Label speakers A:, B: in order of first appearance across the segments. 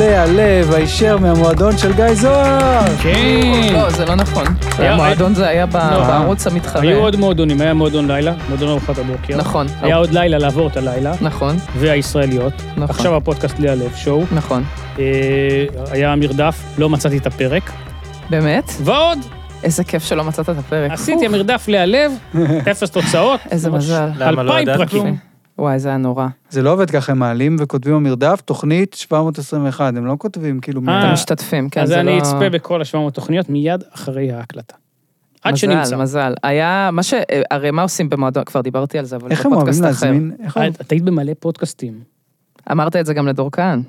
A: הלב הישר מהמועדון של גיא זוהר.
B: כן.
C: לא, זה לא נכון.
B: היה-
C: המועדון זה היה ב-
B: לא.
C: בערוץ המתחרה.
B: היו עוד מועדונים, היה מועדון לילה, מועדון ארוחת הבוקר.
C: נכון.
B: היה עוד לילה לעבור את הלילה,
C: נכון,
B: והישראליות.
C: נכון.
B: עכשיו הפודקאסט בלי הלב שואו.
C: נכון.
B: אה, היה מרדף, לא מצאתי את הפרק.
C: באמת?
B: ועוד,
C: איזה כיף שלא מצאת את הפרק.
B: עשיתי מרדף להלב, אפס תוצאות.
C: אה, איזה
B: ממש
C: מזל. כן,
D: למה, לא
B: אלפיים
D: ידעת
B: פרקים.
D: כלום?
C: וואי, זה היה נורא.
B: אה,
A: זה לא עובד ככה, הם מעלים וכותבים במרדף, תוכנית 721, הם לא כותבים כאילו מי...
B: אה,
C: משתתפים, כן,
B: אז
C: זה לא...
B: אני אצפה בכל ה-700 תוכניות מיד אחרי ההקלטה. עד שנמצא.
C: מזל, מזל. היה, מה ש... אה, הרי מה עושים במועדון? כבר דיברתי על זה, אבל
A: איך הם
C: בפודקאסט
A: אוהבים
C: אחר.
A: להזמין? איך הם-
B: אה, את- את היית במלא פודקאסטים.
C: אמרת את זה גם לדור כהן.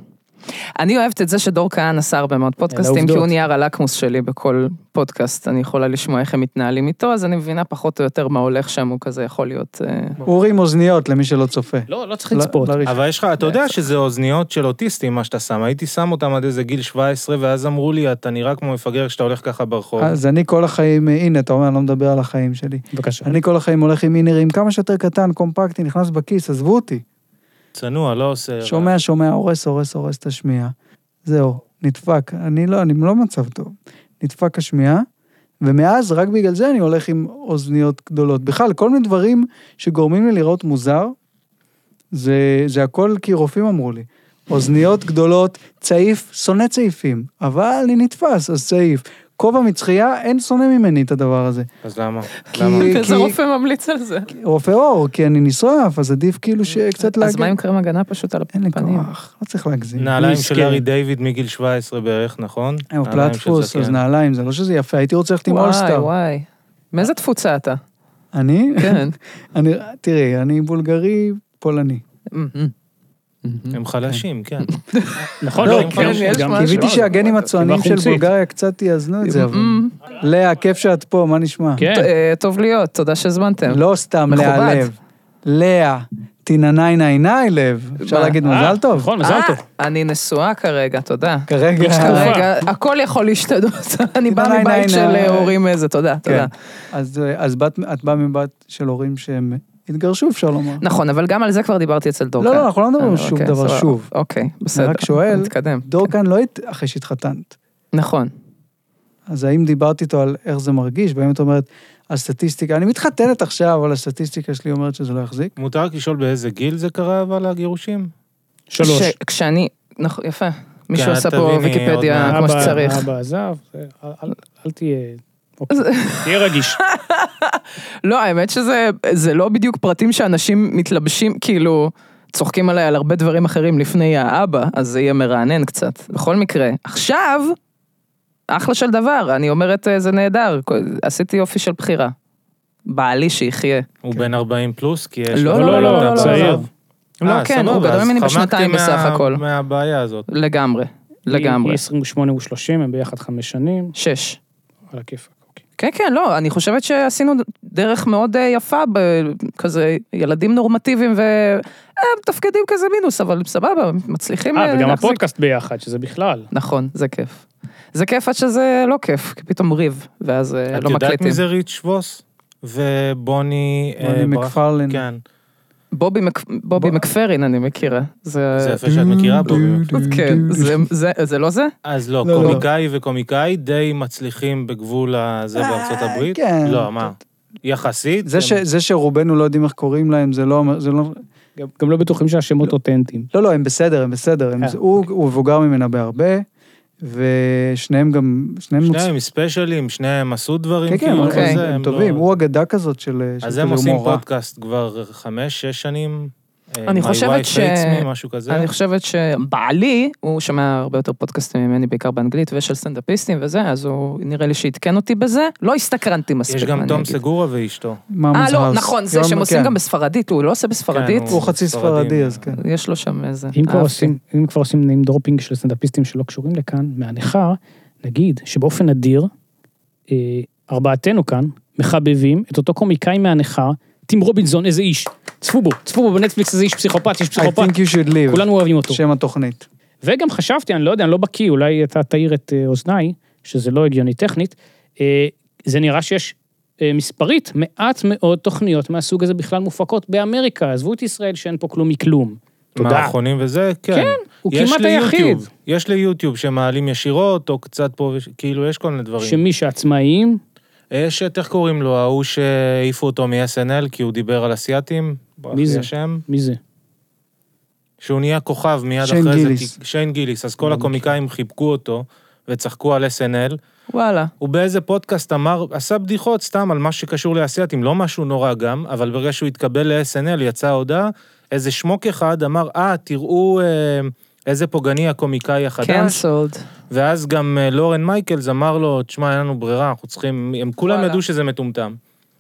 C: אני אוהבת את זה שדור כהן עשה הרבה מאוד פודקאסטים, כי
B: העובדות.
C: הוא נהיה הרלקמוס שלי בכל פודקאסט. אני יכולה לשמוע איך הם מתנהלים איתו, אז אני מבינה פחות או יותר מה הולך שם, הוא כזה יכול להיות... אה,
A: אורי עם אוזניות למי שלא צופה.
B: לא, לא צריך
A: לא-
B: לצפות.
A: לא ראשון.
D: אבל יש לך, אתה יודע שזה אוזניות של אוטיסטים, מה שאתה שם. הייתי שם אותם עד איזה גיל 17, ואז אמרו לי, אתה נראה כמו מפגר כשאתה הולך ככה ברחוב.
A: אז אני כל החיים, הנה, אתה אומר, אני לא מדבר על החיים שלי.
B: בבקשה.
A: אני כל החיים הולך עם אינרים כמה שיותר קטן, קומפקטי, נכנס בכיס, עזבו אותי.
D: צנוע, לא עושה... רע.
C: אה,
A: שומע, שומע, הורס, הורס, הורס את השמיעה. זהו, נדפק. אני לא, אני לא במצב טוב. נדפק השמיעה, ומאז, רק בגלל זה אני הולך עם אוזניות גדולות. בכלל, כל מיני דברים שגורמים לי לראות מוזר, זה, זה הכל כי רופאים אמרו לי. אוזניות גדולות, צעיף, שונא צעיפים, אבל אני נתפס, אז צעיף. כובע מצחייה, אין שונא ממני את הדבר הזה.
D: אז למה?
A: כי-
D: למה?
C: איזה רופא ממליץ על זה.
A: רופא עור, כי אני נשרף, אז עדיף כאילו שקצת להגן.
C: אז מה עם קרם הגנה פשוט על
A: אין לי
C: הפנים?
A: כוח, לא צריך להגזים.
D: נעליים
B: מסכן.
D: של ארי דיוויד מגיל 17 בערך, נכון?
C: אה,
A: הם
D: נעליים של
A: פלטפוס,
D: זקן.
A: אז נעליים, זה לא שזה יפה, הייתי רוצה ללכת עם
C: וואי,
A: אולסטאר.
C: וואי. מאיזה תפוצה אתה?
A: אני?
C: כן.
A: אני, תראי, אני בולגרי, פולני.
D: הם חלשים, כן.
B: נכון,
A: לא,
B: לא, הם
C: כן,
B: גם-
C: יש
B: גם-
C: משהו.
A: קיוויתי שהגנים הצוענים של
B: החומצית.
A: בולגריה קצת יאזנו את זה, אבל... לאה, כיף שאת פה, מה נשמע?
B: כן,
C: אמ, אה, טוב להיות, תודה שהזמנתם.
A: לא סתם
C: מכובד.
A: לאה לב. לאה, תינניי ניי ניי לב. אפשר
C: מה?
A: להגיד
B: אה,
A: מזל טוב?
B: נכון, מזל
C: אה,
B: טוב.
C: אני נשואה כרגע, תודה.
A: כרגע. כן.
C: כרגע, הכל יכול להשתנות, אני באה
A: ניי,
C: מבית
A: ניי,
C: של
A: ניי.
C: אה, הורים איזה, תודה, תודה.
A: כן. אז אז בת- את באה מבת של הורים שהם התגרשו, אפשר לומר.
C: נכון, אבל גם על זה כבר דיברתי אצל דורקן.
A: לא, לא, אנחנו לא מדברים על
C: אה,
A: שום
C: אוקיי,
A: דבר
C: סבבה.
A: שוב.
C: אוקיי,
A: אני
C: בסדר.
A: רק שואל,
C: נתקדם.
A: דורקן לא הת- אחרי שהתחתנת.
C: נכון.
A: אז האם דיברתי איתו על איך זה מרגיש, והאם את אומרת, הסטטיסטיקה, אני מתחתנת עכשיו, אבל הסטטיסטיקה שלי אומרת שזה לא יחזיק?
D: מותר רק לשאול באיזה גיל זה קרה, אבל הגירושים?
B: שלוש.
C: ש- כשאני, נכון, יפה. מישהו
D: כן,
C: עשה
D: תביני
C: פה
D: עוד
C: ויקיפדיה
D: מעט.
C: אה, כמו
B: אבא-
C: שצריך.
B: אבא עזב, זה- אל- אל- אל תהיה... אוקיי. תהיה רגיש.
C: לא, האמת שזה זה לא בדיוק פרטים שאנשים מתלבשים, כאילו, צוחקים עליי על הרבה דברים אחרים לפני האבא, אז זה יהיה מרענן קצת. בכל מקרה, עכשיו, אחלה של דבר, אני אומרת, אה, זה נהדר, כל- עשיתי יופי של בחירה. בעלי שיחיה.
D: הוא בן 40 פלוס? כי יש...
C: כן. לא,
D: לו-
C: לא, לא, לא, לא,
B: צעיר.
C: לא. לא,
D: אה,
C: כן,
D: סבבה,
C: הוא גדול
D: אז
C: ממני
D: חמקתי
C: בשנתיים
D: מה-
C: בסך הכל.
D: מהבעיה הזאת.
C: לגמרי,
B: היא-
C: לגמרי.
B: היא 28 ו-30, הם ביחד חמש שנים,
C: שש.
B: על הכיפאק. אוקיי.
C: כן, כן, לא, אני חושבת שעשינו דרך מאוד אה, יפה, בכזה ילדים נורמטיביים ו... אה, תפקידים כזה מינוס, אבל סבבה, מצליחים
B: אה,
C: אה,
B: וגם
C: להחזיק.
B: הפודקאסט ביחד, שזה בכלל.
C: נכון, זה כיף. זה כיף עד שזה לא כיף, כי פתאום ריב, ואז אה, לא
D: את
C: מקליטים.
D: יודעת מי זה ריץ' ווס? ובוני... אה,
A: בוני
D: ברח-
A: מקפרלן.
D: כן.
C: בובי, מק... בובי מקפרין, אני מכירה. זה...
D: זה יפה שאת מכירה בו.
C: כן, זה, זה, זה לא זה?
D: אז לא,
A: לא, לא.
D: קומיקאי וקומיקאי די מצליחים בגבול הזה
A: אה,
D: בארצות הברית.
A: כן.
D: לא, מה? יחסית?
A: זה, ש,
D: הם-
A: זה שרובנו לא יודעים איך קוראים להם, זה לא... אומר- זה לא,
B: גם- גם לא בטוחים שהשמות אותנטיים.
A: לא, לא, הם בסדר, הם בסדר. הם,
B: אה.
D: כן.
A: הוא, הוא מבוגר ממנה בהרבה, ושניהם גם... שניהם... מוצ-
D: שניהם ספיישלים, שניהם עשו דברים.
A: כן, כן,
D: כאילו,
A: הם,
C: אוקיי.
D: אז
A: הם,
D: זה,
A: הם
D: לא-
A: טובים. הוא אגדה כזאת של... של כאילו
D: אז
A: כזה
D: הם עושים
A: הומור רע.
D: פודקאסט כבר חמש, שש שנים. אה,
C: אני
D: My
C: חושבת
D: Wife
C: ש-
D: Hates Me, משהו כזה.
C: אני חושבת שבעלי, הוא שומע הרבה יותר פודקאסטים ממני, בעיקר באנגלית, ושל סטנדאפיסטים וזה, אז הוא נראה לי שעדכן אותי בזה. לא הסתקרנתי מספיק,
D: יש
C: מה
D: גם
C: אני
D: תום
C: אגיד.
D: סגורה ואשתו.
A: מאמוס
C: אה, לא,
A: האוס.
C: נכון, זה
A: יום-
C: שהם עושים
A: כן.
C: גם בספרדית, הוא לא עושה בספרדית.
D: כן,
A: הוא חצי
D: ספרדי.
A: ספרדי, אז כן.
C: יש לו שם איזה... אה,
B: אם כבר
C: אהבתי.
B: עושים, אם כבר עושים נעים דרופינג של סטנדאפיסטים שלא קשורים לכאן, מהניכר, נגיד שבאופן נדיר, אה, ארבעתנו כאן מחבבים את אותו קומיקאי מהניכר, טים רובינזון, איזה איש. צפו בו, צפו בו בנטפליקס, איזה איש פסיכופת, איש
A: I
B: פסיכופת,
A: think you should live,
B: כולנו אוהבים אותו.
A: שם התוכנית.
B: וגם חשבתי, אני לא יודע, אני לא בקיא, אולי אתה תאיר את אה, אוזניי, שזה לא הגיוני טכנית, אה, זה נראה שיש אה, מספרית מעט מאוד תוכניות מהסוג הזה בכלל מופקות באמריקה, עזבו את ישראל שאין פה כלום מכלום. תודה.
D: מערכונים וזה, כן.
B: כן, הוא
D: נכון. יש
B: כמעט
D: לי
B: היחיד.
D: יוטיוב, יש לי יוטיוב שמעלים ישירות, או קצת פה, וש- כאילו, יש כל מיני דברים.
B: שמי שעצמאים,
D: יש את, איך קוראים לו, ההוא שהעיפו אותו מ-SNL כי הוא דיבר על אסייתים. ברח
B: מי
D: לי
B: זה?
D: השם.
B: מי זה?
D: שהוא נהיה כוכב מיד
A: שיין
D: אחרי
A: גיליס.
D: זה. שיין גיליס. אז כל הקומיקאים חיבקו אותו וצחקו על SNL.
C: וואלה.
D: הוא באיזה פודקאסט אמר, עשה בדיחות סתם על מה שקשור לאסייתים, לא משהו נורא גם, אבל ברגע שהוא התקבל ל-SNL יצאה הודעה, איזה שמוק אחד אמר, אה, תראו אה, איזה פוגעני הקומיקאי החדש.
C: כן, קנסולד.
D: ואז גם אה, לורן מייקלס אמר לו, תשמע, אין לנו ברירה, אנחנו צריכים... הם כולם
C: וואלה.
D: ידעו שזה מטומטם.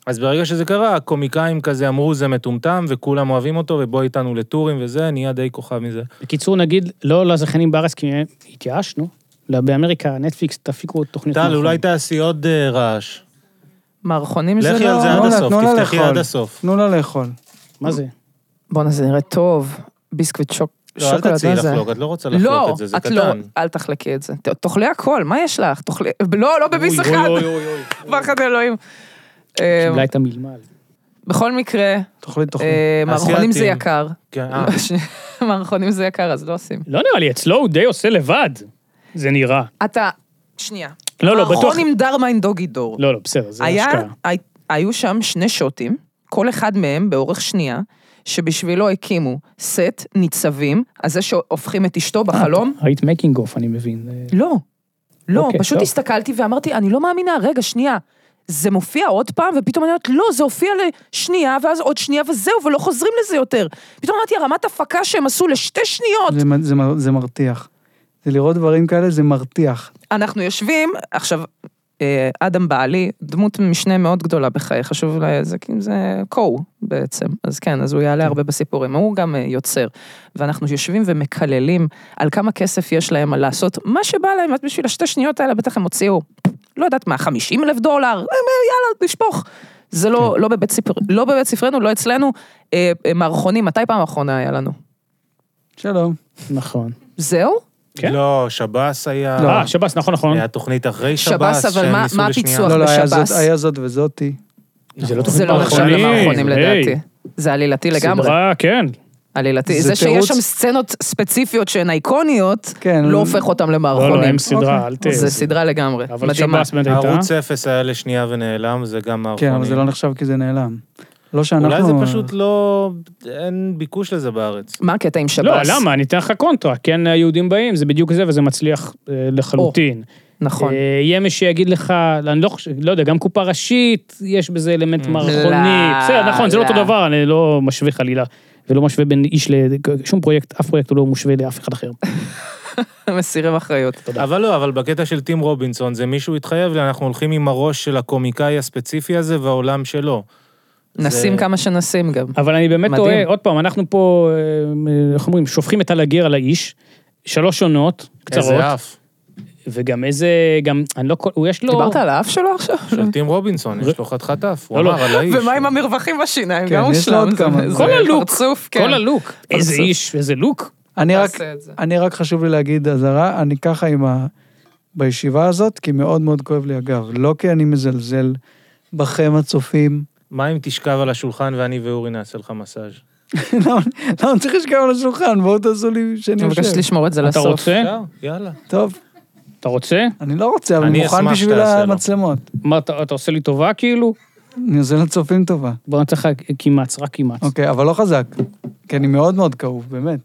D: אז ברגע שזה קרה, הקומיקאים כזה אמרו, זה מטומטם, וכולם אוהבים אותו, ובוא איתנו לטורים וזה, נהיה די כוכב מזה.
B: בקיצור, נגיד, לא לזכיינים בארץ, כי התייאשנו, אלא באמריקה, נטפליקס, תפיקו תוכניות.
D: טל,
B: מערכון.
D: אולי תעשי עוד אה, רעש.
C: מערכונים זה לא...
D: לכי על זה
A: תנו
D: עד
A: לה- תנו
D: הסוף,
A: לה
D: תפתחי
A: לאכול.
D: עד הסוף.
A: תנו לה לאכול.
B: מה זה?
C: בואנה, זה נראה טוב. ביסקוויט שוק...
D: לא, אל
C: שוקולד,
D: תציעי
C: מה זה?
D: לחלוק, את לא רוצה לחלוק
C: לא,
D: את זה, זה
C: את לא,
D: קטן.
C: אל תחלקי את זה. ת- תאכלי הכל, מה יש לך? תאכלי... לא, לא בביס
B: אוי,
C: אחד.
B: אוי, אוי, אוי, אוי.
C: פחד אלוהים. אה,
B: קיבלה את המלמל.
C: בכל מקרה,
A: תאכלי, תאכלי.
C: אה, מערכונים זה
D: אסיאתים.
C: יקר.
D: נכון. כן, אה,
C: שנייה, מערכונים זה יקר, אז לא עושים.
B: לא נראה לי, אצלו הוא די עושה לבד. זה נראה.
C: אתה... שנייה.
B: לא, לא, בטוח.
C: מערכון עם דרמיין דוגי דור.
B: לא, לא, בסדר, זה
C: אה, היה,
B: השקעה.
C: הי- היו שם שני שוטים, כל אחד מהם באורך שנייה, שבשבילו הקימו סט ניצבים, אז זה שהופכים את
B: אה,
C: אשתו בחלום.
B: ראית מקינג אוף, אני מבין. אה,
C: לא. לא,
B: אוקיי,
C: פשוט
B: טוב.
C: הסתכלתי ואמרתי, אני לא מאמינה, רגע, שנייה. זה מופיע עוד פעם, ופתאום אני אומרת, לא, זה הופיע לשנייה, ואז עוד שנייה, וזהו, ולא חוזרים לזה יותר. פתאום אמרתי, הרמת הפקה שהם עשו לשתי שניות.
A: זה, מ- זה, מ- זה מרתיח. זה לראות דברים כאלה, זה מרתיח.
C: אנחנו יושבים, עכשיו, אה, אדם בעלי, דמות משנה מאוד גדולה בחיי, חשוב לה, זה כאילו זה קו בעצם, אז כן, אז הוא יעלה הרבה בסיפורים, הוא גם אה, יוצר. ואנחנו יושבים ומקללים על כמה כסף יש להם על לעשות מה שבא להם, אז בשביל השתי שניות האלה בטח הם הוציאו, לא יודעת מה, 50 אלף דולר, אה, אה, יאללה, נשפוך. זה
B: כן.
C: לא, לא, בבית ספר, לא בבית ספרנו, לא אצלנו. אה, אה, מערכונים, מתי פעם האחרונה היה לנו?
A: שלום.
B: נכון.
C: זהו?
B: כן?
D: לא, שב"ס היה...
B: אה, שב"ס, נכון, נכון.
D: היה תוכנית אחרי
C: שב"ס,
D: שב"ס,
C: אבל
D: שהם
C: מה-
D: ניסו
C: מה
D: לשנייה.
C: הפיצוח?
A: לא, לא, היה זאת,
C: בשב"ס.
A: היה זאת וזאתי.
B: זה לא תוכנית
C: זה לא נחשב
B: מערכונים,
C: למערכונים
B: היי.
C: לדעתי. זה עלילתי לגמרי.
B: סדרה, כן.
C: עלילתי.
A: זה
C: זה שיש
A: תירוץ-
C: שם סצנות ספציפיות שהן אייקוניות,
A: כן.
C: לא הופך אותם
B: לא, לא,
C: למערכונים.
B: הם סדרה,
A: אוקיי.
B: אל ת...
C: זה סדרה לגמרי,
B: אבל
C: מדהימה.
B: שב"ס באמת אה? הייתה.
D: ערוץ אפס היה לשנייה ונעלם, זה גם מערכונים.
A: כן, אבל זה לא נחשב כי זה נעלם. לא שאנחנו...
D: אולי זה פשוט לא... אין ביקוש לזה בארץ.
C: מה הקטע עם שב"ס?
B: לא, למה? אני אתן לך קונטרה. כן, היהודים באים, זה בדיוק זה, וזה מצליח אה, לחלוטין.
C: נכון.
B: אה, יהיה מי שיגיד לך, אני לא חושב, לא יודע, גם קופה ראשית, יש בזה אלמנט מערכוני.
C: לא,
B: בסדר, נכון, זה לא
C: לא.
B: אותו דבר, אני לא משווה חלילה. ולא משווה בין איש ל... שום פרויקט, אף פרויקט הוא לא מושווה לאף אחד אחר. אה,
C: מסירים אחריות.
D: אבל לא, אבל בקטע של טים רובינסון, זה מישהו התחייב, לי, אנחנו הולכים עם הראש של הקומיקאי הספציפי הזה והעולם שלו.
C: נשים כמה שנשים גם.
B: אבל אני באמת
C: מדהים.
B: טועה, עוד פעם, אנחנו פה, אה, איך אומרים, שופכים את הלגר על האיש, שלוש עונות קצרות,
D: איזה אף.
B: וגם איזה, גם, אני לא, כל- הוא יש לו...
C: דיברת על האף שלו עכשיו?
D: של טים רובינסון, יש לו חתיכת אף, הוא
B: לא, לא.
D: אמר על האיש.
C: ומה עם המרווחים בשיניים?
A: כן,
C: גם
A: יש לו
C: הושלם.
A: עוד
C: זה-
A: כמה.
C: זה
B: כל הלוק,
C: פרצוף, כן.
B: כל הלוק. איזה איש, איזה לוק.
D: לא
A: אני רק,
C: תעשה את זה.
A: אני רק חשוב לי להגיד אזהרה, אני ככה עם ה... בישיבה הזאת, כי מאוד מאוד כואב לי הגב. לא כי אני מזלזל בכם הצופים.
D: מה אם תשכב על השולחן ואני ואורי נעשה לך מסאז'?
A: למה למה לא, אני צריך לשכב על השולחן? בואו תעשו לי שאני
C: אני מבקשת
A: יושב.
C: לשמור את זה
B: אתה
C: לסוף.
B: רוצה?
D: אפשר? יאללה.
A: טוב,
B: אתה רוצה?
A: אני לא רוצה, אבל
D: אני
A: מוכן
D: אשמח
A: בשביל
D: שתעשה לו.
A: המצלמות.
B: מה, אתה אתה עושה לי טובה כאילו?
A: אני עושה לצופים טובה.
B: בוא נצא לך קימץ, רק קימץ.
A: אוקיי, אבל לא חזק. כי אני מאוד מאוד כאוב, באמת.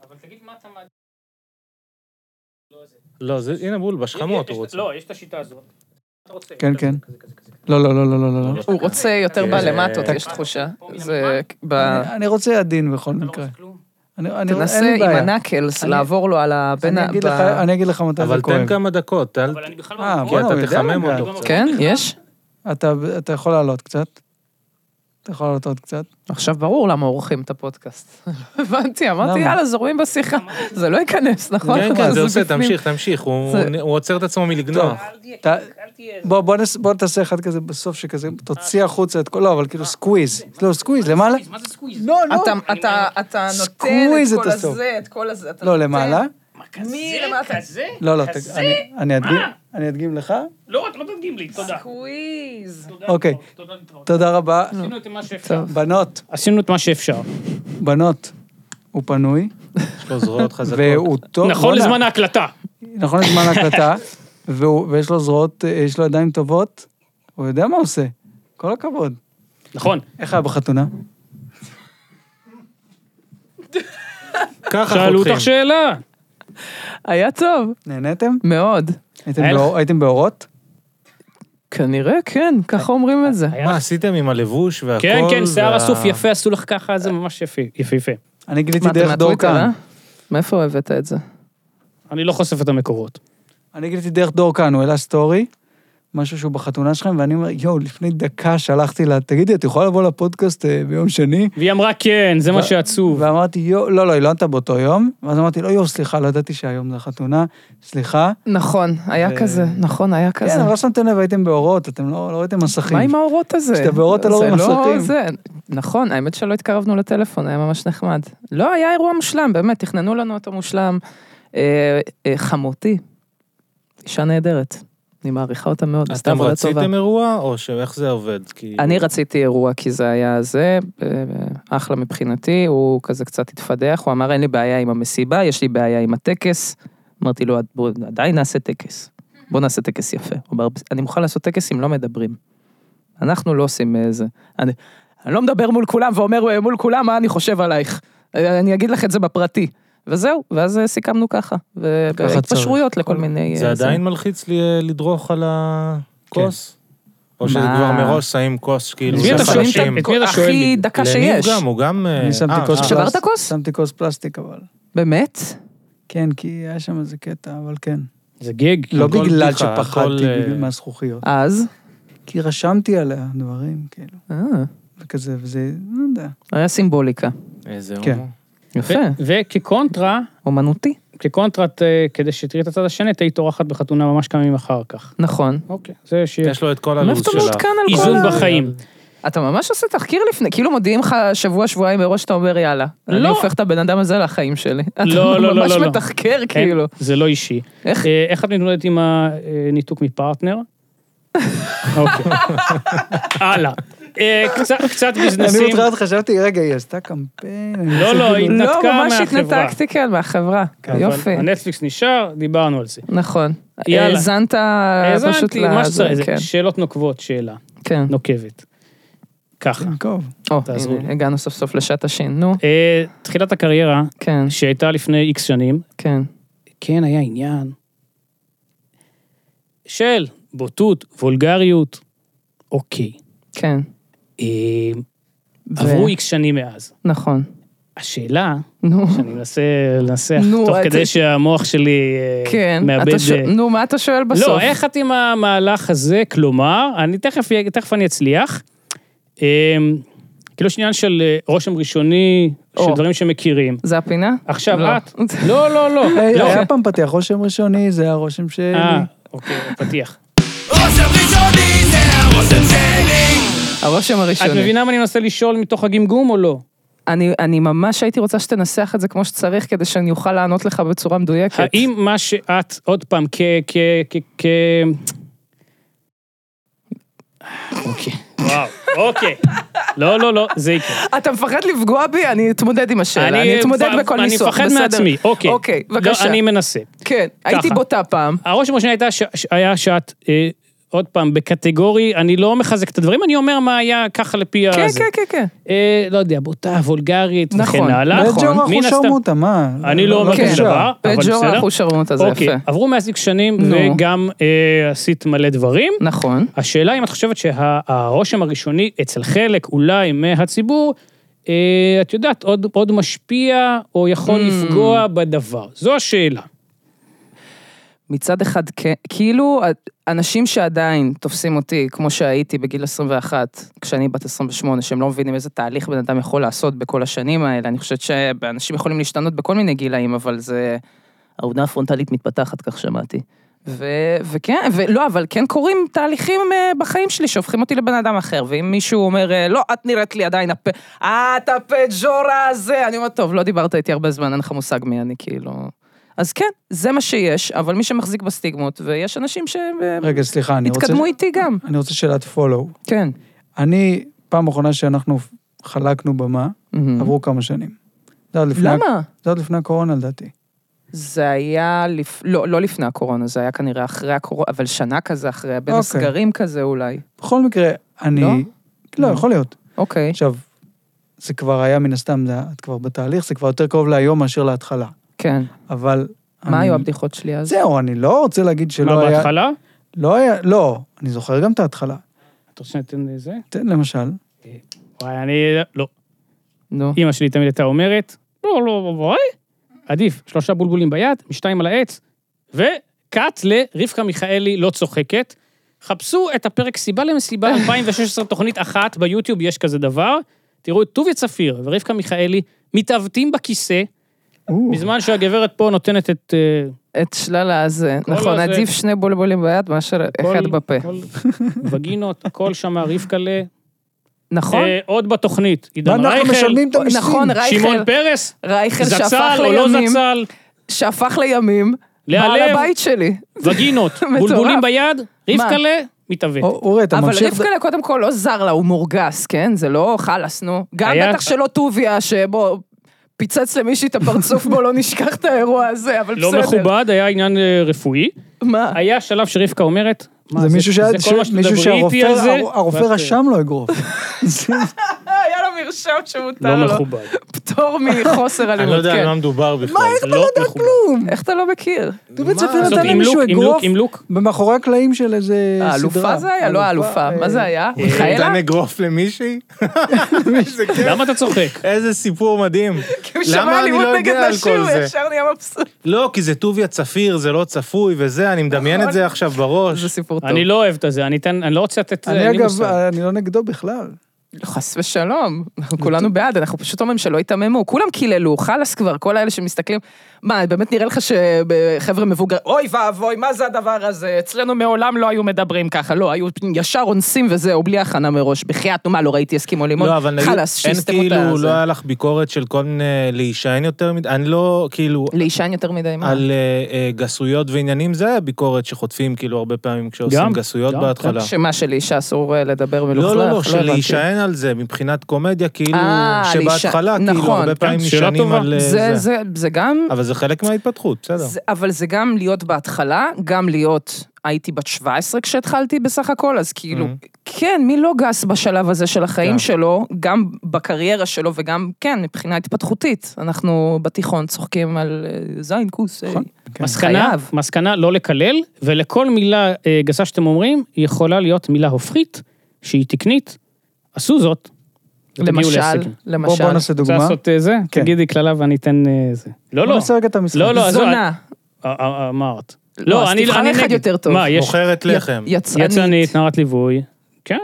D: לא, זה, הנה בול, בשכמות הוא רוצה.
B: לא, יש את השיטה הזאת.
A: כן, כן. לא, לא, לא, לא, לא, לא. לא.
C: הוא רוצה יותר
D: כן.
C: בלמטות,
D: אה,
C: יש תחושה. זה... ב-
A: אני- אני רוצה עדין בכל
B: לא
D: לא
A: מקרה. אני- אני- אין
C: תנסה
A: לי
C: עם
A: בעיה.
C: הנקלס
A: אני-
C: לעבור לו על ה... בין ה-
A: אני אגיד
C: ב-
A: לך- אני אגיד לך מתי לא, זה
D: אבל
A: כואב.
D: תן כמה דקות, אל...
B: אני בכלל
A: אה,
B: במקום.
D: כי
A: בואנה, הוא
D: אתה
A: יודע
D: תחמם
A: לגעת.
D: אותו קצת.
C: כן, יש?
A: אתה, אתה יכול לעלות קצת. אתה יכול לעלות עוד קצת.
C: עכשיו ברור למה עורכים את הפודקאסט. לא הבנתי, אמרתי,
A: למה?
C: יאללה, זורמים בשיחה. זה לא ייכנס, נכון?
D: כן, כן, זה עושה,
C: בפנים.
D: תמשיך, תמשיך, הוא
C: זה-
D: הוא עוצר את עצמו מלגנוח.
A: ת... לא. בוא, בוא, נס... בוא תעשה אחד כזה בסוף שכזה, תוציא החוצה את כל, לא, אבל כאילו סקוויז. לא, סקוויז, למעלה.
B: אה. מה זה סקוויז?
A: לא, לא.
C: אתה- אתה- אתה נותן
A: סקוויז
C: את
A: את
C: כל
A: הסוף.
C: הזה, את כל הזה. אתה
A: לא,
C: נותן.
A: למעלה.
C: מי למטה?
B: כזה?
A: לא, לא, ת... אני, אני אדגים,
B: אה.
A: אני אדגים לך.
B: לא, אתה לא תדגים לי, תודה.
C: סקוויז.
A: אוקיי.
B: תודה להתראות.
C: לא.
A: תודה רבה.
B: עשינו את מה שאפשר.
A: בנות,
B: עשינו את מה שאפשר.
A: בנות, הוא פנוי,
D: יש לו זרועות חזקות.
A: והוא טוב.
B: נכון
A: בואנה,
B: לזמן ההקלטה.
A: נכון לזמן ההקלטה, והוא- ויש לו זרועות, אה, יש לו ידיים טובות, הוא יודע מה הוא עושה. כל הכבוד.
B: נכון.
A: איך היה בחתונה?
D: ככה
B: שאלו
D: חותכים.
B: אותך שאלה.
C: היה טוב,
A: נהניתם?
C: מאוד.
A: הייתם
B: היה
A: באור- הייתם באורות?
C: כנראה כן,
A: אה,
C: ככה אומרים את זה.
B: היה
D: מה עשיתם עם הלבוש והכל?
B: כן, כן, שיער
D: וה-
B: אסוף יפה, עשו לך ככה, זה ממש יפה, יפהפה.
A: אני גיליתי
C: מה, אתה
A: דרך דור
C: מהטוויטר, אה?
A: כאן.
C: מאיפה הבאת את זה?
B: אני לא חושף את המקורות.
A: אני גיליתי דרך דור כאן, הוא העלה סטורי, משהו שהוא בחתונה שלכם, ואני אומר, יואו, לפני דקה שלחתי לה, תגידי, את יכולה לבוא לפודקאסט אה, ביום שני?
B: והיא אמרה, כן, זה מה שעצוב.
A: ואמרתי, יואו, לא, לא, היא לא ענתה באותו יום, ואז אמרתי, לא, יואו, סליחה, לא ידעתי שהיום זה חתונה, סליחה.
C: נכון,
A: אה,
C: היה כזה, נכון, היה כזה.
A: כן, אבל לא שמתם לב, הייתם באורות, אתם לא לא ראיתם מסכים.
C: מה עם האורות הזה?
A: כשאתה באורות אתה לא
C: זה
A: רואה מסכים.
C: זה. נכון, האמת שלא התקרבנו לטלפון, היה ממש נחמד. לא, היה אירוע מושלם, באמת, תכננו לנו אותו מושלם. אה, אה, חמותי, אישה נהדרת, אני מעריכה אותה מאוד, עשתה
D: אתם
C: עבודה טובה.
D: רציתם אירוע, או שאיך זה עובד? כי-
C: אני רציתי אירוע כי זה היה זה, אה, אחלה מבחינתי, הוא כזה קצת התפדח, הוא אמר אין לי בעיה עם המסיבה, יש לי בעיה עם הטקס. אמרתי לו, בוא, עדיין נעשה טקס, בוא נעשה טקס יפה. הוא אמר, אני מוכן לעשות טקס אם לא מדברים. אנחנו לא עושים אה, זה. אני, אני לא מדבר מול כולם ואומר אה, מול כולם מה אני חושב עלייך. אה, אני אגיד לך את זה בפרטי. וזהו, ואז אה, סיכמנו ככה.
A: ככה
C: והתפשרויות לכל מיני...
D: זה
C: אה,
D: עדיין מלחיץ לי אה, לדרוך על הכוס? או שזה
C: מה?
D: כבר מראש שמים כוס כאילו
B: את מי אתה
D: זה
B: שואל?
D: חלשים?
B: את מי אתה שואל?
C: הכי דקה
D: לניב
C: שיש.
D: גם, הוא גם... אה,
A: אני שמתי
D: אה,
A: כוס
D: אה,
A: פלסטיק.
C: שברת כוס?
A: שמתי כוס פלסטיק, אבל.
C: באמת?
A: כן, כי היה שם איזה קטע, אבל כן.
B: זה גג.
A: לא
D: הכל
A: בגלל
D: בדיחה, הכל,
A: שפחדתי
D: אה,
A: בגלל מהזכוכיות.
C: אז?
A: כי רשמתי עליה דברים, כאילו,
C: אה,
A: וכזה, וזה, לא יודע.
C: היה סימבוליקה.
D: איזה
A: כן.
D: הומו.
C: יפה,
B: וכקונטרה,
C: אומנותי.
B: כקונטרה, אה, כדי שתראי את הצד השני, תהיי טורחת בחתונה ממש כמה ימים אחר כך.
C: נכון.
B: אוקיי, זה ש...
D: יש לו את כל
C: מאיפה
D: הלו"ז
C: אתה לא
D: שלה.
C: מעודכן על כל
B: איזון
C: ה...
B: בחיים.
C: אתה ממש עושה תחקיר לפני, כאילו מודיעים לך שבוע, שבועיים מראש, אתה אומר יאללה. אני
B: לא.
C: הופך את הבן אדם הזה לחיים שלי.
B: לא, לא, לא,
C: אתה
B: לא, לא.
C: ממש מתחקר,
B: כן,
C: כאילו.
B: זה לא אישי.
C: איך?
B: אה, איך את מתמודדת עם הניתוק מפרטנר? אוקיי. הלאה. אה, קצת- קצת
A: אני
B: ביזנסים.
A: מתחילת חשבתי, רגע, היא עשתה קמפיין. אני
B: לא,
A: עושה
B: לא,
A: כאילו-
B: היא-
C: לא,
B: התנתקה
C: ממש
B: מהחברה.
C: התנתקתי, כן, מהחברה.
B: אבל
C: יופי,
B: הנטפליקס נשאר, דיברנו על זה.
C: נכון.
B: יאללה.
C: האזנת אה, פשוט
B: האזנתי, מה
C: לזה,
B: שצריך, זה
C: כן,
B: שאלות נוקבות, שאלה
C: כן.
B: נוקבת. ככה.
A: טוב.
C: או,
B: תעזרו
C: הנה,
B: לי.
C: הגענו סוף סוף לשעת השין, נו.
B: אה, תחילת הקריירה,
C: כן,
B: שהייתה לפני איקס שנים,
C: כן.
B: כן היה עניין של בוטות, וולגריות, אוקיי.
C: כן,
B: אה,
C: ו-
B: עברו איקס שנים מאז.
C: נכון.
B: השאלה,
C: נו,
B: שאני מנסה לנסח,
C: נו,
B: תוך
C: אתה-
B: כדי שהמוח שלי אה,
C: כן.
B: מאבד...
C: אתה ש-
B: אה,
C: נו, מה אתה שואל בסוף?
B: לא, איך את עם המהלך הזה? כלומר, אני תכף, תכף אני אצליח. אמ, כאילו יש עניין של אה, רושם ראשוני, של
C: או.
B: דברים שמכירים.
C: זה הפינה?
B: עכשיו
C: לא. אה,
B: את... לא, לא, לא.
A: היי,
B: לא.
A: היה פעם פתיח רושם ראשוני, זה היה רושם שלי.
B: אה, אוקיי, פתיח.
C: הרושם
B: את
C: הראשוני.
B: מבינה מה אני מנסה לשאול מתוך הגמגום או לא?
C: אני, אני ממש הייתי רוצה שתנסח את זה כמו שצריך, כדי שאני אוכל לענות לך בצורה מדויקת.
B: האם מה שאת, עוד פעם, כ... כ... כ... כ... אוקיי. וואו, אוקיי. לא, לא, לא, זה יקרה.
C: אתה מפחד לפגוע בי? אני אתמודד עם השאלה, אני, אתמודד
B: מפ-
C: בכל ניסוח, בסדר?
B: אני מפחד מעצמי, אוקיי.
C: אוקיי, בבקשה.
B: לא, אני מנסה.
C: כן, הייתי בוטה פעם.
B: הרושם השני הייתה ש... ש- היה שאת, אה, עוד פעם, בקטגורי, אני לא מחזק את הדברים, אני אומר מה היה ככה לפי
C: כן,
B: הזה.
C: כן, כן, כן.
B: אה, לא יודע, בוטה, וולגרית,
C: נכון.
B: וכן הלאה.
C: נכון.
A: בג'ו
B: מן
A: אנחנו
B: הסתם-
A: שרמוטה, מה?
B: אני לא אומר
A: כן.
B: כזה
C: כן.
B: דבר, אבל
C: בג'ו
B: בסדר.
C: אנחנו שרמוטה, זה
B: אוקיי,
C: יפה.
B: עברו מאז איקס שנים,
C: נו.
B: וגם אה, עשית מלא דברים.
C: נכון.
B: השאלה אם את חושבת שהרושם הראשוני אצל חלק אולי מהציבור, אה, את יודעת, עוד, עוד משפיע או יכול
C: Mm.
B: לפגוע בדבר. זו השאלה.
C: מצד אחד, כן, כאילו, אנשים שעדיין תופסים אותי, כמו שהייתי בגיל 21, כשאני בת 28, שהם לא מבינים איזה תהליך בן אדם יכול לעשות בכל השנים האלה, אני חושבת שאנשים יכולים להשתנות בכל מיני גילאים, אבל זה... העונה הפרונטלית מתפתחת, כך שמעתי. ו- וכן, ולא, אבל כן קורים תהליכים אה, בחיים שלי שהופכים אותי לבן אדם אחר, ואם מישהו אומר, אה, לא, את נראית לי עדיין הפ... את הפג'ורה הזה, אני אומרת, טוב, לא דיברת איתי הרבה זמן, אין לך מושג מי אני, כאילו... אז כן, זה מה שיש, אבל מי שמחזיק בסטיגמות, ויש אנשים שהתקדמו
A: רגע, סליחה, אני רוצה...
C: איתי גם.
A: אני רוצה שאלת פולו.
C: כן.
A: אני, פעם אחרונה שאנחנו חלקנו במה,
C: מהמם.
A: עברו כמה שנים. זה עוד לפני,
C: Mm-hmm. למה?
A: זה עוד לפני הקורונה לדעתי.
C: זה היה, לפ... לא, לא לפני הקורונה, זה היה כנראה אחרי הקורונה, אבל שנה כזה אחרי, בין
A: אוקיי.
C: הסגרים כזה אולי.
A: בכל מקרה, אני...
C: לא?
A: לא,
C: לא.
A: יכול להיות.
C: אוקיי.
A: עכשיו, זה כבר היה מן הסתם, זה, היה- את כבר בתהליך, זה כבר יותר קרוב להיום מאשר להתחלה.
C: כן.
A: אבל...
C: מה
A: אני-
C: היו הבדיחות שלי אז?
A: זהו, אני לא רוצה להגיד
B: מה,
A: שלא היה...
B: בהתחלה?
A: לא היה, לא, אני זוכר גם את ההתחלה.
B: אתה רוצה שניתן זה?
A: תן למשל,
B: וואי, אני... לא.
C: נו.
B: אימא שלי תמיד הייתה אומרת, לא, לא, וואי, עדיף, שלושה בולבולים ביד, משתיים על העץ, וקאט לרבקה מיכאלי לא צוחקת. חפשו את הפרק סיבה למסיבה 2016, תוכנית אחת, ביוטיוב יש כזה דבר. תראו את טוביה צפיר ורבקה מיכאלי מתעוותים בכיסא, בזמן שהגברת פה נותנת את... אה,
C: את שלל הזה.
B: כל
C: נכון,
B: הזה.
C: עדיף שני בולבולים ביד מאשר
B: כל-
C: אחד בפה.
B: כל וגינות, הכל שם רבקה ל...
C: נכון?
B: אה, עוד בתוכנית, עידן
A: ואנחנו
B: רייכל,
A: משלמים את המיסים.
C: נכון, רייכל,
B: שמעון פרס,
C: רייכל שהפך
B: זצ"ל או לא
C: לימים,
B: זצ"ל,
C: שהפך לימים, בעל
B: להלב,
C: הבית שלי.
B: וגינות,
C: מטורף.
B: בולבולים ביד,
C: מה?
B: רבקלה מתעוות.
A: או- אורי, אתה
C: אבל
A: ממשיך...
C: רבקלה קודם כל לא זר לה, הוא מורגס, כן? זה לא חלאס, נו. גם
B: היה-
C: בטח שלא טוביה, שבו פיצץ למישהי את הפרצוף, בוא לא נשכח את האירוע הזה, אבל
B: לא
C: בסדר.
B: מכובד, היה עניין אה, רפואי.
C: מה?
B: היה שלב שרבקה אומרת, "מה,
A: זה מישהו שהיה-
B: זה כל מה
A: ש-
B: שתדברי
A: מישהו
B: איתי על זה,
A: שהרופא הרופא
B: ואת, אה,
A: רשם לא לו אגרוף. זה-
C: היה לו מרשם שמותר
B: לא
C: לו.
B: מכובד.
C: פטור מחוסר
D: אני לא
C: אלימות,
D: יודע על
C: כן.
D: מה מדובר בכלל.
B: לא מכובד.
C: איך אתה לא מכיר?
A: אתה בית ספר
D: מה?
B: זאת
A: נתן למישהו
B: עם לוק, עם לוק,
A: אגרוף
B: עם לוק.
A: במאחורי הקלעים של איזה סדרה. אה,
C: האלופה אה, זה היה? לא האלופה.
D: אה,
C: מה זה היה?
D: הוא
C: מיכאלה?
D: נתן אגרוף למישהי? איזה
A: כן.
D: כיף.
B: למה אתה צוחק?
D: איזה סיפור מדהים.
C: כי הוא שמע אלימות נגד נשים, הוא ישר נהיה מבסוט.
D: לא, כי זה טוביה צפיר, זה לא צפוי וזה, אני מדמיין את זה עכשיו בראש.
C: זה סיפור טוב.
B: אני לא אוהב את זה, אני אתן, אני לא רוצה לתת, אין
A: אני
B: לי
A: אגב,
B: מושג.
A: אני לא נגדו בכלל.
C: חס ושלום, אנחנו כולנו בעד, אנחנו פשוט אומרים שלא ייתממו, כולם קיללו, חלאס כבר, כל האלה שמסתכלים. מה, באמת נראה לך שחבר'ה מבוגרים, אוי ואבוי, מה זה הדבר הזה? אצלנו מעולם לא היו מדברים ככה, לא, היו ישר אונסים וזהו, בלי הכנה מראש, בחייאת, נו מה, לא ראיתי הסכימו לימון,
D: לא, אבל נגיד,
C: חלאס,
D: אין
C: שיסתמו את
D: כאילו,
C: הזה.
D: לא היה לך ביקורת של כל מיני להישען יותר מדי, אני לא, כאילו,
C: להישן יותר מדי, מה?
D: על אה, אה, גסויות ועניינים, זה היה ביקורת שחוטפים כאילו הרבה פעמים
B: גם,
D: כשעושים גסויות
B: גם,
D: בהתחלה.
C: שמה שלאישה אסור אה, לדבר
D: לא,
C: מלוכלך?
D: לא, לא, של
C: הבנתי.
D: להישען על זה מבחינת קומדיה, כאילו,
C: אה,
D: שבהתחלה,
C: להישען,
D: כאילו,
C: נכון.
D: הרבה פעמים
B: כן, שאלה
D: נשענים
B: טובה.
D: על אה,
C: זה,
D: זה.
C: זה, זה גם...
D: אבל זה חלק מההתפתחות, בסדר.
C: זה, אבל זה גם להיות בהתחלה, גם להיות, הייתי בת 17 כשהתחלתי בסך הכל, אז כאילו,
A: Mm-hmm.
C: כן, מי לא גס בשלב הזה של החיים
D: כן.
C: שלו, גם בקריירה שלו וגם, כן, מבחינה התפתחותית. אנחנו בתיכון צוחקים על אה, זין, כוס,
A: נכון,
C: אה,
A: כן.
B: מסקנה,
C: חייב.
B: מסקנה לא לקלל, ולכל מילה אה, גסה שאתם אומרים, היא יכולה להיות מילה הופכית, שהיא תקנית. עשו זאת. ותגיעו
C: למשל,
B: להישגים.
A: בוא
C: למשל,
A: בוא נעשה
B: רוצה
A: דוגמה.
B: לעשות אה, זה?
A: כן.
B: תגידי קללה ואני אתן אה, זה. לא,
A: בוא
B: לא.
A: נעשה רגע את המשחק.
B: לא, לא, אז
C: זונה,
B: אה, אה, אמרת.
C: לא, אז תבחר אחד יותר טוב.
B: מה, יש
D: מוכרת לחם.
C: כן. יצרנית.
B: יצרנית, נערת ליווי, כן.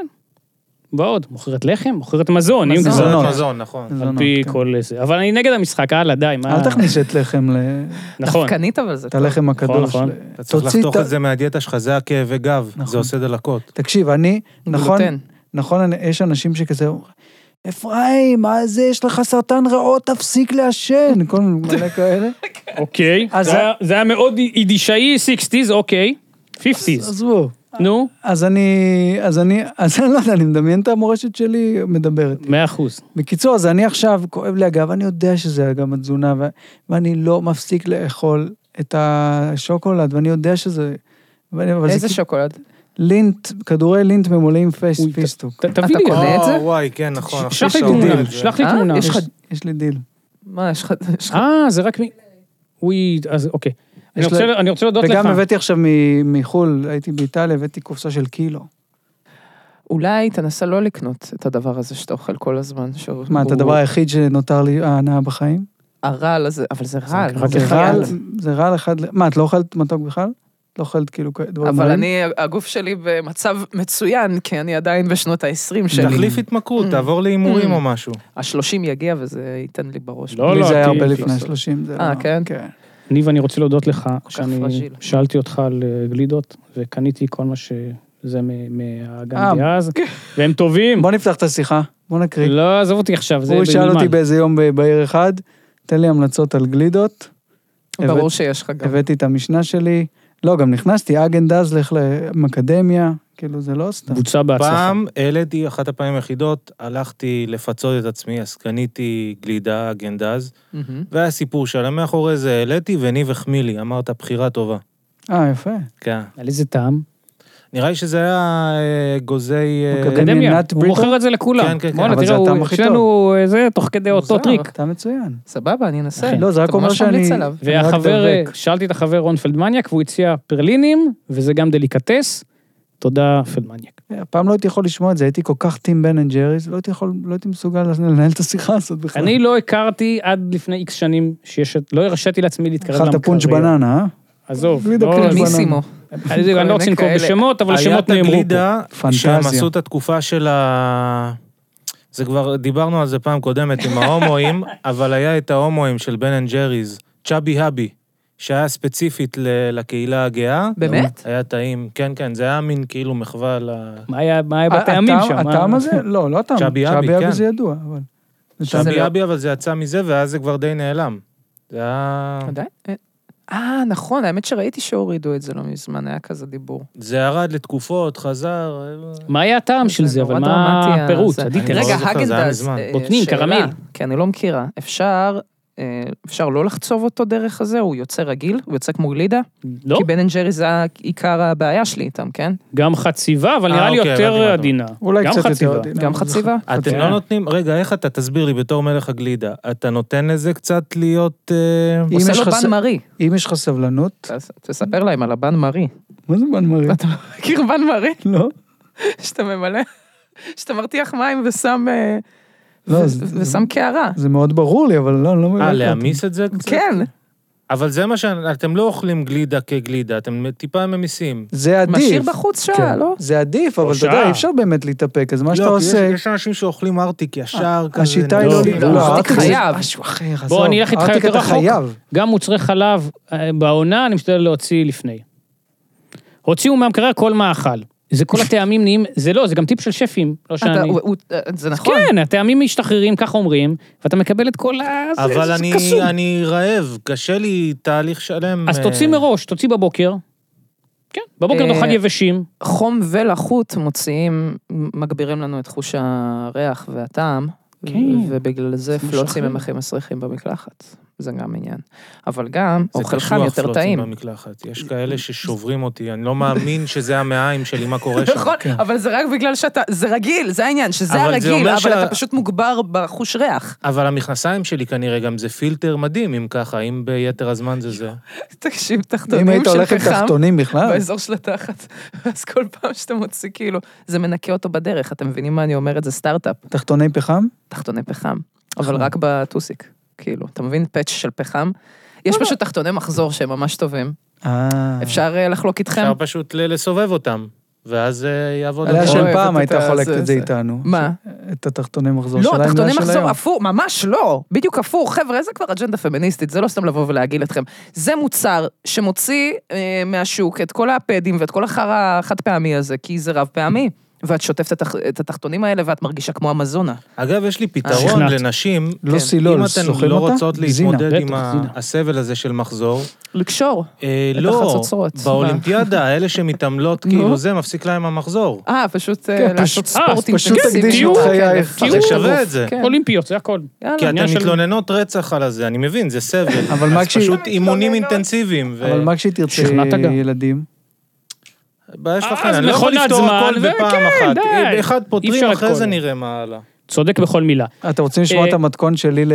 B: ועוד, מוכרת לחם, מוכרת מזון, אם
C: מזון.
B: זה
A: זונות.
D: מזון, מזון, נכון.
B: על
A: זונות,
B: פי
A: כן.
B: כל זה. אבל אני נגד המשחק, הלאה, די, מה...
A: אל תכניס את לחם, ל-
B: נכון.
C: דווקנית, אבל זה
A: את הלחם הקדוש.
B: נכון.
A: ל-
D: אתה צריך
A: תוציא
D: לחתוך
A: ה-
D: את זה מהדיאטה שלך, זה הכאבי גב,
C: נכון.
D: זה עושה דלקות.
A: תקשיב, אני, נכון,
C: גלוטן.
A: נכון, אני- יש אנשים שכזה, אומרים, אפרים, מה זה, יש לך סרטן ריאות, תפסיק לעשן, כל מיני מלא כאלה.
B: אוקיי.
A: אז-
B: זה היה- זה היה מאוד יידישאי, 60's, אוקיי. 50's.
A: עזבו.
B: נו,
A: אז אני, אז אני, אז אני לא יודע, אני מדמיין את המורשת שלי מדברת.
B: 100 אחוז.
A: בקיצור, אז אני עכשיו, כואב לי הגב, אני יודע שזה גם התזונה, ו- ואני לא מפסיק לאכול את השוקולד, ואני יודע שזה... ואני- אבל זה
C: איזה
A: כאילו
C: שוקולד?
A: לינט, כדורי לינט ממולאים פייס-
B: אוי, ת-
A: פיסטוק.
B: ת- תביא לי.
C: אתה קונה?
B: אה,
C: את זה?
D: או, וואי, כן, נכון.
B: ש- שלח לי
D: עכשיו
B: תמונה,
D: שעובדים.
B: שלח לי
C: אה,
B: תמונה.
C: יש לך-
A: יש לי דיל.
C: מה, יש לך... יש לך-
B: אה, זה רק מ... אוי, אז אוקיי. אני
A: יש
B: רוצה-
A: לה-
B: אני רוצה להודות לך.
A: וגם הבאתי עכשיו מ- מחו"ל, הייתי באיטליה, הבאתי קופסה של קילו.
C: אולי תנסה לא לקנות את הדבר הזה שאתה אוכל כל הזמן. שהוא-
A: מה, את
C: הוא-
A: הדבר היחיד שנותר לי ההנאה בחיים?
C: הרעל הזה, אבל זה רעל.
B: רק
A: זה
B: אחד.
A: רעל, זה רעל אחד, ל- מה, את לא אוכלת מתוק בכלל? לא אוכלת כאילו כ- דברים
C: אבל
A: רעים?
C: אני, הגוף שלי במצב מצוין, כי אני עדיין בשנות ה-20 שלי.
D: תחליף התמכרות, תעבור להימורים או משהו.
C: ה-30 יגיע וזה ייתן לי בראש.
B: לא,
A: לי
B: לא,
A: זה היה
B: כי-
A: הרבה
B: כי-
A: לפני ה-30.
C: אה, כן?
A: כן.
B: ניב, אני רוצה להודות לך שאני
C: פרג'יל.
B: שאלתי אותך על אה, גלידות, וקניתי כל מה שזה מ- מהאגן
A: אה,
B: דאז, והם טובים.
A: בוא נפתח את השיחה, בוא נקריא.
B: לא, עזוב אותי עכשיו, זה
A: הוא שאל אותי
B: בנלמן.
A: באיזה יום ב- בעיר אחד, תן לי המלצות על גלידות,
C: ברור
A: הבאת-
C: שיש לך גם.
A: הבאתי את המשנה שלי, לא, גם נכנסתי, אגן דזלך לאקדמיה, כאילו, זה לא סתם.
B: בוצע בהצלחה.
D: פעם העליתי, אחת הפעמים היחידות, הלכתי לפצות את עצמי, אז קניתי גלידה, גנדז,
C: מהמם.
D: והיה סיפור שעלה מאחורי זה, העליתי וניב החמיא לי, אמרת, בחירה טובה.
A: אה, יפה.
D: כן.
B: על איזה טעם?
D: נראה לי שזה היה אה, גוזי... אה,
A: אוקיי.
B: אקדמיה,
A: מנת
B: הוא
A: בריטו?
B: מוכר את זה לכולם.
D: כן, כן, כן,
B: בואנה,
A: אבל
B: תראה,
A: זה הטעם
B: הוא-
A: הכי
B: אצלנו אה, זה תוך כדי אותו
C: מוזר.
B: טריק.
A: אתה מצוין.
C: סבבה, אני אנסה.
A: לא, זה רק אומר
C: אתה ממש
A: שאני-
C: ממליץ עליו.
A: אני רק
B: והחבר,
A: דבק.
B: אה, שאלתי את החבר רון פלדמניאק, והוא הציע פרלינים, וזה גם דליקטס. תודה, פלדמניאק.
A: פעם לא הייתי יכול לשמוע את זה, הייתי כל כך טים בן אנד ג'ריס, לא הייתי יכול, לא הייתי מסוגל לנהל את השיחה הזאת בכלל.
B: אני לא הכרתי עד לפני איקס שנים שיש... את- לא הרשיתי לעצמי להתקרב למקרר.
A: אכלת פונץ' בננה, אה?
B: עזוב,
A: בלי
B: לא...
A: דקלם.
B: אני-
C: מיסימו.
B: אני לא רוצה לנקוב
C: כאלה.
B: בשמות, אבל השמות
D: היה את
B: נאמרו פה.
D: הגלידה,
A: פנטזיה.
D: שהם עשו את התקופה של ה... זה כבר, דיברנו על זה פעם קודמת עם ההומואים, אבל היה את ההומואים של בן אנד ג'ריז, צ'אבי האבי, שהיה ספציפית ל- לקהילה הגאה.
C: באמת?
D: היה טעים, כן, כן, זה היה מין כאילו מחווה ל...
B: מה היה- מה
D: אה,
B: היה אה, בטעמים
A: הטעם-
B: שם? מה-
A: הטעם הזה? לא, לא הטעם.
D: צ'אבי אבי, כן.
A: זה ידוע, אבל...
C: זה
D: צ'אבי
C: לא-
D: האבי, אבל זה יצא מזה, ואז זה כבר די נעלם. זה היה...
C: עדיין? אה, אה, נכון, האמת שראיתי שהורידו את זה לא מזמן, היה כזה דיבור.
D: זה ירד לתקופות, חזר... אה,
B: מה היה הטעם של זה?
C: נורא
B: אבל
C: דרמטי,
B: מה
C: ה-
B: הפירוט?
C: זה.
B: עדי,
D: אני
B: תראה,
D: לא
C: רגע,
D: זוכר, זה היה
C: הגנדז.
D: מזמן.
C: אה,
B: בוטנים,
C: שאלה,
B: קרמל.
C: כי אני לא מכירה. אפשר... אה, אפשר לא לחצוב אותו דרך הזה, הוא יוצא רגיל, הוא יוצא כמו גלידה.
B: לא,
C: כי בן אנד ג'רי זה עיקר הבעיה שלי איתם, כן?
B: גם חציבה, אבל
D: אה,
B: נראה לי
D: אוקיי, הבנתי מה אתה
B: יותר
D: אומר.
B: עדינה.
A: אולי
B: גם
A: קצת
B: חציבה.
A: יותר עדינה.
C: גם חציבה?
D: אתם לא נותנים... רגע, איך אתה, תסביר לי, בתור מלך הגלידה, אתה נותן לזה קצת להיות... אה,
A: אם
C: עושה
A: יש
C: לו
A: לך ס-
C: בן מרי.
A: אם יש לך סבלנות...
C: אז תספר להם על הבן מרי.
A: מה זה בן מרי?
C: אתה מכיר בן מרי?
A: לא.
C: שאתה ממלא, שאתה מרתיח מים ושם... אה,
A: לא,
C: ו-
A: זה-
C: ושם קערה.
A: זה מאוד ברור לי, אבל לא, אני לא מבין.
D: אה, להעמיס את זה קצת?
C: כן.
D: אבל זה מה ש... אתם לא אוכלים גלידה כגלידה, אתם טיפה ממיסים.
A: זה עדיף.
C: משאיר בחוץ שעה,
A: כן.
C: לא?
A: זה עדיף, אבל אתה
B: שעה.
A: יודע, אי אפשר באמת להתאפק, אז מה שאתה
D: לא, כי
A: עושה...
D: יש- יש אנשים שאוכלים ארטיק ישר כזה.
A: השיטה היא
B: לא,
A: לא...
B: לא,
A: ל-
B: לא,
C: ארטיק
A: זה
C: חייב.
A: משהו אחר, עזוב.
B: בוא, אני אלך איתך
A: ארטיק
B: יותר
A: אתה
B: רחוק.
A: חייב.
B: גם מוצרי חלב, אה, בעונה אני משתדל להוציא לפני. הוציאו מהמקרר כל מאכל. זה כל הטעמים נהיים, זה לא, זה גם טיפ של שפים, לא
C: אתה-
B: שאני...
C: הוא- הוא- אה, זה נכון.
B: כן, הטעמים משתחררים, ככה אומרים, ואתה מקבל את כל ה... זה-
D: אבל
B: זה
D: אני,
B: קסום.
D: אני רעב, קשה לי תהליך שלם.
B: אז
D: אה,
B: תוציא מראש, תוציא בבוקר. כן, בבוקר
C: אה,
B: תאכל יבשים.
C: חום ולחות מוציאים, מגבירים לנו את חוש הריח והטעם,
B: כן.
C: ובגלל זה
B: משהו
C: פלוצים
B: אחר.
C: הם הכי מסריחים במקלחת. זה גם עניין. אבל גם,
D: זה
C: אוכל חם
D: קשוח
C: יותר
D: פלוצים
C: טעים.
D: במקלחת. יש כאלה ששוברים אותי, אני לא מאמין שזה המעיים שלי, מה קורה שם. כן.
C: נכון, אבל זה רק בגלל שאתה, זה רגיל, זה העניין, שזה
D: אבל זה
C: הרגיל,
D: אומר
C: אבל
D: שה-
C: אתה פשוט מוגבר בחוש ריח.
D: אבל המכנסיים שלי כנראה גם זה פילטר מדהים, אם ככה, אם ביתר הזמן זה זה.
C: תקשיב,
A: אם
C: תחתונים
A: היית
C: של
A: הולך עם
C: פחם,
A: תחתונים בכלל,
C: באזור של התחת, אז כל פעם שאתה מוציא, כאילו, זה מנקה אותו בדרך, אתם מבינים מה אני אומרת? זה סטארט-אפ,
A: תחתוני פחם?
C: תחתוני פחם, אבל
D: נכון.
C: רק בטוסיק, כאילו, אתה מבין? פאץ' של פחם. יש
D: לא,
C: פשוט תחתוני מחזור שהם ממש טובים,
A: אה.
C: אפשר אה, לחלוק איתכם?
D: אפשר פשוט ל- לסובב אותם, ואז אה, יעבוד.
A: עליה
D: הכל.
A: של
C: אוהבת
A: פעם
C: את
A: הייתה
C: ה-
A: חולקת
C: זה-
A: את זה
C: זה.
A: איתנו.
C: מה?
A: את התחתוני מחזור
C: לא,
A: שלהם.
C: תחתוני
A: והשל
C: מחזור
A: היום.
C: הפוך, ממש לא, בדיוק הפוך, חבר'ה, זה כבר אג'נדה פמיניסטית, זה לא סתם לבוא ולהגעיל אתכם. זה מוצר שמוציא אה, מהשוק את כל הפדים ואת כל החרא החד פעמי הזה, כי זה רב פעמי. ואת שוטפת את התח- את התחתונים האלה ואת מרגישה כמו אמזונה.
D: אגב, יש לי פתרון
B: אה, שכנעת.
D: לנשים.
A: לא
C: כן.
D: אם
A: סילול, סוחב אותה?
D: אתן לא רוצות להתמודד
B: זינה,
D: עם
B: בטח,
D: ה-
B: זינה.
D: הסבל הזה של מחזור,
C: לקשור.
D: אה,
C: את
D: לא,
C: החצוצרות.
D: באולימפיאדה, אלה שמתעמלות,
C: נו.
D: כאילו זה, מפסיק להם המחזור.
C: אה, פשוט אה,
A: כן,
C: לעשות
A: פשוט-
B: אה,
C: ספורט
A: פשוט
C: אינטנסיבי.
A: תקדישו
C: יותר,
A: את
C: כן,
A: חייך.
C: לפרק
D: זה
C: את
D: שווה
C: הגוף,
D: את זה.
C: כן.
B: אולימפיות, זה הכל.
C: יאללה.
D: כי אתן
B: עניין של-
D: מתלוננות רצח על הזה, אני מבין, זה סבל.
A: אבל מה
D: אז
A: כשהיא-
D: פשוט אימונים אינטנסיביים. ו-
A: אבל מה כשהיא תרצה
B: שכנעת גם.
A: ילדים?
D: בעיה שלכם,
B: אה, אז
D: אני לא יכול
B: מכונת
D: לפתור
B: זמן,
D: הכל
B: וכן,
D: בפעם אחת.
B: כן,
D: אה,
B: די.
D: אחד
B: אי אפשר
D: פותרים,
B: את כל
D: אחרי זה
B: זה.
D: נראה מה הלאה.
B: צודק בכל מילה.
A: אתם רוצים לשמוע
B: אה,
A: את המתכון שלי ל-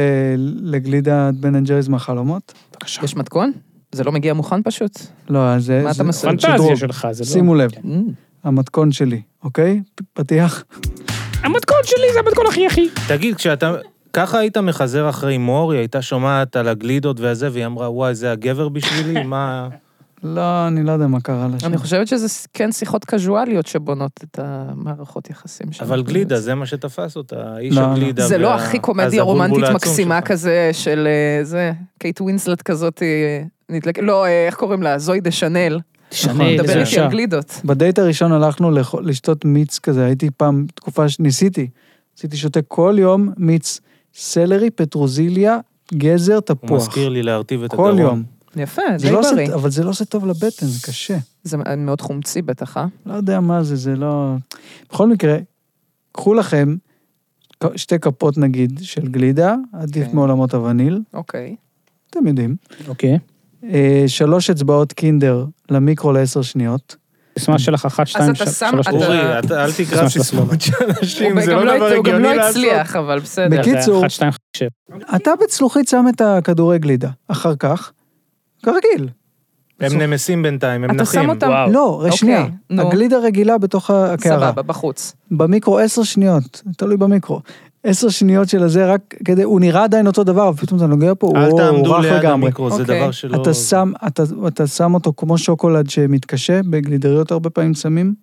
A: לגלידת בן אנד ג'ריז מהחלומות? בבקשה.
C: יש מתכון? זה לא מגיע מוכן פשוט?
A: לא, אז זה...
C: מה
A: זה-
C: אתה מסוגל?
B: פנטזיה
A: שדרוג.
B: שלך, זה לא...
A: שימו לב,
C: אמ,
A: המתכון שלי, אוקיי? פ- פתיח.
B: המתכון שלי זה המתכון הכי הכי.
C: נכון,
D: תגיד, כשאתה... ככה היית מחזר אחרי מור, היא הייתה שומעת על הגלידות והזה, והיא אמרה, וואי, זה הגבר בשבילי? מה...
A: לא, אני לא יודע מה קרה לה שם.
C: אני חושבת שזה ס- כן שיחות קזואליות שבונות את המערכות יחסים שלנו.
D: אבל גלידה, זה מה שתפס אותה, איש
A: לא,
D: הגלידה.
C: זה לא
D: וה-
C: הכי
D: אז
C: קומדיה
D: הבולבול
C: רומנטית
D: העצום
C: מקסימה
D: שלך.
C: כזה של אה, זה, קייט ווינסלט כזאת, אה, נדלק- לא, אה, איך קוראים לה? זוהי דה שאנל.
B: תשנה,
C: מדבר
B: איזה
C: איתי
B: אישה.
C: על גלידות.
A: בדייט הראשון הלכנו לכ- לשתות מיץ כזה, הייתי פעם, תקופה שניסיתי. עשיתי שותה כל יום מיץ סלרי, פטרוזיליה, גזר,
D: הוא
A: תפוח.
D: מזכיר לי להרטיב את
A: כל
D: הדרום.
A: יום.
C: יפה,
A: זה
C: די
A: לא
C: בריא.
A: עושה, אבל זה לא עושה טוב לבטן, זה קשה.
C: זה מאוד חומצי בטח, אה?
A: לא יודע מה זה, זה לא... בכל מקרה, קחו לכם כ- שתי כפות נגיד של גלידה, עדיף
C: כן.
A: מעולמות הווניל,
C: אוקיי.
A: אתם יודעים.
B: אוקיי.
A: אה, שלוש אצבעות קינדר למיקרו לעשר שניות.
B: סיסמה שלך אחת, שתיים,
C: אתה
B: שלוש,
C: שם-
B: שלוש.
C: אתה-
D: אורי, אתה- אל תקרא סיסמאות של
C: הוא
D: אנשים, זה
C: אוקיי, גם
D: לא דבר
C: הת- הוא גם
D: הגיוני
C: לא
D: לעשות.
C: הצליח, אבל בסדר.
A: בקיצור,
B: אחת, שתיים, חמש, שבע.
A: אתה בצלוחית שם את הכדורי גלידה, אחר כך, כרגיל.
D: הם נמסים בינתיים, הם
C: אתה שם
D: נחים.
C: אותם-
B: וואו.
A: לא,
C: אוקיי,
A: שנייה,
C: נו.
A: הגלידה רגילה בתוך הקערה.
C: סבבה, בחוץ.
A: במיקרו עשר שניות, תלוי במיקרו. עשר שניות של הזה, רק כדי, הוא נראה עדיין אותו דבר, אבל פתאום אתה נוגע פה,
D: אל
A: הוא הוא
D: תעמדו
A: רך
D: ליד
A: לגמרי.
D: המיקרו, זה
C: אוקיי.
D: דבר שלא...
A: אתה שם, אתה, אתה שם אותו כמו שוקולד שמתקשה, בגלידריות הרבה פעמים שמים.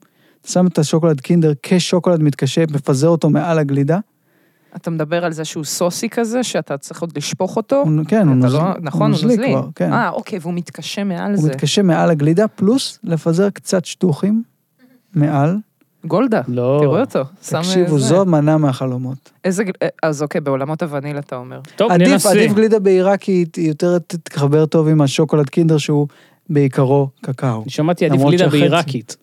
A: אתה שם את השוקולד קינדר כשוקולד מתקשה, מפזר אותו מעל הגלידה.
C: אתה מדבר על זה שהוא סוסי כזה, שאתה צריך עוד לשפוך אותו?
A: הוא, כן, הוא,
C: אתה
A: נוז,
C: לא- נכון, הוא נוזלי.
A: כבר, כן.
C: אה, אוקיי, והוא מתקשה מעל
A: הוא
C: זה.
A: מתקשה מעל הגלידה, פלוס לפזר קצת שטוחים מעל.
C: גולדה,
B: לא.
C: תראו אותו. שם
A: תקשיבו,
C: זה.
A: זו מנה מהחלומות.
C: איזה... ג- אה, אז אוקיי, בעולמות הווניל אתה אומר.
B: טוב,
A: עדיף,
B: ננסה.
A: עדיף גלידה בהירה, כי היא- היא יותר תתחבר טוב עם השוקולד קינדר, שהוא בעיקרו קקאו.
B: אני שמעתי עדיף
A: למרות
B: גלידה
A: שהחצי-
B: בעיראקית.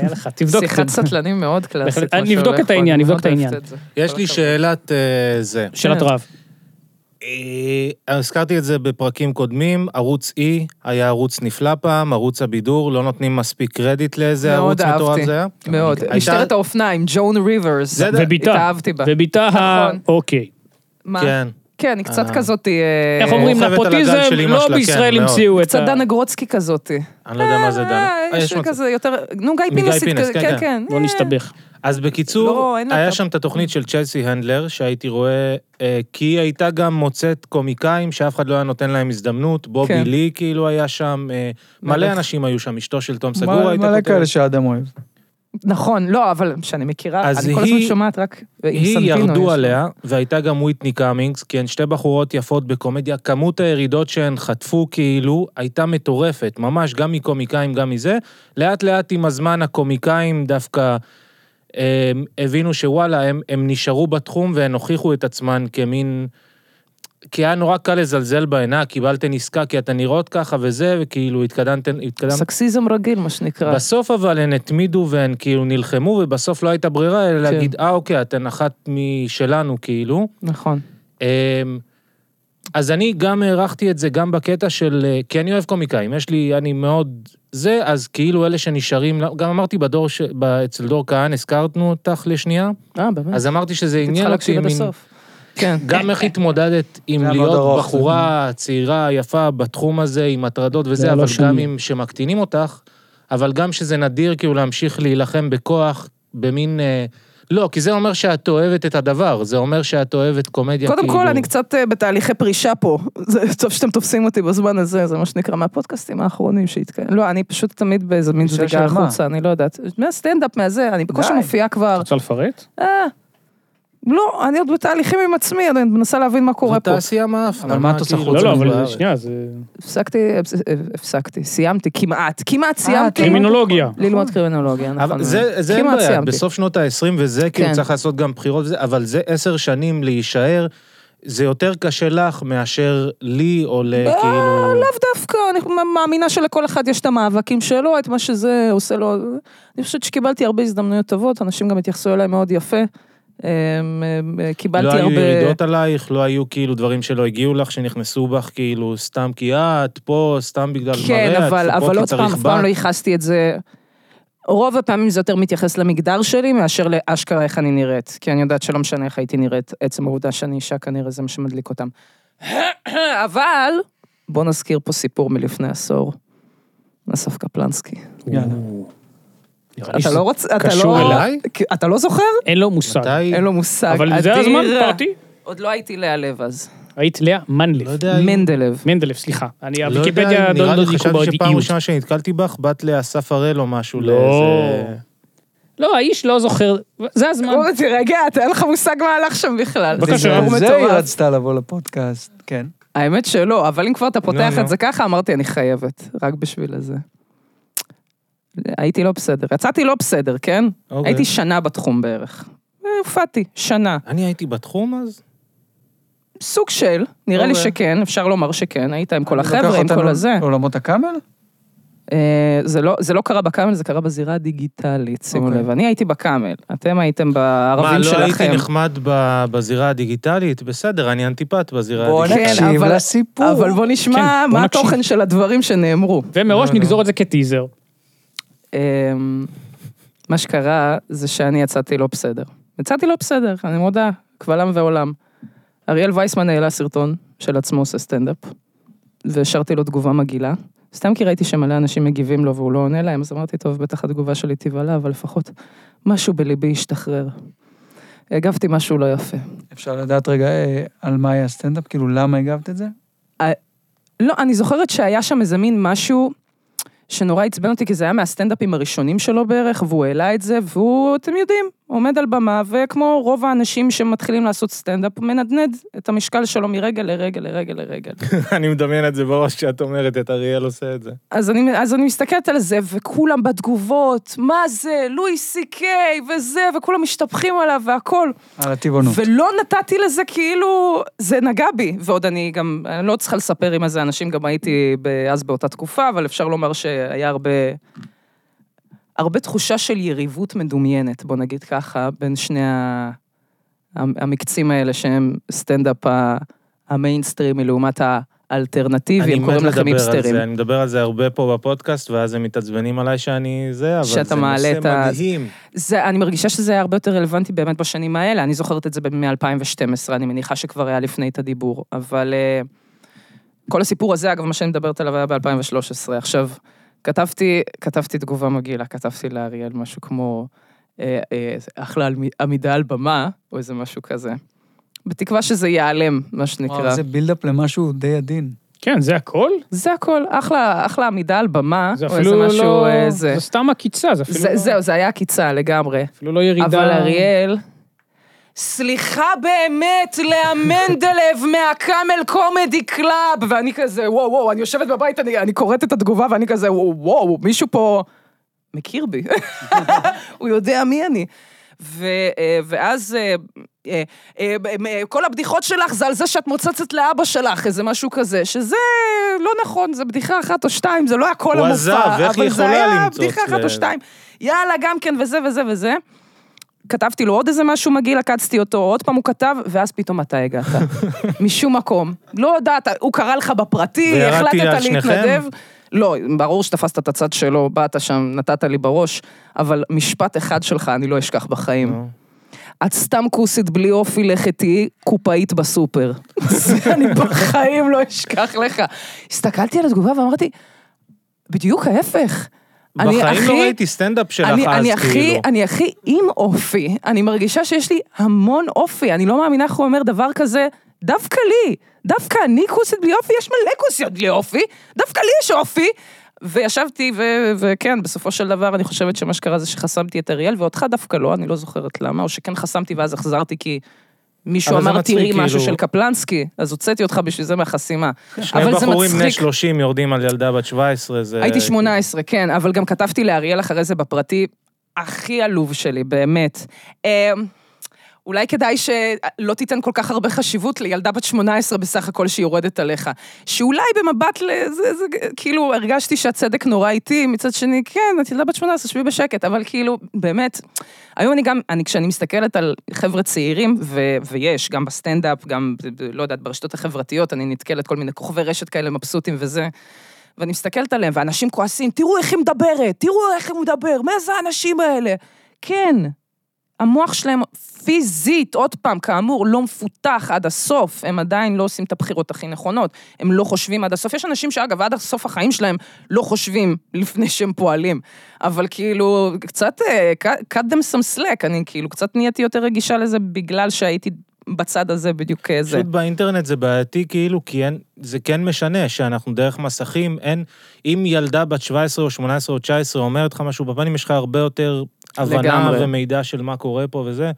B: היה לך, תבדוק את
C: שיחת
B: זה.
C: סטלנים מאוד קלאסית.
B: בהחלט.
C: מה
B: נבדוק
C: שהולך
B: את
C: פה,
B: העניין,
C: אני
B: נבדוק
C: מאוד
B: את העניין.
C: אוהבת את זה.
D: יש
C: כל
D: לי
C: הכבוד.
D: שאלת אה, זה.
B: שאלת רב.
D: אה, הזכרתי את זה בפרקים קודמים, ערוץ E היה ערוץ נפלא פעם, ערוץ הבידור, לא נותנים מספיק קרדיט לאיזה
C: מאוד
D: ערוץ מטורף
C: אהבתי.
D: זה היה.
C: מאוד.
D: הייתה-
C: משטרת האופניים, ג'ון ריברס.
D: זה-
B: וביתה.
C: התאהבתי בה.
B: וביתה ה...
C: נכון.
B: אוקיי.
A: אה,
C: מה?
D: כן.
C: כן, היא קצת
D: אה.
C: כזאת... אה,
B: איך אומרים,
D: רוכבת על הגל
B: נפוטיזם,
D: של אמא
B: לא
D: שלה, כן,
B: בישראל
D: מאוד.
B: המציאו את
C: קצת
B: ה...
C: דנה גרוצקי כזאתי.
D: אני לא יודע מה זה דנה.
C: אה,
D: אה,
C: יש
D: יש מצב.
C: כזה יותר... נו, גיא
D: מגיא
C: פינס,
D: פינס, כן,
C: כן,
D: כן.
C: כן.
B: בוא נסתבך.
D: אז בקיצור,
C: לא, אין לה
D: היה
C: את ה-
D: שם את התוכנית של צ'לסי הנדלר, שהייתי רואה, אה, כי היא הייתה גם מוצאת קומיקאים שאף אחד לא היה נותן להם הזדמנות, בובי
C: כן.
D: לי כאילו היה שם, אה, מלא
C: מלך.
D: אנשים היו שם, אשתו של תום סגור
A: מלא
D: הייתה
A: מלא
D: כותבת.
A: כאלה שאדם אוהב.
C: נכון, לא, אבל שאני מכירה,
D: אז
C: אני כל הזמן
D: היא-
C: שומעת רק... עם
D: היא
C: סנטינו יש.
D: ירדו עליה, והייתה גם וויטני קאמינגס, כי הן שתי בחורות יפות בקומדיה, כמות הירידות שהן חטפו כאילו הייתה מטורפת, ממש, גם מקומיקאים, גם מזה. לאט לאט עם הזמן הקומיקאים דווקא אה, הבינו שוואלה, הם, הם נשארו בתחום והן הוכיחו את עצמן כמין... כי היה נורא קל לזלזל בהן, אה, קיבלתן עסקה כי אתן נראות ככה וזה, וכאילו התקדמתן, התקדמתן
C: סקסיזם רגיל, מה שנקרא.
D: בסוף אבל הן התמידו והן כאילו נלחמו, ובסוף לא הייתה ברירה אלא
C: כן.
D: להגיד, אה, אוקיי, אתן אחת משלנו, כאילו.
C: נכון.
D: אמ, אז אני גם הערכתי את זה גם בקטע של... אה, כי אני אוהב קומיקאים, יש לי, אני מאוד... זה, אז כאילו אלה שנשארים, גם אמרתי בדור, ש... ב- אצל דור כהן, הזכרנו אותך לשנייה,
C: אה, באמת?
D: אז אמרתי שזה
C: הייתי
D: עניין
C: צריכה
D: אותי,
C: להקשיב עד
D: מין-
C: הסוף. כן.
D: גם איך התמודדת עם
A: זה היה מאוד
D: להיות
A: ארוך,
D: בחורה צעירה, יפה, בתחום הזה, עם הטרדות
B: זה
D: וזה,
B: היה
D: אבל
B: לא
D: גם
B: שלי.
D: עם שמקטינים אותך, אבל גם שזה נדיר כאילו להמשיך להילחם בכוח, במין... אה, לא, כי זה אומר שאת אוהבת את הדבר, זה אומר שאת אוהבת קומדיה,
C: קודם
D: כאילו...
C: כל, אני קצת אה, בתהליכי פרישה פה. זה טוב שאתם תופסים אותי בזמן הזה, זה מה שנקרא מהפודקאסטים האחרונים שהתקיים. לא, אני פשוט תמיד באיזה מין
A: פרישה
C: זליגה
A: של מה?
C: החוצה, אני לא יודעת. מהסטנדאפ, מהזה, אני בקושי
A: די.
C: מופיעה כבר.
B: רוצה לפרט?
C: אה, לא, אני עוד בתהליכים עם עצמי, אני מנסה להבין מה
D: זו
C: קורה פה.
D: תעשייה מאפנה.
A: אבל מה את עושה חוץ
B: לא, לא,
A: מזה
B: אבל
D: בארץ?
B: שנייה, זה
C: כן. הפסקתי, אה, הפסקתי, סיימתי, כמעט, כמעט סיימתי.
B: קרימינולוגיה.
C: ללמוד קרימינולוגיה, נכון.
D: אבל זה, זה אין
C: כן. כמעט
D: בעיה,
C: סיימתי.
D: בסוף שנות ה-20 וזה, כאילו
C: כן.
D: צריך לעשות גם בחירות וזה, אבל זה עשר שנים להישאר, זה יותר קשה לך מאשר לי או
C: אה,
D: כאילו- לכאילו...
C: לאו דווקא, אני מאמינה שלכל אחד יש את המאבקים שלו, את מה שזה עושה לו. אני חושבת שקיבלתי הרבה הזדמנויות טובות, אנשים גם התייחסו אליי מאוד יפה. אמ, אמ, קיבלתי
D: לא
C: הרבה...
D: היו ירידות עלייך, לא היו כאילו דברים שלא הגיעו לך, שנכנסו בך כאילו סתם כי את פה, סתם בגלל מראה,
C: כן,
D: את
C: אבל,
D: פה
C: אבל
D: כי
C: עוד פעם,
D: צריך
C: אף
D: בת.
C: פעם לא ייחסתי את זה. רוב הפעמים זה יותר מתייחס למגדר שלי מאשר לאשכרה איך אני נראית. כי אני יודעת שלא משנה איך הייתי נראית, עצם העובדה שאני אישה כנראה זה מה שמדליק אותם. אבל, בוא נזכיר פה סיפור מלפני עשור. אסף קפלנסקי.
A: יאללה.
B: נראה לי
C: אתה
B: שזה-
C: לא רוצה, אתה
B: קשור
C: לא...
D: אליי?
C: כי- אתה לא זוכר?
B: אין לו מושג.
D: מתי?
C: אין לו מושג.
B: אבל זה
C: אדיר.
B: הזמן, פרטי.
C: עוד לא הייתי לאה לב אז.
B: היית לאה מנדלף.
D: לא יודע, אם-
C: מנדלב.
B: מנדלף, סליחה. אני,
D: לא יודע,
B: הוויקיפדיה
D: אם- נראה
B: דונדו
D: לי
B: דיקו
D: חשבתי שפעם
B: באיטיות.
D: ראשונה שנתקלתי בך, באת לאסף הראל או משהו
B: לא.
D: לאיזה-
B: לא, האיש לא זוכר, זה הזמן.
C: אורי, תירגע, אתה אין לך מושג מה הלך שם בכלל. זה
B: בבקשה.
C: סיפור
A: זה היא
C: מטורף.
A: רצתה לבוא לפודקאסט, כן.
C: האמת שלא, אבל אם כבר אתה פותח
D: נו, נו.
C: את זה ככה, אמרתי, אני חייבת, רק בשביל זה. הייתי לא בסדר. יצאתי לא בסדר, כן?
D: אוקיי.
C: הייתי שנה בתחום בערך. הופעתי, שנה.
D: אני הייתי בתחום אז?
C: סוג של, נראה לי
A: אוקיי.
C: שכן, אפשר לומר שכן, היית עם כל
A: אני לוקח
C: החבר'ה, עם
A: אותנו
C: כל הזה.
A: לעולמות הקאמל?
C: אה, זה לא- זה לא קרה בקאמל, זה קרה בזירה הדיגיטלית, שימו
A: אוקיי.
C: לב. אני הייתי בקאמל, אתם הייתם
D: מה,
C: בערבים
D: לא הייתי
C: שלכם.
D: נחמד ב- בזירה הדיגיטלית? בסדר, אני אנטיפט בזירה
A: בוא
D: הדיגיטלית.
C: כן,
A: נקשיב
C: אבל-
A: לסיפור.
C: אבל בוא
B: כן,
C: נשמע
B: בוא
C: מה
B: נקשיב.
C: התוכן של הדברים שנאמרו.
B: ומראש
D: לא, לא.
B: נגזור את זה כטיזר.
C: אמ, מה שקרה זה שאני יצאתי לא בסדר. יצאתי לא בסדר, אני מודה, קבל עם ועולם. אריאל וייסמן העלה סרטון של עצמו עושה סטנדאפ, והשארתי לו תגובה מגעילה. סתם כי ראיתי שמלא אנשים מגיבים לו והוא לא עונה להם, אז אמרתי, טוב, בטח התגובה שלי תיבלע, אבל לפחות משהו בליבי ישתחרר. הגבתי משהו לא יפה.
A: אפשר לדעת רגע אה, על מה היה הסטנדאפ? כאילו, למה הגבת את זה?
C: לא, אני זוכרת שהיה שם איזה מין משהו שנורא עצבן אותי, כי זה היה מהסטנדאפים הראשונים שלו בערך, והוא העלה את זה, והוא, אתם יודעים, עומד על במה, וכמו רוב האנשים שמתחילים לעשות סטנדאפ, מנדנד את המשקל שלו מרגע לרגע לרגע לרגע.
D: אני מדמיין את זה בראש שאת אומרת, את אריאל עושה את זה.
C: אז אני, אז אני מסתכלת על זה, וכולם בתגובות, מה זה, לואי סי קיי, וזה, וכולם משתפכים עליו והכל.
A: על הטבעונות.
C: ולא נתתי לזה כאילו, זה נגע בי. ועוד אני גם, אני לא צריכה לספר עם איזה אנשים, גם הייתי ב- אז באותה תקופה, אבל אפשר לומר שהיה הרבה... הרבה תחושה של יריבות מדומיינת, בוא נגיד ככה, בין שני ה- המקצים האלה שהם סטנדאפ ה- המיינסטרימי לעומת האלטרנטיבי,
D: אני
C: הם
D: מת
C: קוראים לכם
D: לדבר על
C: היפסטרים.
D: זה, אני מדבר על זה הרבה פה בפודקאסט, ואז הם מתעצבנים עליי שאני זה, אבל
C: שאתה
D: זה
C: מעלה את
D: נושא
C: ה-
D: מדהים.
C: זה, אני מרגישה שזה היה הרבה יותר רלוונטי באמת בשנים האלה, אני זוכרת את זה מ-2012, אני מניחה שכבר היה לפני את הדיבור, אבל אה, כל הסיפור הזה, אגב, מה שאני מדברת עליו היה ב-2013. עכשיו, כתבתי, כתבתי תגובה מגעילה, כתבתי לאריאל משהו כמו, אה, אה, אחלה עמי- עמידה על במה, או איזה משהו כזה. בתקווה שזה ייעלם, מה שנקרא.
A: וואו, זה בילדאפ למשהו די עדין.
B: כן, זה הכל?
C: זה הכל, אחלה, אחלה עמידה על במה,
B: זה
C: או איזה
B: אפילו
C: משהו,
B: לא...
C: אה, זה.
B: זה סתם עקיצה, זה אפילו
C: זה-
B: לא-
C: זהו, זה היה עקיצה לגמרי.
B: אפילו לא ירידה.
C: אבל אריאל... סליחה באמת למנדלב מהקאמל קומדי קלאב, ואני כזה, וואו, וואו, אני יושבת בבית, אני, אני קוראת את התגובה ואני כזה, וואו, וואו, מישהו פה מכיר בי, הוא יודע מי אני. ו, אה, ואז אה, אה, אה, אה, כל הבדיחות שלך זה על זה שאת מוצצת לאבא שלך, איזה משהו כזה, שזה לא נכון, זה בדיחה אחת או שתיים, זה לא היה כל
D: הוא
C: המופע,
D: עזב, איך
C: אבל
D: היא
C: זה
D: יכולה
C: היה
D: למצוץ
C: בדיחה אחת
D: ל-
C: או שתיים. יאללה, גם כן, וזה וזה וזה. כתבתי לו עוד איזה משהו מגעיל, עקצתי אותו, עוד פעם הוא כתב, ואז פתאום אתה הגעת. משום מקום. לא יודעת, הוא קרא לך בפרטי,
D: וירדתי על
C: החלטת
D: שניכם?
C: להתנדב. לא, ברור שתפסת את הצד שלו, באת שם, נתת לי בראש, אבל משפט אחד שלך אני לא אשכח בחיים.
D: נו.
C: את סתם כוסית בלי אופי, לך תהיי קופאית בסופר. זה אני בחיים לא אשכח לך. הסתכלתי על התגובה ואמרתי, בדיוק ההפך. אני
D: בחיים לא
C: הכי-
D: ראיתי סטנדאפ שלך
C: אני,
D: אז,
C: אני הכי,
D: כאילו.
C: אני הכי עם אופי, אני מרגישה שיש לי המון אופי, אני לא מאמינה איך הוא אומר דבר כזה, דווקא לי, דווקא אני כוסית בלי אופי, יש מלא כוסיות בלי אופי, דווקא לי יש אופי. וישבתי, ו- וכן, בסופו של דבר אני חושבת שמה שקרה זה שחסמתי את אריאל, ואותך דווקא לא, אני לא זוכרת למה, או שכן חסמתי ואז החזרתי כי מישהו
D: אבל זה
C: אמר
D: מצחיק,
C: תראי משהו
D: כאילו-
C: של קפלנסקי, אז הוצאתי אותך בשביל זה מהחסימה.
D: שני
C: אבל זה
D: בחורים בני
C: מצחיק.
D: 30 יורדים על ילדה בת 17, זה...
C: הייתי 18, כן, אבל גם כתבתי לאריאל אחרי זה בפרטי, הכי עלוב שלי, באמת. אה, אולי כדאי שלא תיתן כל כך הרבה חשיבות לילדה בת 18 בסך הכל שהיא יורדת עליך. שאולי במבט ל... זה, זה, כאילו, הרגשתי שהצדק נורא איתי, מצד שני, כן, את ילדה בת 18, שבי בשקט, אבל כאילו, באמת, היום אני גם, אני, כשאני מסתכלת על חבר'ה צעירים, ו, ויש, גם בסטנדאפ, גם, ב- ב- לא יודעת, ברשתות החברתיות, אני נתקלת כל מיני כוכבי רשת כאלה מבסוטים וזה. ואני מסתכלת עליהם, ואנשים כועסים, תראו איך היא מדברת, תראו איך הוא מדבר, מה זה האנשים האלה? כן, המוח שלהם פיזית, עוד פעם, כאמור, לא מפותח עד הסוף, הם עדיין לא עושים את הבחירות הכי נכונות, הם לא חושבים עד הסוף. יש אנשים שאגב, עד סוף החיים שלהם לא חושבים לפני שהם פועלים, אבל כאילו, קצת, אה, cut cut them some slack, אני כאילו קצת נהייתי יותר רגישה לזה בגלל שהייתי בצד הזה בדיוק אה, כזה.
D: פשוט באינטרנט זה בעייתי כאילו, כי אין, זה כן משנה, שאנחנו דרך מסכים, אין... אם ילדה בת 17 או 18 או 19 אומרת לך משהו בפנים, יש לך הרבה יותר הבנה
C: לגמרי.
D: ומידע של מה קורה פה וזה.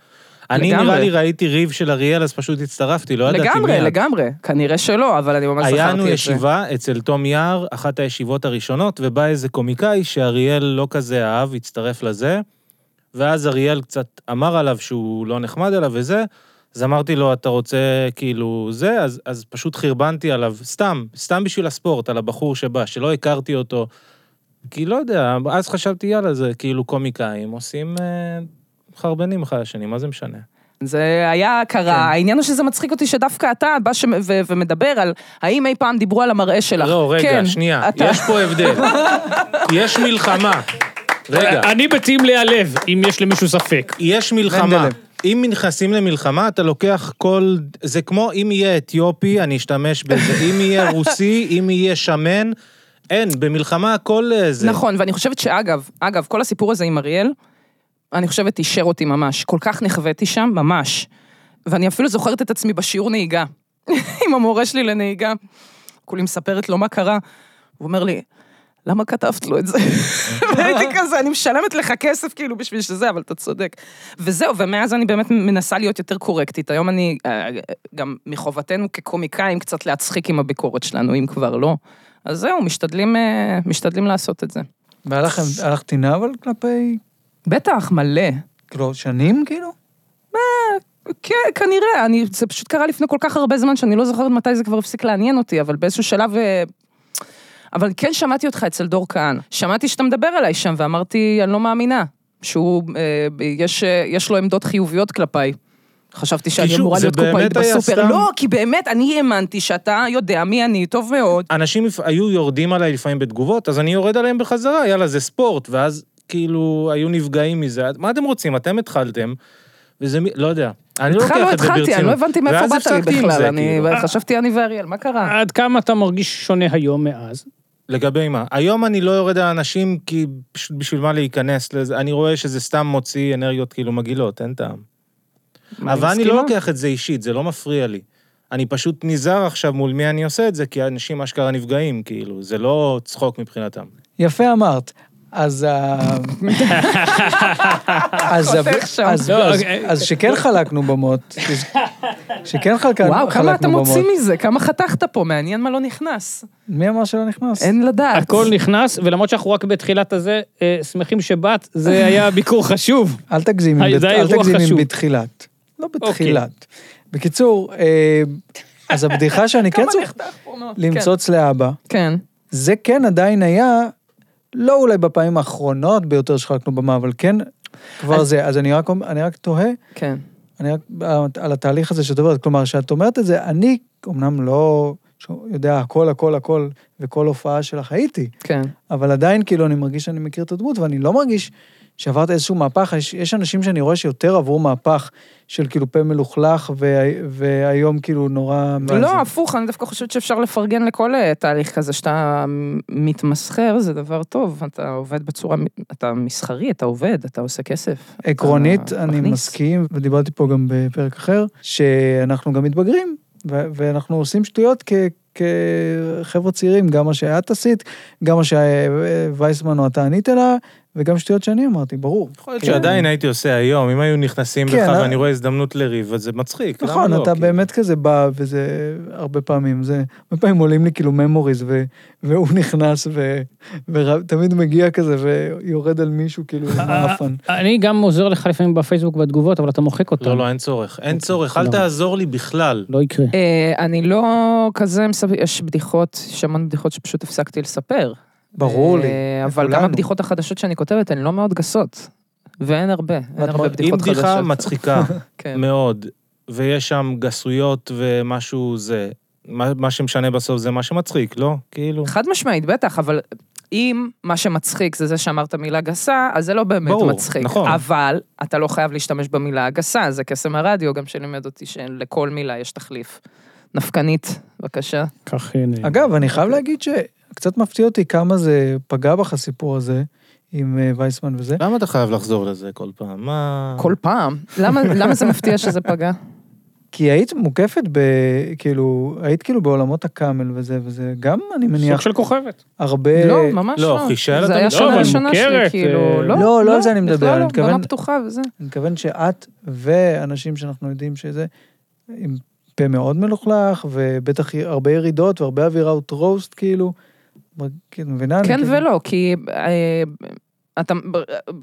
D: אני
C: לגמרי.
D: נראה לי ראיתי ריב של אריאל, אז פשוט הצטרפתי, לא ידעתי מי
C: לגמרי,
D: את.
C: לגמרי, כנראה שלא, אבל אני ממש זכרתי את זה.
D: היה לנו ישיבה אצל תום יער, אחת הישיבות הראשונות, ובא איזה קומיקאי שאריאל לא כזה אהב, הצטרף לזה, ואז אריאל קצת אמר עליו שהוא לא נחמד אליו וזה, אז אמרתי לו, אתה רוצה כאילו זה? אז, אז פשוט חרבנתי עליו, סתם, סתם בשביל הספורט, על הבחור שבא, שלא הכרתי אותו. כי לא יודע, אז חשבתי, יאללה, זה כאילו קומיקאים עושים אה, חרבנים אחד לשני, מה זה משנה?
C: זה היה קרה,
D: כן.
C: העניין הוא שזה מצחיק אותי שדווקא אתה בא ש... ו... ומדבר על האם אי פעם דיברו על המראה שלך.
D: לא, רגע,
C: כן,
D: שנייה,
C: אתה...
D: יש פה הבדל. יש מלחמה. רגע,
B: אה, אני בטים להיעלב, אם יש למישהו ספק.
D: יש מלחמה.
A: מנדלב.
D: אם נכנסים למלחמה, אתה לוקח כל... זה כמו אם יהיה אתיופי, אני אשתמש בזה. אם יהיה רוסי, אם יהיה שמן, אין, במלחמה הכל אה, זה...
C: נכון, ואני חושבת שאגב, אגב, כל הסיפור הזה עם אריאל, אני חושבת אישר אותי ממש. כל כך נחוויתי שם, ממש. ואני אפילו זוכרת את עצמי בשיעור נהיגה, עם המורה שלי לנהיגה. כולי מספרת לו מה קרה, הוא אומר לי, למה כתבת לו את זה? והייתי כזה, אני משלמת לך כסף כאילו בשביל שזה, אבל אתה צודק. וזהו, ומאז אני באמת מנסה להיות יותר קורקטית. היום אני, אה, גם מחובתנו כקומיקאים, קצת להצחיק עם הביקורת שלנו, אם כבר לא. אז זהו, משתדלים, אה, משתדלים לעשות את זה.
A: והיה לכם, היה לך טינה אבל כלפי,
C: בטח, מלא.
A: כאילו, שנים כאילו?
C: כן, כנראה, אני, זה פשוט קרה לפני כל כך הרבה זמן שאני לא זוכרת מתי זה כבר הפסיק לעניין אותי, אבל באיזשהו שלב... אה, אבל כן שמעתי אותך אצל דור כהן. שמעתי שאתה מדבר אליי שם, ואמרתי, אני לא מאמינה. שהוא, אה, יש, אה, יש לו עמדות חיוביות כלפיי. חשבתי שאני
D: שוב,
C: אמורה
D: זה
C: להיות קופאית
D: באמת היה
C: בסופר.
D: סתם-
C: לא, כי באמת, אני האמנתי שאתה יודע מי אני טוב מאוד.
D: אנשים לפ- היו יורדים עליי לפעמים בתגובות, אז אני יורד עליהם בחזרה, יאללה, זה ספורט, ואז כאילו היו נפגעים מזה. מה אתם רוצים? אתם התחלתם, וזה מי... לא יודע. אני לא
C: איתך לא
D: לוקח את זה ברצינות.
C: התחלתי, אני לא הבנתי מאיפה
D: ואז
C: באת
D: הפסקתי
C: לי
D: עם
C: בכלל.
D: זה,
C: אני
D: כאילו. אה,
C: חשבתי אני ואריאל, מה קרה?
B: עד כמה אתה מרגיש שונה היום מאז?
D: לגבי מה? היום אני לא יורד על אנשים, כי פשוט בשביל מה להיכנס לזה, אני רואה שזה סתם מוציא אנרגיות כאילו מגעילות, אין טעם.
C: מה,
D: אבל אני
C: מסכימה?
D: לא לוקח את זה אישית, זה לא מפריע לי. אני פשוט נזהר עכשיו מול מי אני עושה את זה, כי האנשים אשכרה נפגעים, כאילו, זה לא צחוק מבחינתם.
A: יפה אמרת. אז ה... אז ה-
C: חותך שם.
A: אז-
B: לא,
A: אז-
B: אוקיי.
A: אז שכן חלקנו במות, שכן חלקנו
D: כן,
A: במות.
C: וואו, כמה אתה מוציא מזה, כמה חתכת פה, מעניין מה לא נכנס.
A: מי אמר שלא נכנס?
C: אין לדעת.
B: הכל נכנס, ולמרות שאנחנו רק בתחילת הזה, אה, שמחים שבאת, זה היה ביקור חשוב.
A: אל תגזים
B: היי,
A: עם בת-
B: זה היה
A: אל
B: אירוע
A: תגזים
B: חשוב.
A: עם בתחילת. לא בתחילת. בקיצור, אה, אז הבדיחה שאני כן
C: כמה
A: צריך
C: נחתך פה מאוד.
A: למצוץ לאבא,
C: כן.
A: זה כן עדיין היה, לא אולי בפעמים האחרונות ביותר שחלקנו במה, אבל כן, כבר זה. אז אני רק אומר- אני רק תוהה,
C: כן.
A: אני רק על התהליך הזה שאת עוברת, כלומר, שאת אומרת את זה, אני אמנם לא יודע הכל, הכל, הכל, וכל הופעה שלך הייתי,
C: כן.
A: אבל עדיין כאילו אני מרגיש שאני מכיר את הדמות, ואני לא מרגיש שעברת איזשהו מהפך. יש, יש אנשים שאני רואה שיותר עברו מהפך של כאילו פה מלוכלך, וה- והיום כאילו נורא... מה
C: לא,
A: זה?
C: הפוך, אני דווקא חושבת שאפשר לפרגן לכל אה, תהליך כזה שאתה מתמסחר, זה דבר טוב. אתה עובד בצורה, אתה מסחרי, אתה עובד, אתה עושה כסף.
A: עקרונית,
C: אתה
A: אני
C: אה, מכניס.
A: מסכים, ודיברתי פה גם בפרק אחר, שאנחנו גם מתבגרים, ו- ואנחנו עושים שטויות כ... כחבר'ה צעירים, גם מה שאת עשית, גם מה שווייסמן או אתה ענית לה, וגם שטויות שאני אמרתי, ברור.
D: יכול להיות
A: כן.
D: שעדיין הייתי עושה היום, אם היו נכנסים
A: כן,
D: בך
A: אה.
D: ואני רואה הזדמנות לריב, אז זה מצחיק, למה
A: נכון,
D: לא?
A: אתה
D: כאילו?
A: באמת כזה בא, וזה הרבה פעמים, זה, הרבה פעמים עולים לי כאילו memories, ו, והוא נכנס, ו, ותמיד מגיע כזה, ויורד על מישהו כאילו מעפן.
B: אני גם עוזר לך לפעמים בפייסבוק בתגובות, אבל אתה מוחק אותן.
D: לא, לא, אין צורך. אין צורך, אל
B: לא.
D: תעזור לי בכלל.
B: לא יקרה.
C: אה, אני לא כזה, מספר- יש בדיחות, יש המון בדיחות שפשוט הפסקתי לספר.
A: ברור לי,
C: אה, אבל גם
A: לכולנו.
C: הבדיחות החדשות שאני כותבת, הן לא מאוד גסות. ואין הרבה, אין הרבה
D: אם
C: בדיחות חדשות.
D: בדיחה מצחיקה
C: כן.
D: מאוד, ויש שם גסויות ומשהו זה, מה מה שמשנה בסוף זה מה שמצחיק, לא? כאילו...
C: חד משמעית, בטח, אבל אם מה שמצחיק זה זה שאמרת מילה גסה, אז זה לא באמת
D: ברור,
C: מצחיק.
D: נכון.
C: אבל אתה לא חייב להשתמש במילה הגסה, זה קסם הרדיו גם שלימד אותי שלכל מילה יש תחליף. נפקנית, בבקשה.
B: כך אה, נ-
A: אגב, אני חייב
C: אוקיי.
A: להגיד שקצת מפתיע אותי כמה זה פגע בך הסיפור הזה, עם אה, וייסמן וזה.
D: למה אתה חייב לחזור לזה כל פעם? מה...
C: כל פעם. למה, למה זה מפתיע שזה פגע?
A: כי היית מוקפת ב... כאילו, היית כאילו בעולמות הקאמל וזה, וזה גם, אני
B: סוג
A: מניח,
B: של כוכבת. אה,
A: הרבה...
C: לא, ממש
D: לא,
C: לא.
D: חישל אתה
C: זה היה
D: מתכוון?
C: שנה
B: לא,
C: ראשונה
B: אבל
C: שלי,
B: מוכרת,
C: כאילו,
B: אה,
C: לא.
A: לא, לא על זה אני מדבר,
C: בכלל
A: אני
C: לא,
A: מתכוון-
C: במה פתוחה וזה.
A: אני מתכוון שאת ואנשים שאנחנו יודעים שזה, עם פה מאוד מלוכלך, ובטח הרבה ירידות והרבה אווירה out roast כאילו. מ- כאילו, מבינה? אני
C: כן
A: כאילו-
C: ולא, כי אה, אתה,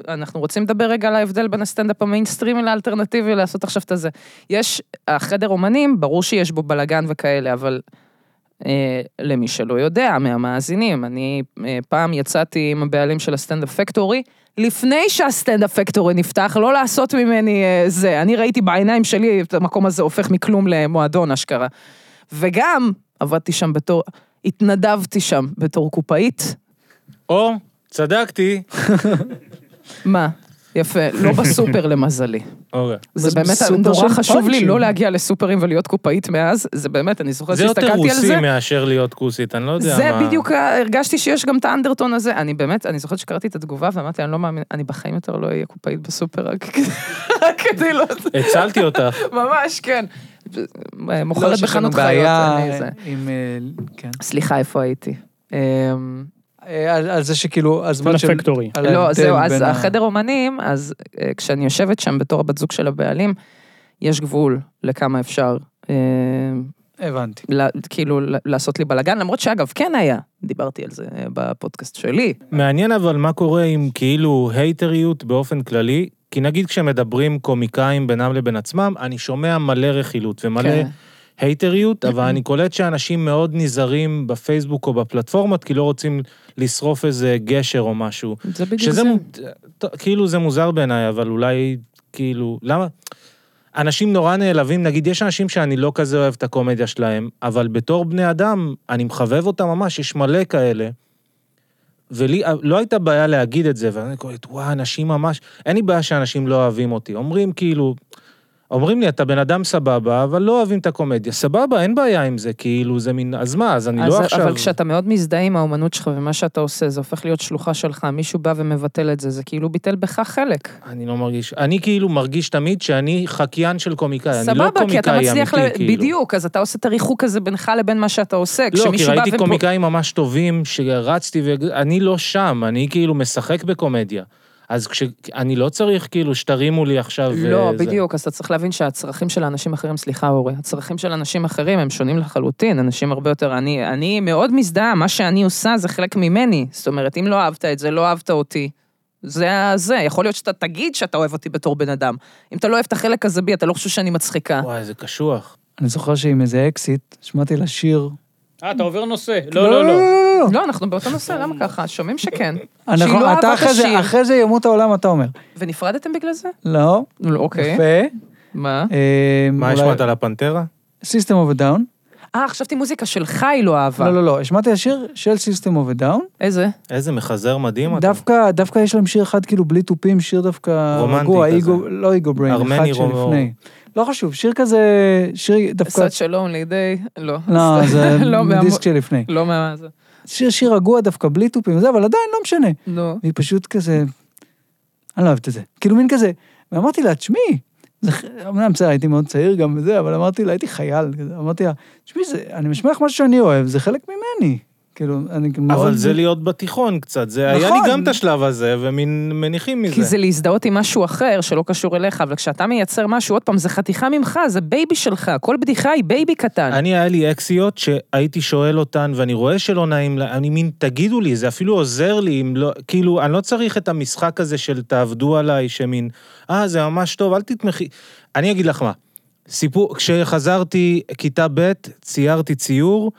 C: אנחנו רוצים לדבר רגע על ההבדל בין הסטנדאפ המיינסטרימי לאלטרנטיבי, לעשות עכשיו את הזה. יש, החדר אומנים, ברור שיש בו בלאגן וכאלה, אבל אה, למי שלא יודע, מהמאזינים, אני אה, פעם יצאתי עם הבעלים של הסטנדאפ פקטורי, לפני שהסטנדאפ פקטורי נפתח, לא לעשות ממני אה, זה. אני ראיתי בעיניים שלי את המקום הזה הופך מכלום למועדון, אשכרה. וגם, עבדתי שם בתור, התנדבתי שם בתור קופאית.
D: או, צדקתי.
C: מה? יפה, לא בסופר למזלי.
D: אוקיי.
C: זה
A: זה
C: באמת
A: סופר
C: נורא
A: של
C: חשוב לי
A: פאנצ'ים.
C: לא להגיע לסופרים ולהיות קופאית מאז, זה באמת, אני זוכרת
D: זה יותר
C: שהסתכלתי על
D: רוסי
C: זה.
D: מאשר להיות כוסית, אני לא יודע
C: זה
D: מה.
C: בדיוק, ה- הרגשתי שיש גם את האנדרטון הזה. אני באמת, אני זוכרת שקראתי את התגובה ואמרתי, אני לא מאמין, אני בחיים יותר לא אהיה קופאית בסופר, רק כדי- רק כדי לא...
D: הצלתי אותך.
C: ממש, כן.
A: לא,
C: מוכרת
A: שיש לנו
C: בחנות חיות,
A: בעיה
C: אני זה.
A: עם... אה, כן.
C: סליחה, איפה הייתי? אמ,
A: אה, על על זה שכאילו, הזמן של...
B: לפקטורי.
A: על
C: לא,
A: ההבדל
C: זהו, אז
A: בין ה-
C: החדר אומנים, אז אה, כשאני יושבת שם בתור הבת זוג של הבעלים, יש גבול לכמה אפשר, אה,
A: הבנתי.
C: ל- כאילו, ל- לעשות לי בלאגן, למרות שאגב, כן היה, דיברתי על זה אה, בפודקאסט שלי.
D: מעניין אבל מה קורה עם כאילו הייטריות באופן כללי, כי נגיד כשמדברים קומיקאים בינם לבין עצמם, אני שומע מלא רכילות ומלא
C: כן.
D: הייטריות, אבל אני קולט שאנשים מאוד נזהרים בפייסבוק או בפלטפורמות, כי לא רוצים לשרוף איזה גשר או משהו.
C: זה בדיוק זה.
D: שזה מו- ט- כאילו זה מוזר בעיניי, אבל אולי כאילו, למה? אנשים נורא נעלבים, נגיד יש אנשים שאני לא כזה אוהב את הקומדיה שלהם, אבל בתור בני אדם, אני מחבב אותם ממש, יש מלא כאלה. ולי אה, לא הייתה בעיה להגיד את זה, ואני קולט, וואי, אנשים ממש, אין לי בעיה שאנשים לא אוהבים אותי. אומרים כאילו, אומרים לי, אתה בן אדם סבבה, אבל לא אוהבים את הקומדיה. סבבה, אין בעיה עם זה, כאילו, זה מין, אז מה, אז אני
C: אז,
D: לא עכשיו...
C: אבל כשאתה מאוד מזדהה עם האומנות שלך ומה שאתה עושה, זה הופך להיות שלוחה שלך, מישהו בא ומבטל את זה, זה כאילו ביטל בך חלק.
D: אני לא מרגיש, אני כאילו מרגיש תמיד שאני חקיין של קומיקאי, אני לא
C: סבבה, כי אתה
D: קומיקאי אמיתי,
C: מצליח, ל-
D: כאילו.
C: בדיוק, אז אתה עושה את הריחוק הזה בינך לבין מה שאתה עושה.
D: לא, כי
C: כשמישהו בא
D: ראיתי
C: ופו-
D: קומיקאים ממש טובים שרצתי, ואני לא שם, אני כאילו משחק בקומדיה. אז כש... אני לא צריך כאילו שתרימו לי עכשיו... אה,
C: לא,
A: אה,
D: וזה.
C: בדיוק, אז אתה צריך להבין שהצרכים של אנשים אחרים, סליחה אורי, הצרכים של אנשים אחרים הם שונים לחלוטין, אנשים הרבה יותר, אני, אני מאוד מזדהה, מה שאני עושה זה חלק ממני, זאת אומרת, אם לא אהבת את זה, לא אהבת אותי. זה ה- זה, יכול להיות שאתה תגיד שאתה אוהב אותי בתור בן אדם. אם אתה לא אוהב את החלק הזה בי, אתה לא חושב שאני מצחיקה.
D: וואי, זה קשוח.
A: אני זוכר שעם איזה אקזיט, שמעתי לה שיר.
B: אה, אתה עובר נושא. לא, לא, לא.
A: לא.
C: לא, אנחנו באותו נושא, למה ככה? שומעים שכן.
A: אנחנו-
C: שהיא לא
A: אתה
C: אהבה את
A: אחרי זה-
C: השיר.
A: אחרי זה ימות העולם, אתה אומר.
C: ונפרדתם בגלל זה?
A: לא,
C: לא, אוקיי.
A: יפה.
C: מה?
A: אה,
D: מה,
A: אולי-
D: השמעת על הפנתרה?
A: System of a Down.
C: אה, חשבתי מוזיקה שלך היא לא אהבה.
A: לא, לא, לא, השמעתי השיר של System of a Down.
C: איזה?
D: איזה מחזר מדהים אתה.
A: דווקא, דווקא יש להם שיר אחד כאילו בלי תופים, שיר דווקא
D: רומנטי
A: רגוע,
D: כזה.
A: איגו, לא איגו בריין, אחד
D: ארמני רומאו.
A: שלפני. לא חשוב, שיר כזה, שיר דווקא...
C: such a lonely day, לא.
A: לא, זה
C: לא, מה-
A: דיסק שלפני.
C: לא מה זה.
A: שיר שיר רגוע דווקא, בלי תופים וזה, אבל עדיין לא משנה.
C: נו.
A: והיא פשוט כזה, אני לא אוהבת את זה. כאילו מין כזה, ואמרתי לה, תשמעי, זה ח- אמנם בסדר, הייתי מאוד צעיר גם וזה, אבל אמרתי לה, הייתי חייל, כזה, אמרתי לה, תשמעי, זה- אני משמיע לך משהו שאני אוהב, זה חלק ממני. כאילו, אני כאילו מאוד...
D: אבל זה להיות בתיכון קצת, זה היה
A: נכון.
D: לי גם את השלב הזה, ומין מניחים מזה.
C: כי זה להזדהות עם משהו אחר שלא קשור אליך, אבל כשאתה מייצר משהו, עוד פעם, זה חתיכה ממך, זה בייבי שלך, כל בדיחה היא בייבי קטן.
D: אני, היה לי אקסיות שהייתי שואל אותן, ואני רואה שלא נעים, לה- אני מין, תגידו לי, זה אפילו עוזר לי, אם לא, כאילו, אני לא צריך את המשחק הזה של תעבדו עליי, שמין, אה, זה ממש טוב, אל תתמכי. אני אגיד לך מה, סיפור, כשחזרתי כיתה ב', ציירתי ציור,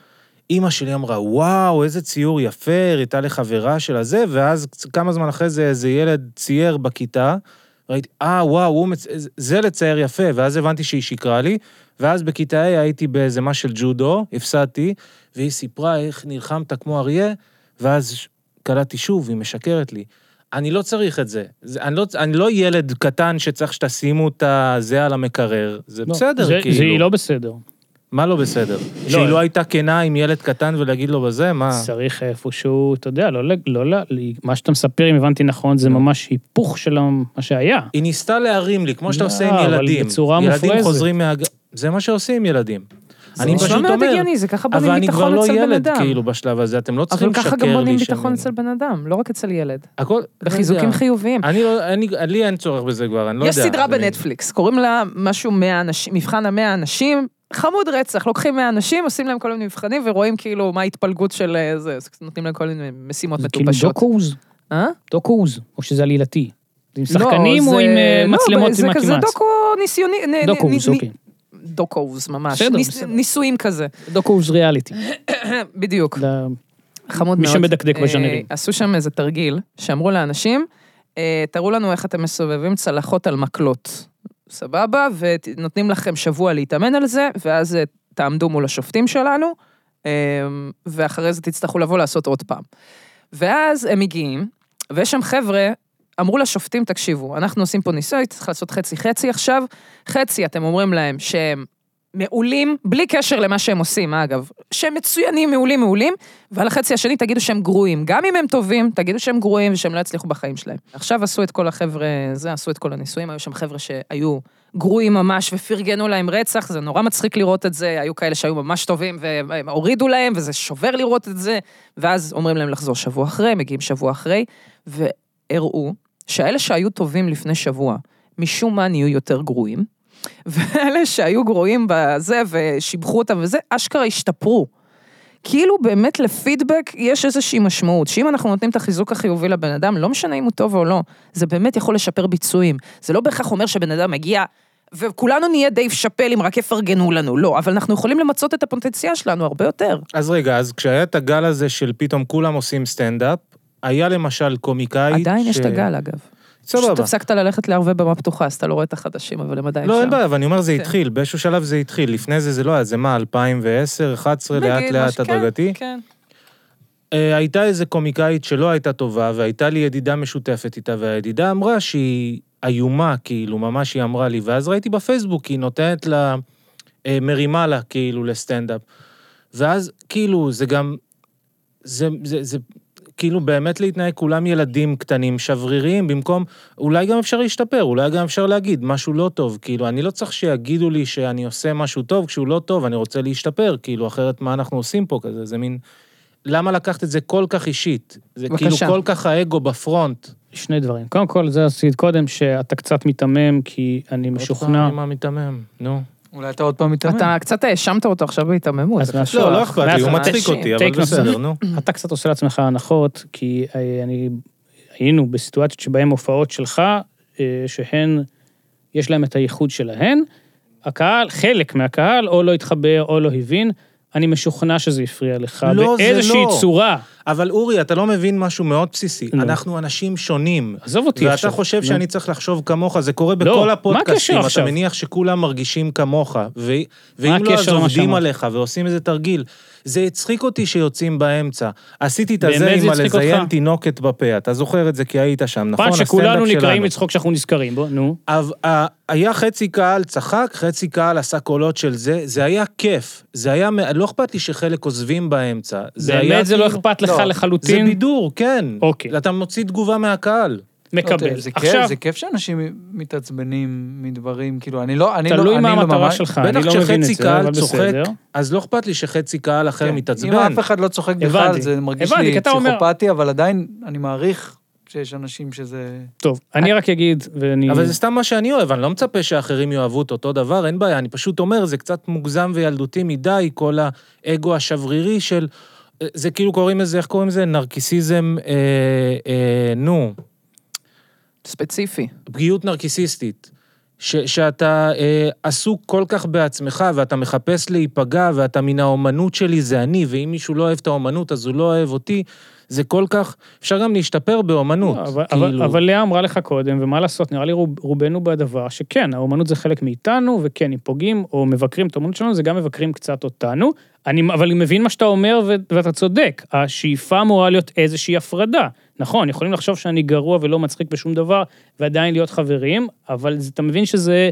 D: אימא שלי אמרה, וואו, איזה ציור יפה, הראתה לחברה של הזה, ואז כמה זמן אחרי זה איזה ילד צייר בכיתה, ראיתי, אה, וואו, הוא מצ... זה לצייר יפה, ואז הבנתי שהיא שיקרה לי, ואז בכיתה ה' הייתי באיזה מה של ג'ודו, הפסדתי, והיא סיפרה איך נלחמת כמו אריה, ואז ש- קלטתי שוב, היא משקרת לי. אני לא צריך את זה. זה אני, לא, אני לא ילד קטן שצריך שתשימו את הזה על המקרר. זה
B: לא.
D: בסדר,
B: זה-
D: כאילו.
B: זה היא לא בסדר.
D: מה לא בסדר? שהיא
C: אה-
D: לא הייתה כנה עם ילד קטן ולהגיד לו בזה? מה?
B: צריך איפשהו, אתה יודע, לא, ל- לא, לא, מה שאתה מספר, אם הבנתי נכון,
C: לא.
B: זה ממש היפוך של מה שהיה.
D: היא ניסתה להרים לי, כמו שאתה
B: לא,
D: עושה עם
B: אבל
D: ילדים.
B: בצורה
D: ילדים
B: מופרזת.
D: חוזרים מהג... זה מה שעושים עם ילדים. אני
C: זה לא
D: פשוט
C: נשמע מאוד
D: אומר,
C: הגיוני, זה ככה
D: אבל
C: בונים
D: אני כבר
C: ביטחון
D: לא
C: אצל בן
D: ילד,
C: אדם.
D: כאילו, בשלב הזה. אתם לא צריכים
C: אבל
D: לשקר לי.
C: ככה גם בונים ביטחון
D: שאני-
C: אצל בן אדם, לא רק אצל ילד.
D: הכל...
C: לא בחיזוקים חיוביים.
D: אני לא, אני, לי אין צורך בזה כבר, אני לא
C: יש
D: יודע.
C: סדרה
D: אני-
C: בנטפליקס, קוראים לה משהו 100 אנשים, מבחן המאה אנשים, חמוד רצח, לוקחים 100 אנשים, עושים להם כל מיני מבחנים ורואים כאילו מה ההתפלגות של אה, זה, אז נותנים להם כל מיני משימות
B: זה כאילו
C: מטופשות.
B: דוקוז.
C: אה?
B: דוקו-אוז, או שזה עלילתי. זה עם
C: לא,
B: שחקנים או
C: זה-
B: עם אה,
C: לא,
B: מצלמות
C: זה
B: עם
C: כזה
B: הקימץ?
C: דוקו ניסיוני... נ- נ-
B: דוקו-אוז,
C: נ-
B: אוקיי.
C: דוקו-אוז, ממש.
B: בסדר,
C: ניס-
B: בסדר.
C: ניסויים כזה.
B: דוקו-אוז ריאליטי.
C: בדיוק.
B: ל-
C: חמוד
B: מי
C: מאוד.
B: שמדקדק בז'אנרים.
C: אה, עשו שם איזה תרגיל, שאמרו לאנשים, אה, תראו לנו איך אתם מסובבים צלחות על מקלות. סבבה? ונותנים לכם שבוע להתאמן על זה, ואז אה, תעמדו מול השופטים שלנו, אה, ואחרי זה תצטרכו לבוא לעשות עוד פעם. ואז הם מגיעים, ויש שם חבר'ה, אמרו לשופטים, תקשיבו, אנחנו עושים פה ניסוי, צריך לעשות חצי-חצי עכשיו. חצי, אתם אומרים להם שהם מעולים, בלי קשר למה שהם עושים, אגב. שהם מצוינים, מעולים, מעולים, ועל החצי השני תגידו שהם גרועים. גם אם הם טובים, תגידו שהם גרועים ושהם לא יצליחו בחיים שלהם. עכשיו עשו את כל החבר'ה, זה, עשו את כל הניסויים, היו שם חבר'ה שהיו גרועים ממש ופרגנו להם רצח, זה נורא מצחיק לראות את זה, היו כאלה שהיו ממש טובים והם הורידו להם, וזה שובר לראות את זה, ואז אומרים להם לחזור שבוע אחרי, מגיעים שבוע אחרי, והראו שהאלה שהיו טובים לפני שבוע, משום מה נהיו יותר גרועים, ואלה שהיו גרועים בזה ושיבחו אותם וזה, אשכרה השתפרו. כאילו באמת לפידבק יש איזושהי משמעות, שאם אנחנו נותנים את החיזוק החיובי לבן אדם, לא משנה אם הוא טוב או לא, זה באמת יכול לשפר ביצועים. זה לא בהכרח אומר שבן אדם מגיע, וכולנו נהיה דייב שאפל אם רק יפרגנו לנו, לא, אבל אנחנו יכולים למצות את הפוטנציאל שלנו הרבה יותר.
D: אז רגע, אז כשהיה את הגל הזה של פתאום כולם עושים סטנדאפ, היה למשל קומיקאית...
C: עדיין יש
D: ש-
C: את הגל, אגב. פשוט
D: סבבה.
C: הפסקת ללכת להרבה במה פתוחה, אז אתה לא רואה את החדשים, אבל הם עדיין שם.
D: לא, אין בעיה, אבל אני אומר, זה
C: כן.
D: התחיל, באיזשהו שלב זה התחיל. לפני זה זה לא היה, זה מה, 2010, 2011,
C: נגיד,
D: לאט לאט
C: משהו- כן,
D: הדרגתי?
C: כן.
D: אה, הייתה איזה קומיקאית שלא הייתה טובה, והייתה לי ידידה משותפת איתה, והידידה אמרה שהיא איומה, כאילו, ממש היא אמרה לי, ואז ראיתי בפייסבוק, היא נותנת לה, אה, מרימה לה, כאילו, לסטנדאפ. ואז, כאילו, זה גם, זה, זה, זה, כאילו, באמת להתנהג כולם ילדים קטנים, שבריריים, במקום, אולי גם אפשר להשתפר, אולי גם אפשר להגיד משהו לא טוב, כאילו, אני לא צריך שיגידו לי שאני עושה משהו טוב, כשהוא לא טוב, אני רוצה להשתפר, כאילו, אחרת מה אנחנו עושים פה כזה, זה מין... למה לקחת את זה כל כך אישית? זה כאילו
C: בבקשה.
D: כל כך האגו בפרונט.
B: שני דברים. קודם כל, זה עשית קודם, שאתה קצת מיתמם, כי אני משוכנע.
D: עוד פעם, מה מיתמם, נו.
A: אולי אתה עוד פעם מתאמן.
C: אתה קצת האשמת אותו עכשיו בהיתממות.
B: אז מעכשיו-
D: לא, לא אכפת לי, הוא
B: מעכשיו-
D: מצחיק אותי, אבל
B: טייק נוסף.
D: בסדר, נו.
B: אתה קצת עושה לעצמך הנחות, כי אה, אני... היינו בסיטואציות שבהן הופעות שלך, אה, שהן, יש להן את הייחוד שלהן, הקהל, חלק מהקהל, או לא התחבר או לא הבין, אני משוכנע שזה הפריע לך
D: לא, זה
B: באיזושהי
D: לא.
B: צורה.
D: אבל אורי, אתה לא מבין משהו מאוד בסיסי.
B: נו.
D: אנחנו אנשים שונים.
B: עזוב אותי
D: ואתה
B: עכשיו.
D: חושב
B: נו.
D: שאני צריך לחשוב כמוך, זה קורה
B: לא,
D: בכל
B: מה הקשר
D: הפודקאסטים, אתה
B: עכשיו?
D: מניח שכולם מרגישים כמוך, ו- ואם לא, אז
B: הקשר למה
D: עובדים
B: שאמרת?
D: עליך ועושים איזה תרגיל. זה הצחיק אותי שיוצאים באמצע. עשיתי את הזה
B: באמת זה
D: עם
B: הצחיק
D: הלזיין
B: אותך?
D: תינוקת בפה, אתה זוכר את זה כי היית שם, נכון?
B: פעם שכולנו
D: הסטנדאפ
B: נקראים
D: שלנו.
B: לצחוק כשאנחנו נזכרים בו, נו.
D: אבל, אה, היה חצי קהל צחק, חצי קהל עשה קולות של זה, זה היה כיף. זה היה, מ- לא אכפת לי שחלק עוזבים באמצע. היה
B: באמת זה לא
D: כאילו-
B: אכפת לך
A: לא,
D: זה
B: לחלוטין,
D: בידור, כן.
B: אוקיי. אה,
D: אתה מוציא תגובה מהקהל. לא,
B: מקבל.
A: לא זה כיף,
D: כן,
B: עכשיו,
A: זה כיף שאנשים מתעצבנים מדברים, כאילו, אני לא, אני לא,
B: תלוי
A: אני
B: מה
A: לא
B: המטרה
A: ממש-
B: שלך, אני
D: בטח
B: לא מבין את
D: כשחצי
B: זה,
D: קהל
B: אבל
D: צוחק,
B: בסדר.
D: אז לא אכפת לי שחצי קהל אחר
A: כן.
D: מתעצבן.
A: אם אף אחד לא צוחק בכלל,
B: הבנתי.
A: זה מרגיש
B: הבנתי, כי
A: לי
B: אתה אומר-
A: פסיכופתי, אבל עדיין, אני מעריך שיש אנשים שזה...
B: טוב, אני רק אגיד, ואני...
D: אה- אבל זה סתם מה שאני אוהב, אני לא מצפה שאחרים יאהבו את אותו דבר, אין בעיה, אני פשוט אומר, זה קצת מוגזם וילדותי מדי, כל האגו השברירי של... זה כאילו קוראים לזה, איך קוראים לזה? נרקיסיזם, אה, אה, נו,
C: ספציפי.
D: פגיעות נרקיסיסטית. ש, שאתה אה, עסוק כל כך בעצמך, ואתה מחפש להיפגע, ואתה מן האומנות שלי זה אני, ואם מישהו לא אוהב את האומנות, אז הוא לא אוהב אותי. זה כל כך... אפשר גם להשתפר באומנות.
B: לא, אבל,
D: כאילו...
B: אבל, אבל לאה אמרה לך קודם, ומה לעשות, נראה לי רוב, רובנו בדבר שכן, האומנות זה חלק מאיתנו, וכן, אם פוגעים או מבקרים את האומנות שלנו, זה גם מבקרים קצת אותנו. אני, אבל אני מבין מה שאתה אומר, ו, ואתה צודק. השאיפה אמורה להיות איזושהי הפרדה. נכון, יכולים לחשוב שאני גרוע ולא מצחיק בשום דבר, ועדיין להיות חברים, אבל זה, אתה מבין שזה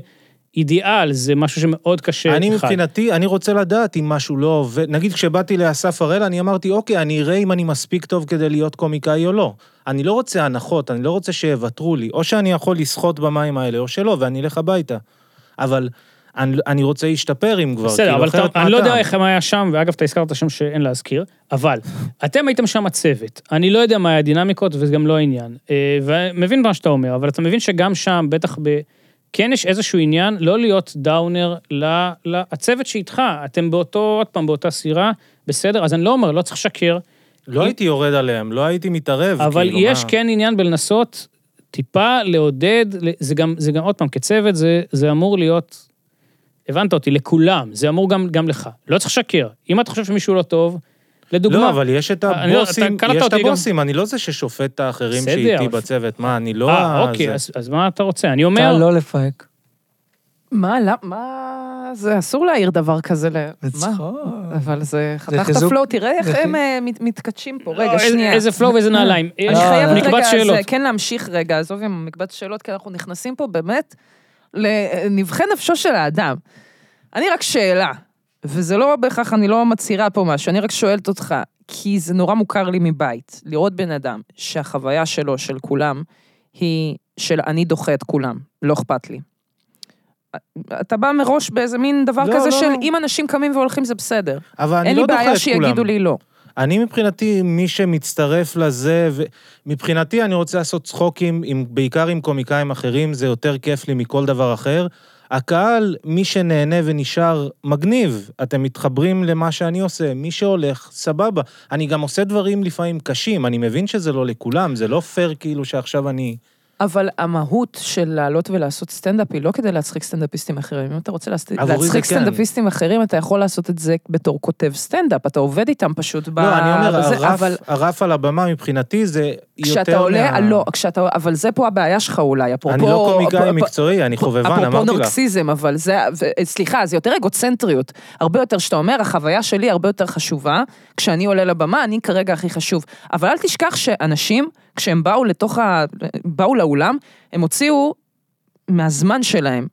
B: אידיאל, זה משהו שמאוד קשה.
D: אני
B: כן, אחד.
D: מבחינתי, אני רוצה לדעת אם משהו לא עובד. נגיד כשבאתי לאסף הראל, אני אמרתי, אוקיי, אני אראה אם אני מספיק טוב כדי להיות קומיקאי או לא. אני לא רוצה הנחות, אני לא רוצה שיוותרו לי. או שאני יכול לשחות במים האלה, או שלא, ואני אלך הביתה. אבל אני, אני רוצה להשתפר אם כבר.
B: בסדר,
D: כאילו,
B: אבל אתה,
D: אחרת מה
B: אני לא יודע
D: הטעם?
B: איך מה היה שם, ואגב, אתה הזכרת שם שאין להזכיר, אבל אתם הייתם שם הצוות. אני לא יודע מה היה הדינמיקות, וזה גם לא העניין. אה, ומבין מה שאתה אומר, אבל אתה מבין שגם שם, בטח ב... כן יש איזשהו עניין לא להיות דאונר ל- ל- הצוות שאיתך, אתם באותו, עוד פעם, באותה סירה, בסדר? אז אני לא אומר, לא צריך לשקר,
D: לא הייתי יורד עליהם, לא הייתי מתערב.
B: אבל
D: כאילו,
B: יש
D: מה-
B: כן עניין בלנסות טיפה לעודד, ל- זה גם, זה גם, עוד פעם, כצוות, זה, זה אמור להיות, הבנת אותי, לכולם, זה אמור גם, גם לך. לא צריך לשקר. אם אתה חושב שמישהו לא טוב, לדוגמה,
D: לא, אבל יש את
B: אני לא- אתה
D: הבוסים,
B: קלטת
D: יש את
B: אותי גם-
D: הבוסים, אני לא זה ששופט את האחרים
B: בסדר,
D: שאיתי
B: אבל-
D: בצוות, מה, אני לא...
B: אה,
D: ה-
B: אוקיי,
D: זה-
B: אז, אז מה אתה רוצה? אני
A: אתה
B: אומר,
A: לא לפהק.
C: מה, למה, מה, זה אסור להעיר דבר כזה ל... מה?
A: בצחוק.
C: אבל זה חתך את
A: חיזוק.
C: הפלואו, תראה איך
A: זה
C: הם
A: חי-
C: אה, מת- מתכתשים פה.
B: לא,
C: רגע,
B: איזה-
C: שנייה. אה,
B: איזה פלואו ואיזה נעליים.
C: אני
A: לא,
D: אה,
C: חייבת
B: נקבץ
C: רגע,
B: שאלות.
C: זה, כן להמשיך רגע, עזוב עם מקבץ שאלות, כי אנחנו נכנסים פה באמת לנבחי נפשו של האדם. אני רק שאלה, וזה לא בהכרח, אני לא מצהירה פה משהו, אני רק שואלת אותך, כי זה נורא מוכר לי מבית, לראות בן אדם שהחוויה שלו, של כולם, היא של אני דוחה את כולם, לא אכפת לי. אתה בא מראש באיזה מין דבר
D: לא,
C: כזה
D: לא.
C: של אם אנשים קמים והולכים זה בסדר.
D: אבל אני
C: אין לי
D: לא דוחה
C: בעיה
D: את כולם.
C: שיגידו לי לא.
D: אני מבחינתי, מי שמצטרף לזה, ו... מבחינתי אני רוצה לעשות צחוקים, עם, בעיקר עם קומיקאים אחרים, זה יותר כיף לי מכל דבר אחר. הקהל, מי שנהנה ונשאר, מגניב. אתם מתחברים למה שאני עושה, מי שהולך, סבבה. אני גם עושה דברים לפעמים קשים, אני מבין שזה לא לכולם, זה לא פייר כאילו שעכשיו אני...
C: אבל המהות של לעלות ולעשות סטנדאפ היא לא כדי להצחיק סטנדאפיסטים אחרים. אם אתה רוצה להצ-
D: עבורי זה
C: להצחיק
D: כן.
C: סטנדאפיסטים אחרים, אתה יכול לעשות את זה בתור כותב סטנדאפ, אתה עובד איתם פשוט ב...
D: לא, אני אומר,
C: בזה,
D: הרף,
C: אבל
D: הרף על הבמה מבחינתי זה יותר...
C: כשאתה עולה,
D: מה-
C: לא, כשאתה... אבל זה פה הבעיה שלך אולי, אפרופו...
D: אני לא קומיקאי
C: אפ-
D: מקצועי, אני חובבן,
C: אפרופו
D: אמרתי לך.
C: נרקסיזם, אבל זה, ו- סליחה, זה יותר אגוצנטריות. הרבה יותר שאתה אומר, החוויה שלי הרבה יותר חשובה, כשאני עולה לבמה, אני כרגע הכי חשוב. אבל אל תשכח שאנשים, כשהם באו לתוך ה... באו לאולם, הם הוציאו מהזמן שלהם.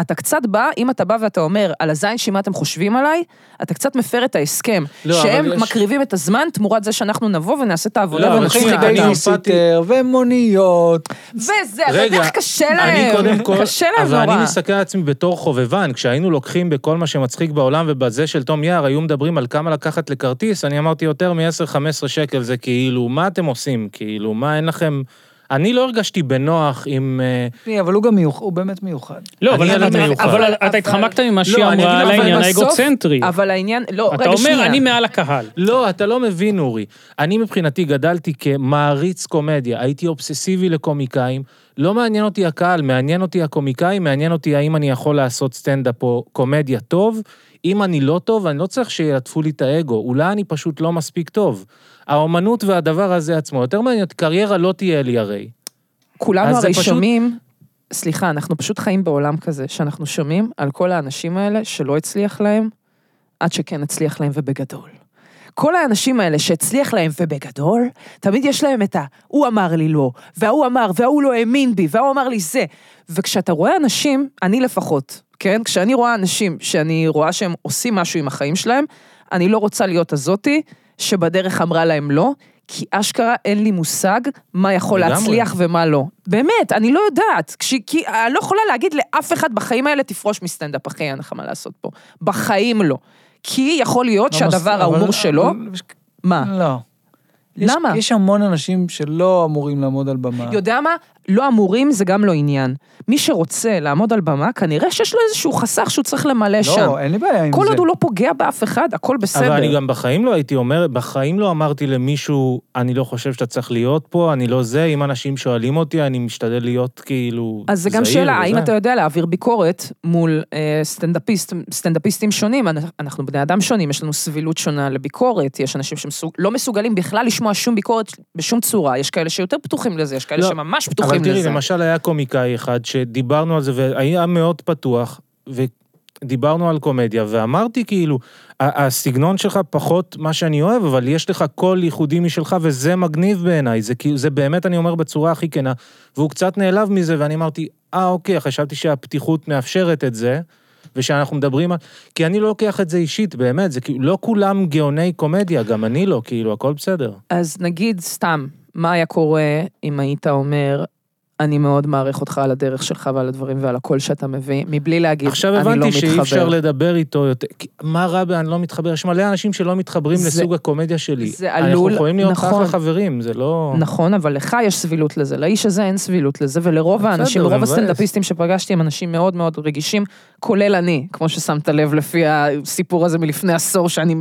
C: אתה קצת בא, אם אתה בא ואתה אומר, על הזין שמה אתם חושבים עליי, אתה קצת מפר את ההסכם.
D: לא, אבל
C: שהם
D: יש-
C: מקריבים את הזמן תמורת זה שאנחנו נבוא ונעשה את העבודה
D: לא, אבל
C: ונצחיק
D: שנייה,
C: אותם.
D: אני-
A: בייביסיטר ומוניות.
C: וזה, אתה
D: רגע,
C: יודע איך קשה להם.
D: אני קודם כל,
C: קשה להם נורא.
D: אבל אני מסתכל על עצמי בתור חובבן, כשהיינו לוקחים בכל מה שמצחיק בעולם ובזה של תום יער, היו מדברים על כמה לקחת לכרטיס, אני אמרתי יותר מ-10-15 שקל, זה כאילו, מה אתם עושים? כאילו, מה אין לכם... אני לא הרגשתי בנוח עם... אה,
A: תראי, אבל הוא גם מיוחד, הוא באמת מיוחד.
B: לא,
D: אני
B: אבל
D: אדם
B: אבל-
D: מיוחד.
B: אבל אתה
C: אבל-
B: התחמקת ממה שהיא
D: לא, אני
B: אמרה על
D: אגיד לך, אבל
B: העניין
C: בסוף-
B: האגוצנטרי.
C: אבל העניין, לא,
B: אתה
C: רגע, שנייה.
B: אומר, אני מעל הקהל.
D: לא, אתה לא מבין, אורי. אני מבחינתי גדלתי כמעריץ קומדיה, הייתי אובססיבי לקומיקאים. לא מעניין אותי הקהל, מעניין אותי הקומיקאים, מעניין אותי האם אני יכול לעשות סטנדאפ או קומדיה טוב. אם אני לא טוב, אני לא צריך שיעטפו לי את האגו, אולי אני פשוט לא מספיק טוב. האומנות והדבר הזה עצמו, יותר מעניין אותי, קריירה לא תהיה לי הרי.
C: כולנו
D: אז זה
C: הרי
D: פשוט-
C: שומעים, סליחה, אנחנו פשוט חיים בעולם כזה, שאנחנו שומעים על כל האנשים האלה שלא הצליח להם, עד שכן הצליח להם ובגדול. כל האנשים האלה שהצליח להם ובגדול, תמיד יש להם את ה... הוא אמר לי לא, וההוא אמר, וההוא לא האמין בי, וההוא אמר לי זה. וכשאתה רואה אנשים, אני לפחות, כן? כשאני רואה אנשים שאני רואה שהם עושים משהו עם החיים שלהם, אני לא רוצה להיות הזאתי שבדרך אמרה להם לא, כי אשכרה אין לי מושג מה יכול
D: לגמרי.
C: להצליח ומה לא. באמת, אני לא יודעת. כש, כי אני לא יכולה להגיד לאף אחד בחיים האלה, תפרוש מסטנדאפ, אחי, אין לך מה לעשות פה. בחיים לא. כי יכול להיות שהדבר
A: לא, אבל-
C: ההומור שלו,
A: אבל-
C: מה?
A: לא. יש-
C: למה?
A: יש המון אנשים שלא אמורים לעמוד על במה.
C: יודע מה? לא אמורים זה גם לא עניין. מי שרוצה לעמוד על במה, כנראה שיש לו איזשהו חסך שהוא צריך למלא שם.
A: לא, אין לי בעיה עם זה.
C: כל עוד הוא לא פוגע באף אחד, הכל בסדר.
D: אבל אני גם בחיים לא הייתי אומר, בחיים לא אמרתי למישהו, אני לא חושב שאתה צריך להיות פה, אני לא זה, אם אנשים שואלים אותי, אני משתדל להיות כאילו
C: אז זה גם
D: זהיר
C: שאלה, האם
D: וזה.
C: אתה יודע להעביר ביקורת מול אה, סטנדאפיסט, סטנדאפיסטים שונים? אנ- אנחנו בני אדם שונים, יש לנו סבילות שונה לביקורת, יש אנשים שלא מסוגלים בכלל לשמוע שום ביקורת בשום צורה, יש כאלה שיותר פתוחים לזה, יש כאלה
D: לא,
C: שממש פתוחים
D: אבל
C: לזה.
D: תראי, למשל היה קומיקאי אחד שדיברנו על זה, והיה מאוד פתוח, ודיברנו על קומדיה, ואמרתי כאילו, "ה- הסגנון שלך פחות מה שאני אוהב, אבל יש לך קול ייחודי משלך, וזה מגניב בעיניי, זה כאילו, זה באמת, אני אומר בצורה הכי כנה, והוא קצת נעלב מזה, ואני אמרתי, אה, אוקיי, חשבתי שהפתיחות מאפשרת את זה. ושאנחנו מדברים על... כי אני לא לוקח את זה אישית, באמת, זה כאילו, לא כולם גאוני קומדיה, גם אני לא, כאילו, הכל בסדר.
C: אז נגיד, סתם, מה היה קורה אם היית אומר, אני מאוד מעריך אותך על הדרך שלך ועל הדברים ועל הקול שאתה מביא, מבלי להגיד, אני לא
D: עכשיו
C: מתחבר.
D: הבנתי שאי אפשר לדבר איתו יותר. כי מה רע ב"אני לא מתחבר"? יש מלא אנשים שלא מתחברים
C: זה-
D: לסוג הקומדיה שלי.
C: זה
D: אנחנו
C: עלול-
D: יכולים להיות
C: נכון.
D: אחלה חברים, זה לא...
C: נכון, אבל לך יש סבילות לזה, לאיש הזה אין סבילות לזה, ולרוב
D: בסדר,
C: האנשים,
D: זה
C: רוב
D: מבאס.
C: הסטנדאפיסטים שפגשתי הם אנשים מאוד מאוד רגישים, כולל אני, כמו ששמת לב לפי הסיפור הזה מלפני עשור, שאני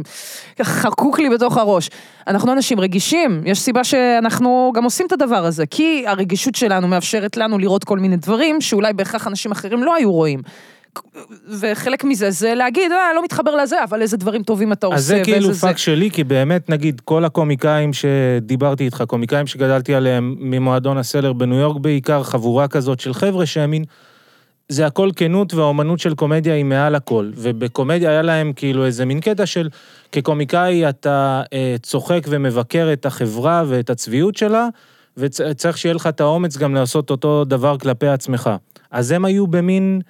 C: חקוק לי בתוך הראש. אנחנו אנשים רגישים, יש סיבה שאנחנו גם עושים את הדבר הזה, כי הרגישות שלנו מאפשרת לנו לראות כל מיני דברים שאולי בהכרח אנשים אחרים לא היו רואים. וחלק מזה זה להגיד, אה, לא מתחבר לזה, אבל איזה דברים טובים אתה עושה,
D: אז זה כאילו
C: ואיזה זה.
D: פאק שלי, כי באמת, נגיד, כל הקומיקאים שדיברתי איתך, קומיקאים שגדלתי עליהם ממועדון הסלר בניו יורק בעיקר, חבורה כזאת של חבר'ה שהאמין, זה הכל כנות והאומנות של קומדיה היא מעל הכל. ובקומדיה היה להם כאילו איזה מין קטע של, כקומיקאי אתה אה, צוחק ומבקר את החברה ואת הצביעות שלה, וצריך שיהיה לך את האומץ גם לעשות אותו דבר כלפי עצמך. אז הם היו במין...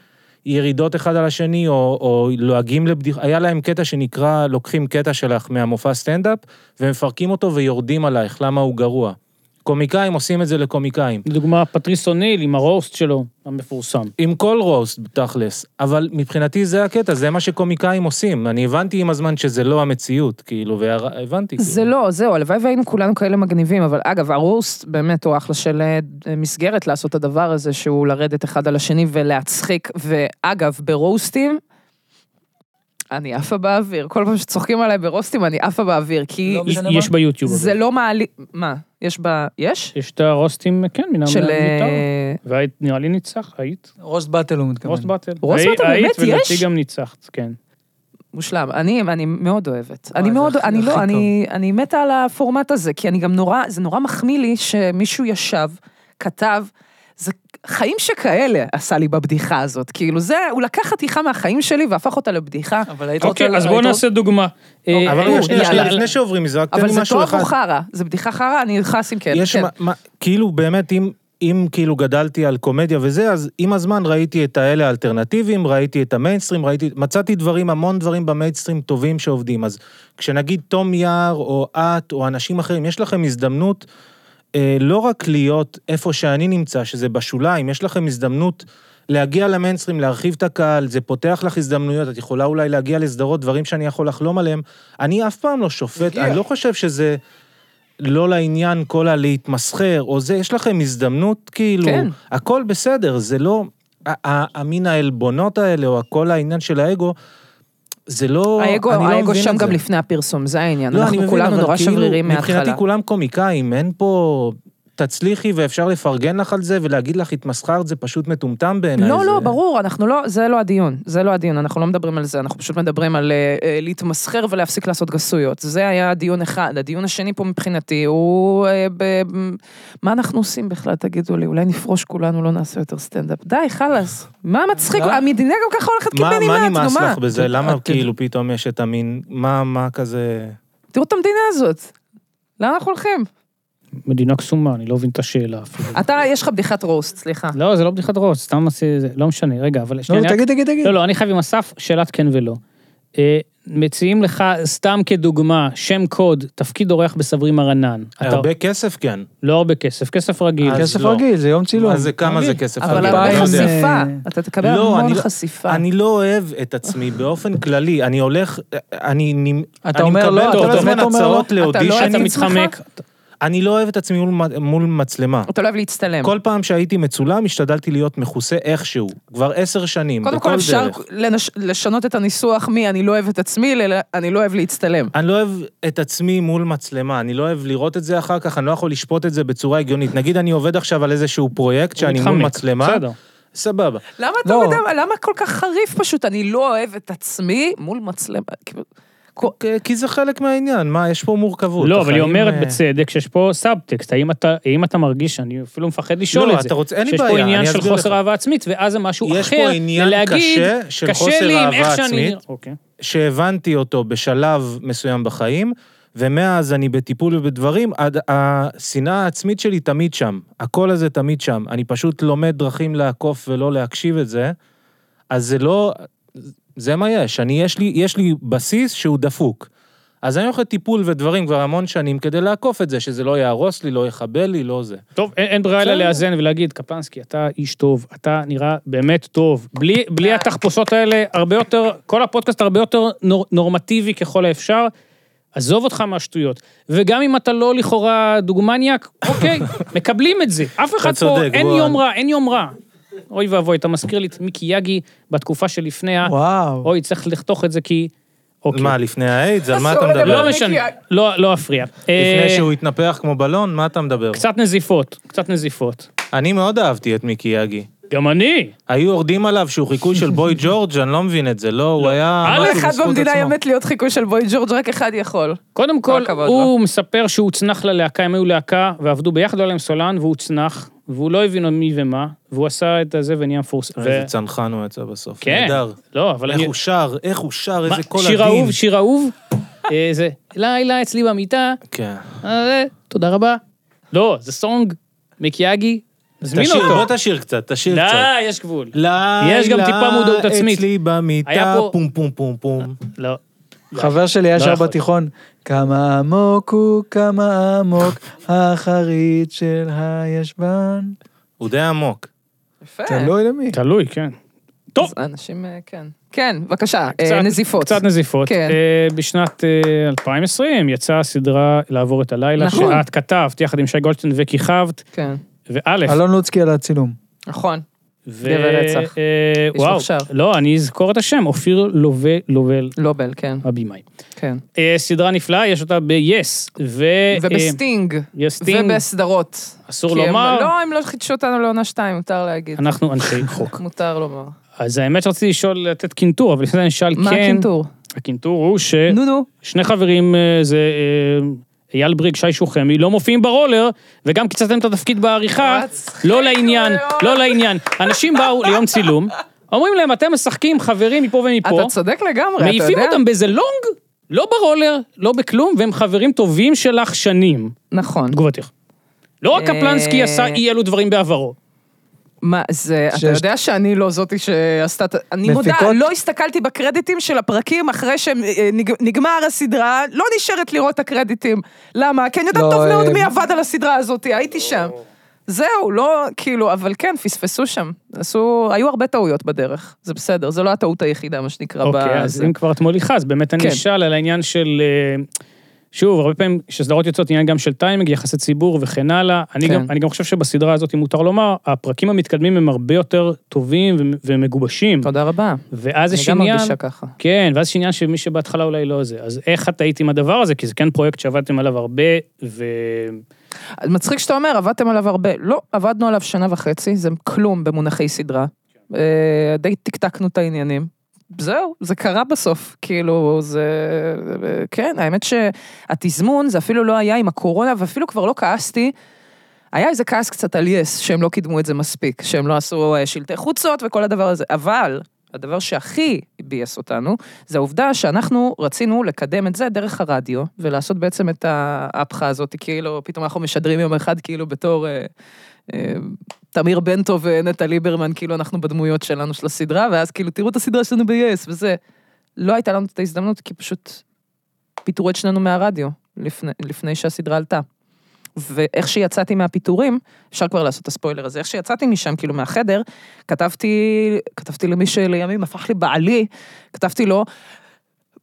D: ירידות אחד על השני, או, או לועגים לבדיחה, היה להם קטע שנקרא, לוקחים קטע שלך מהמופע סטנדאפ, ומפרקים אותו ויורדים עלייך, למה הוא גרוע. קומיקאים עושים את זה לקומיקאים.
B: לדוגמה, פטריס אוניל עם הרוסט שלו, המפורסם.
D: עם כל רוסט, תכלס. אבל מבחינתי זה הקטע, זה מה שקומיקאים עושים. אני הבנתי עם הזמן שזה לא המציאות, כאילו, והבנתי.
C: זה
D: כאילו.
C: לא, זהו, הלוואי והיינו כולנו כאלה מגניבים, אבל אגב, הרוסט באמת הוא אחלה של אה, מסגרת לעשות את הדבר הזה, שהוא לרדת אחד על השני ולהצחיק, ואגב, ברוסטים, אני עפה באוויר, כל פעם שצוחקים עליי ברוסטים אני עפה באוויר, כי
A: לא משנה
B: יש
A: מה.
B: ביוטיוב.
C: זה
B: אבל.
C: לא מעלי... מה, יש ב... יש?
B: יש את הרוסטים, כן, מן
C: של...
B: המותר.
C: אה,
B: והיית, נראה לי ניצח, היית.
C: לא-
A: רוסט באטל הוא מתכוון.
B: רוסט באטל.
C: רוסט
B: היית-
C: באטל,
B: היית,
C: באמת?
B: ולדעתי
C: יש?
B: גם ניצחת, כן.
C: מושלם. אני, אני מאוד אוהבת.
A: וואי,
C: אני
A: זה
C: מאוד,
A: הכי-
C: אני
A: הכי
C: לא,
A: טוב.
C: אני, אני מתה על הפורמט הזה, כי אני גם נורא, זה נורא מחמיא לי שמישהו ישב, כתב, זה חיים שכאלה עשה לי בבדיחה הזאת. כאילו זה, הוא לקח חתיכה מהחיים שלי והפך אותה לבדיחה.
A: אבל היית רוצה...
B: אוקיי, אז בואו
A: היית-
B: נעשה דוגמה. אה,
D: אבל
B: אה,
D: רגע, שנייה, שנייה,
B: יאללה.
D: לפני שעוברים מזה, רק תן
C: לא- אבל
D: לי
C: זה
D: משהו
C: טוב
D: אחד.
C: או חרא? זה בדיחה חרא? אני נכנס עם כן.
D: יש
C: כן.
D: מה, מה, כאילו באמת, אם, אם כאילו גדלתי על קומדיה וזה, אז עם הזמן ראיתי את האלה האלטרנטיביים, ראיתי את המיינסטרים, ראיתי, מצאתי דברים, המון דברים במיינסטרים טובים שעובדים. אז כשנגיד תום יער, או את, או אנשים אחרים, יש לכם הזדמנות אה, לא רק להיות איפה שאני נמצא, שזה בשוליים, יש לכם הזדמנות להגיע למיינסטרים, להרחיב את הקהל, זה פותח לך הזדמנויות, את יכולה אולי להגיע לסדרות, דברים שאני יכול לחלום עליהם. אני אף פעם לא שופט, אני לא חושב שזה לא לעניין כל הלהתמסחר, או זה, יש לכם הזדמנות, כאילו,
C: כן.
D: הכל בסדר, זה לא... ה- ה- המין העלבונות האלה, או כל העניין של האגו, זה לא...
C: האגו,
D: אני לא
C: האגו
D: מבין את
C: שם גם
D: זה.
C: לפני הפרסום, זה העניין.
D: לא, אני
C: אנחנו
D: מבין,
C: כולנו
D: אבל
C: נורא
D: כאילו,
C: שברירים
D: מבחינתי
C: מההתחלה.
D: כולם קומיקאים, אין פה... תצליחי ואפשר לפרגן לך על זה ולהגיד לך התמסחרת, זה פשוט מטומטם בעיניי.
C: לא,
D: זה...
C: לא, ברור, אנחנו לא, זה לא הדיון, זה לא הדיון, אנחנו לא מדברים על זה, אנחנו פשוט מדברים על אה, אה, להתמסחר ולהפסיק לעשות גסויות. זה היה דיון אחד. הדיון השני פה מבחינתי הוא... אה, ב- מה אנחנו עושים בכלל, תגידו לי, אולי נפרוש כולנו, לא נעשה יותר סטנדאפ. די, חלאס. מה מצחיק?
A: מה?
C: המדינה גם ככה הולכת
D: מה, מה
C: קיבינימט,
D: נמאס
C: נו מה?
D: לך בזה?
A: את-
D: למה
A: את-
D: כאילו פתאום יש את המין... מה, מה כזה...
C: תראו את המדינה הזאת. לאן אנחנו הולכים?
B: מדינה קסומה, אני לא מבין את השאלה אפילו.
C: אתה, יש לך בדיחת רוסט, סליחה.
B: לא, זה לא בדיחת ראש, סתם עשי... זה- לא משנה, רגע, אבל
A: לא,
D: כן,
B: שנייה, אני רק-
A: תגיד, תגיד, תגיד.
B: לא, לא, אני חייב עם אסף שאלת כן ולא. אה, מציעים לך, סתם כדוגמה, שם קוד, תפקיד אורח בסברים הרנן. אתה-
D: הרבה כסף כן.
B: לא הרבה כסף, כסף רגיל.
D: אז
A: כסף
D: לא.
A: רגיל, זה יום צילום.
D: מה זה, כמה זה
B: רגיל.
D: כסף?
C: אבל
D: רגיל?
A: אתה
C: הרבה
D: לא יודע.
C: חשיפה,
A: אה,
C: אתה תקבל
D: לא, אני
C: המון
D: לא-
C: חשיפה.
D: אני לא אוהב את עצמי באופן כללי, אני הולך, אני נמ-
A: אתה
D: אני
A: אומר
D: מקבל
A: לא,
D: כל
B: אתה
D: הזמן
A: באמת אומר לא.
D: הצעות
A: אתה
C: לא
D: לאודישנים,
B: אתה
C: אני עצמך?
B: מתחמק,
D: אני לא אוהב את עצמי מול מ- מול מצלמה.
C: אתה לא אוהב להצטלם.
D: כל פעם שהייתי מצולם, השתדלתי להיות מכוסה איכשהו. כבר עשר שנים,
C: קודם
D: בכל
C: כל אפשר
D: דרך.
C: לנש... לשנות את הניסוח מ"אני לא אוהב את עצמי" ל"אני לא אוהב להצטלם".
D: אני לא אוהב את עצמי מול מצלמה, אני לא אוהב לראות את זה אחר כך, אני לא יכול לשפוט את זה בצורה הגיונית. נגיד אני עובד עכשיו על איזשהו פרויקט שאני מול
B: מתחמק.
D: מצלמה,
B: בסדר.
D: סבבה.
C: למה אתה
A: לא.
C: מדבר, למה כל כך חריף פשוט? אני לא אוהב את עצמי מול מצלמה. כאילו, כל-
D: כי- כי זה חלק מהעניין, מה, יש פה מורכבות.
B: לא, אבל היא
D: החיים,
B: אומרת
D: אה,
B: בצדק שיש פה סאבטקסט, האם אתה, האם אתה מרגיש, אני אפילו מפחד לשאול
D: לא,
B: את זה,
D: אתה רוצה- אין לי
B: שיש
D: בעיה,
B: פה עניין
D: אני
B: של
D: אסביר
B: חוסר
D: לך.
B: אהבה עצמית, ואז זה משהו אחר,
D: יש פה עניין
B: ולהגיד,
D: קשה של חוסר
B: לי עם
D: אהבה
B: איך שאני
D: עצמית.
B: נראה." אוקיי.
D: שהבנתי אותו בשלב מסוים בחיים, ומאז אני בטיפול ובדברים, עד- השנאה העצמית שלי תמיד שם. הקול הזה תמיד שם. אני פשוט לומד דרכים לעקוף ולא להקשיב את זה, אז זה לא... זה מה יש. אני, יש לי, יש לי בסיס שהוא דפוק. אז אני הולך לטיפול ודברים כבר המון שנים כדי לעקוף את זה, שזה לא יהרוס לי, לא יחבל לי, לא זה.
B: טוב, אין, אין ברירה אלא
D: בסדר.
B: לאזן ולהגיד, קפלנסקי, אתה איש טוב, אתה נראה באמת טוב. בלי,
D: אה.
B: בלי התחפושות האלה, הרבה יותר, כל הפודקאסט הרבה יותר נור, נורמטיבי ככל האפשר. עזוב אותך מהשטויות. וגם אם אתה לא לכאורה דוגמניאק, אוקיי, מקבלים את זה. אף אחד פה,
D: צודק,
B: אין
D: בוא,
B: יום
D: אני-
B: רע, אין יום רע. אוי ואבוי, אתה מזכיר לי את מיקי יגי בתקופה שלפני ה...
A: וואו.
B: אוי, צריך לחתוך את זה כי... אוקיי.
D: מה, לפני האיידס? על מה
C: אסור
D: אתה
C: לדבר.
D: מדבר?
B: לא
C: מיקי,
B: משנה,
C: אה,
B: לא לא אפריע. אה,
D: לפני שהוא התנפח כמו בלון, מה אתה מדבר?
B: קצת נזיפות, קצת נזיפות.
D: אני מאוד אהבתי את מיקי יאגי.
B: גם אני.
D: היו יורדים עליו שהוא חיקוי של בוי ג'ורג', אני לא מבין את זה, לא, הוא היה...
B: א',
D: משהו
C: כל אחד
D: בזכות
C: במדינה
D: עצמו.
C: היה מת להיות חיקוי של בוי ג'ורג', רק אחד יכול.
B: קודם
C: כל
B: כל,
C: הכבוד לא?
B: הוא מספר שהוא הוצנח ללהקה, הם היו להקה, ועבדו ביחד, לא היה להם סולן, והוא הוצנח, והוא לא הבין מי ומה, והוא עשה את הזה ונהיה מפורסם.
D: איזה
B: ו-
D: צנחן הוא יצא בסוף.
B: כן,
D: נהדר.
B: לא, אבל
D: איך
B: אני...
D: הוא שר, איך הוא שר,
B: מה,
D: איזה קול
B: שיר
D: עדין.
B: אהוב, שיר אהוב, אה, זה לילה אצלי במיטה,
D: כן.
B: אה, תודה רבה. לא, זה סונג, מקיאגי, נזמין
D: תשיר, בוא
B: אותו.
D: תשיר קצת, תשיר
B: די,
D: קצת.
B: יש גבול. יש גם
D: לילה
B: טיפה מודעות עצמית.
D: אצלי במיטה,
B: היה פה-
D: פום פום פום פום.
B: לא.
A: חבר שלי היה
B: לא
A: שר
B: יכול.
A: בתיכון, כמה עמוק הוא, כמה עמוק, החריץ של הישבן.
C: אה.
D: הוא די עמוק.
C: יפה.
A: תלוי למי.
B: תלוי, כן. טוב.
C: אז אנשים, אה, כן. כן, בבקשה, אה, נזיפות.
B: קצת נזיפות.
C: כן.
B: אה, בשנת אה, 2020 יצאה הסדרה לעבור את הלילה,
C: נכון.
B: שאת כתבת יחד עם שי גולדשטיין וכיכבת,
C: כן,
B: וא',
A: אלון לוצקי על הצילום.
C: נכון.
B: ו-
C: דבר רצח.
B: אה,
C: יש
B: וואו,
C: לך שער.
B: לא, אני אזכור את השם, אופיר לובל, לובל,
C: לובל, כן,
B: הבמאי.
C: כן.
B: אה, סדרה נפלאה, יש אותה ב-yes, ו...
C: ובסטינג,
B: אה, yes, Sting,
C: ובסדרות.
B: אסור
C: כי הם-
B: לומר,
C: לא, הם לא חידשו אותנו לעונה שתיים, מותר להגיד.
B: אנחנו אנשי חוק.
C: מותר לומר.
B: אז האמת שרציתי לשאול, לתת קינטור, אבל לפני זה אני אשאל כן.
C: מה הקינטור?
B: הקינטור הוא ש...
C: נו נו.
B: שני חברים, אה, זה אה, אייל בריג, שי שוחמי, לא מופיעים ברולר, וגם קיצרתם את התפקיד בעריכה,
C: מצחיק
B: לא לעניין,
C: מאוד.
B: לא לעניין. אנשים באו ליום צילום, אומרים להם, אתם משחקים חברים מפה ומפה,
C: אתה צודק לגמרי, אתה
B: מעיפים
C: יודע.
B: אותם באיזה לונג, לא ברולר, לא בכלום, והם חברים טובים שלך שנים.
C: נכון.
B: תגובתך. לא רק
C: אה,
B: קפלנסקי עשה אי אלו דברים בעברו.
C: מה זה, אתה
A: שיש-
C: יודע שאני לא זאתי שעשתה, את- אני מודה,
A: מפיקות?
C: לא הסתכלתי בקרדיטים של הפרקים אחרי שנגמר הסדרה, לא נשארת לראות את הקרדיטים. למה? כי אני יודעת
A: לא,
C: טוב מאוד
A: אה,
C: מי עבד על הסדרה הזאת, הייתי שם. זהו, לא, כאילו, אבל כן, פספסו שם. עשו, היו הרבה טעויות בדרך, זה בסדר, זו לא הטעות היחידה, מה שנקרא,
B: אוקיי, אז
C: בזה.
B: אם כבר את מוליכה, אז באמת
C: כן.
B: אני אשאל על העניין של... אה, שוב, הרבה פעמים כשסדרות יוצאות עניין גם של טיימינג, יחסי ציבור וכן הלאה. אני,
C: כן.
B: גם, אני גם חושב שבסדרה הזאת, אם מותר לומר, הפרקים המתקדמים הם הרבה יותר טובים ו- ומגובשים.
C: תודה רבה.
B: ואז
C: אני
B: יש
C: גם
B: עניין...
C: מרגישה ככה.
B: כן, ואז יש עניין שמי שבהתחלה אולי לא זה. אז איך את היית עם הדבר הזה? כי זה כן פרויקט שעבדתם עליו הרבה, ו...
C: אז מצחיק שאתה אומר, עבדתם עליו הרבה. לא, עבדנו עליו שנה וחצי, זה כלום במונחי סדרה. אה, די תקתקנו את העניינים. זהו, זה קרה בסוף, כאילו, זה... אה, כן, האמת שהתזמון, זה אפילו לא היה עם הקורונה, ואפילו כבר לא כעסתי. היה איזה כעס קצת על יס, שהם לא קידמו את זה מספיק, שהם לא עשו אה, שלטי חוצות וכל הדבר הזה, אבל הדבר שהכי ביאס אותנו, זה העובדה שאנחנו רצינו לקדם את זה דרך הרדיו, ולעשות בעצם את האפחה הזאת, כאילו, פתאום אנחנו משדרים יום אחד, כאילו, בתור אה, אה, תמיר בנטו ונטע ליברמן, כאילו, אנחנו בדמויות שלנו של הסדרה, ואז כאילו, תראו את הסדרה שלנו ביס, וזה. לא הייתה לנו את ההזדמנות, כי פשוט פיטרו את שנינו מהרדיו, לפני, לפני שהסדרה עלתה. ואיך שיצאתי מהפיטורים, אפשר כבר לעשות את הספוילר הזה, איך שיצאתי משם, כאילו מהחדר, כתבתי, כתבתי למי שלימים הפך לי בעלי, כתבתי לו,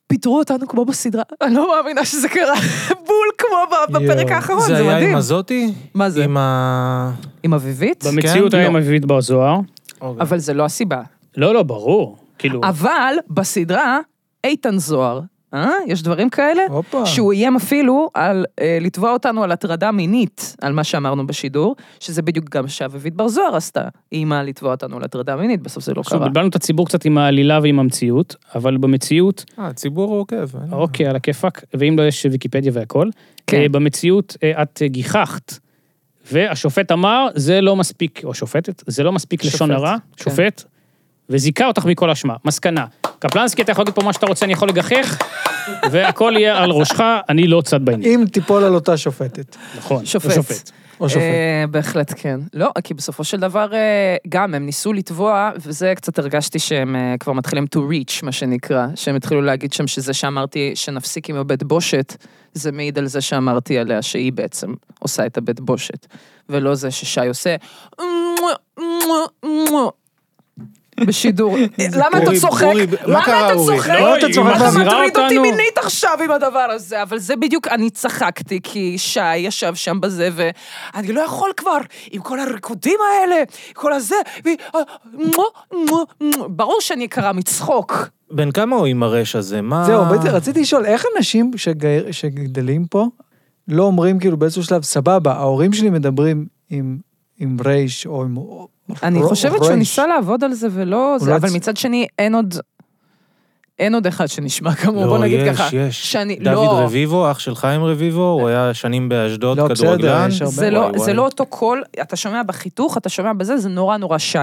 C: פיטרו אותנו כמו בסדרה, אני לא מאמינה שזה קרה, בול כמו ב- בפרק
A: יואו,
C: האחרון,
D: זה
C: זה
D: היה
C: מדהים.
D: עם הזאתי?
C: מה זה?
D: עם ה...
C: עם אביבית?
B: במציאות
D: כן?
B: היה עם
D: לא.
B: אביבית בר זוהר.
D: אוקיי.
C: אבל זה לא הסיבה.
B: לא, לא, ברור. כאילו...
C: אבל בסדרה, איתן זוהר, אה? יש דברים כאלה?
A: הופה.
C: שהוא איים אפילו על אה, לתבוע אותנו על הטרדה מינית, על מה שאמרנו בשידור, שזה בדיוק גם שאביבית בר זוהר עשתה, היא איימה לתבוע אותנו על הטרדה מינית, בסוף זה לא
B: שוב,
C: קרה.
B: בלבלנו את הציבור קצת עם העלילה ועם המציאות, אבל במציאות
D: אה, הציבור עוקב. אין-
B: אוקיי, על הכיפאק, ואם לא יש ויקיפדיה והכל.
C: כן.
B: אה, במציאות אה, את אה, גיחכת, והשופט אמר, זה לא מספיק, או שופטת, זה לא מספיק
C: שופט,
B: לשון הרע,
C: כן.
B: שופט, וזיכה אותך מכל אשמה. מסקנה, קפלנסקי, אתה יכול להגיד פה מה שאתה רוצה, אני יכול לגחך, והכל יהיה על ראשך, אני לא צד בעניין.
A: אם תיפול על אותה שופטת,
B: נכון,
C: שופט.
B: השופט.
A: או שופט.
C: אה, בהחלט כן. לא, כי בסופו של דבר, אה, גם הם ניסו לתבוע, וזה קצת הרגשתי שהם אה, כבר מתחילים to reach, מה שנקרא, שהם התחילו להגיד שם שזה שאמרתי שנפסיק עם הבית בושת, זה מעיד על זה שאמרתי עליה שהיא בעצם עושה את הבית בושת, ולא זה ששי עושה... בשידור. למה אתה
D: אורי,
C: צוחק?
D: אורי, מה
C: למה
D: קרה,
C: אתה
D: אורי?
C: צוחק?
B: לא,
A: אתה
B: היא
A: צוחק,
C: למה
B: מחזירה
C: מטריד אותי
B: אותנו.
C: מינית עכשיו עם הדבר הזה? אבל זה בדיוק, אני צחקתי, כי שי ישב שם בזה, ואני לא יכול כבר, עם כל הריקודים אה, האלה, כל הזה, ו... ברור שאני אקרא מצחוק.
D: בן כמה הוא עם הרש הזה? מה...
A: זהו,
C: אה.
A: בעצם רציתי לשאול, איך אנשים שגר- שגדלים פה לא אומרים כאילו באיזשהו שלב, סבבה, ההורים שלי מדברים עם עם רייש או עם...
C: אני
A: ר-
C: חושבת שהוא
A: רייש."
C: ניסה לעבוד על זה ולא
A: לא
C: זה, אבל
A: הצ-
C: מצד שני, אין עוד... אין עוד אחד שנשמע כמוהו, בוא
D: לא,
C: נגיד
D: יש,
C: ככה.
D: יש.
C: שאני,
D: דוד
C: לא,
D: רביבו, אח של חיים רביבו, הוא היה שנים באשדוד
A: לא, בסדר,
D: כדורגלן.
A: יש הרבה.
C: זה, לא,
D: וואי,
C: זה
D: וואי.
C: לא אותו קול, אתה שומע בחיתוך, אתה שומע בזה, זה נורא נורא שי.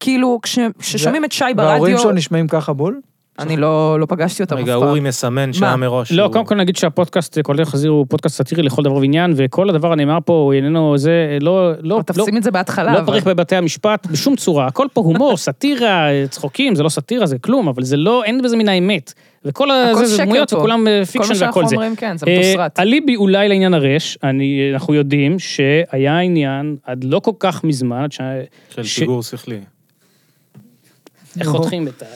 C: כאילו, כש- כששומעים את שי
A: וההורים
C: ברדיו,
A: שלו נשמעים ככה בול?
C: אני לא, לא פגשתי אותם אף
D: רגע,
C: פעם.
D: אורי מסמן שעה מראש.
B: לא,
D: שהוא-
B: קודם כל נגיד שהפודקאסט, אה, כולל חזיר, הוא פודקאסט סאטירי לכל דבר ועניין, וכל הדבר הנאמר פה, הוא איננו זה, לא, לא,
C: אבל תופסים את זה אה. בהתחלה.
B: לא
C: אבל-
B: פריך בבתי המשפט בשום צורה, הכל פה הומור, סאטירה, צחוקים, זה לא סאטירה, זה כלום, אבל זה לא, אין בזה מן האמת. וכל ה-
C: הכל
B: זה- זה
C: שקר
B: דמויות,
C: פה.
B: וכולם אה, פיקשן
C: כל מה
B: והכל
C: שאנחנו
B: זה.
C: אומרים, כן, זה
B: אה,
C: מתוסרט.
B: אליבי אולי לעניין הרש, אני- אנחנו יודעים שהיה עניין עד לא כל כך מזמן, עד ש-
D: של
B: ש-
D: פיגור שכלי.
C: אה,
B: איך
A: נו.
B: חותכים את ה...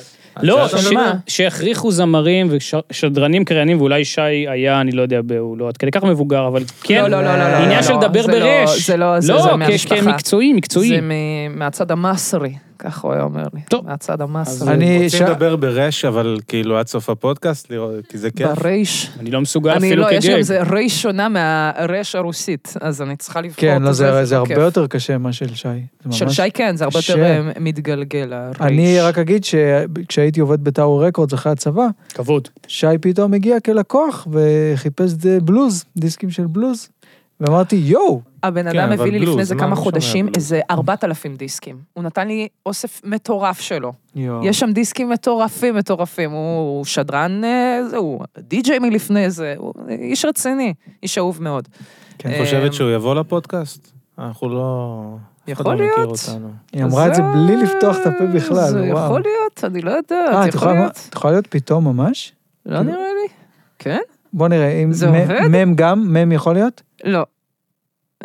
B: לא,
D: אתה
B: ש-
C: יודע מה?
B: שהכריחו זמרים ושדרנים קריינים, ואולי שי היה, אני לא יודע, ב- הוא לא עד כדי כך מבוגר, אבל כן,
C: לא, לא, לא, לא, לא,
B: עניין
C: לא,
B: של
C: לא,
B: לדבר
C: זה לא-
B: ברש.
C: זה לא- זה- זה
B: לא, כ-
C: מהמשפחה.
B: כמקצועי, מקצועי.
C: זה מ- מהצד המסרי, כך הוא היה אומר לי.
B: טוב.
C: מהצד המסרי.
A: אני... ש-
D: רוצים לדבר ברש, אבל כאילו עד סוף הפודקאסט, לראות- כי זה
A: כן.
D: כיף.
C: ברייש.
B: אני לא מסוגל
C: אני
B: אפילו
C: לא, יש
B: כגג.
C: גם זה רייש שונה מהרייש הרוסית, אז אני צריכה לבחור.
A: כן,
C: את
A: לא, זה זה
C: כיף.
A: הרבה יותר קשה מה של שי. זה
C: של
A: ממש-
C: שי כן, זה הרבה
A: קשה.
C: יותר אה, מתגלגל, הרייש.
A: אני רק אגיד שכשהייתי עובד בטאור רקורדס אחרי הצבא,
B: כבוד.
A: שי פתאום הגיע כלקוח וחיפש ד- בלוז, דיסקים של בלוז, ואמרתי, יואו,
C: הבן
D: כן,
C: אדם
D: אבל
C: הביא לי
D: בלוז,
C: לפני איזה
D: מה
C: כמה
D: אני שומע
C: חודשים
D: בלוז?
C: איזה 4,000 דיסקים. הוא נתן לי אוסף מטורף שלו.
A: יואו.
C: יש שם דיסקים מטורפים, מטורפים. הוא הוא שדרן, אה, זה, הוא די-ג'יי מלפני זה, הוא איש רציני, איש אהוב מאוד.
A: כן.
D: את
C: אה,
D: חושבת שהוא יבוא לפודקאסט? אנחנו לא... אף אחד
C: יכול
D: לא מכיר
C: להיות.
D: אותנו.
A: היא אמרה את זה בלי לפתוח את הפה בכלל,
C: זה
A: וואו.
C: יכול להיות, אני לא
A: אה,
C: יודעת,
A: את
C: יכול
A: יכולה- כאילו-
C: להיות.
A: את יכולה להיות פתאום ממש?
C: לא נראה לי. כן?
A: בוא נראה, אם
C: זה
A: מ-
C: עובד?
A: מם גם, מם יכול להיות?
C: לא.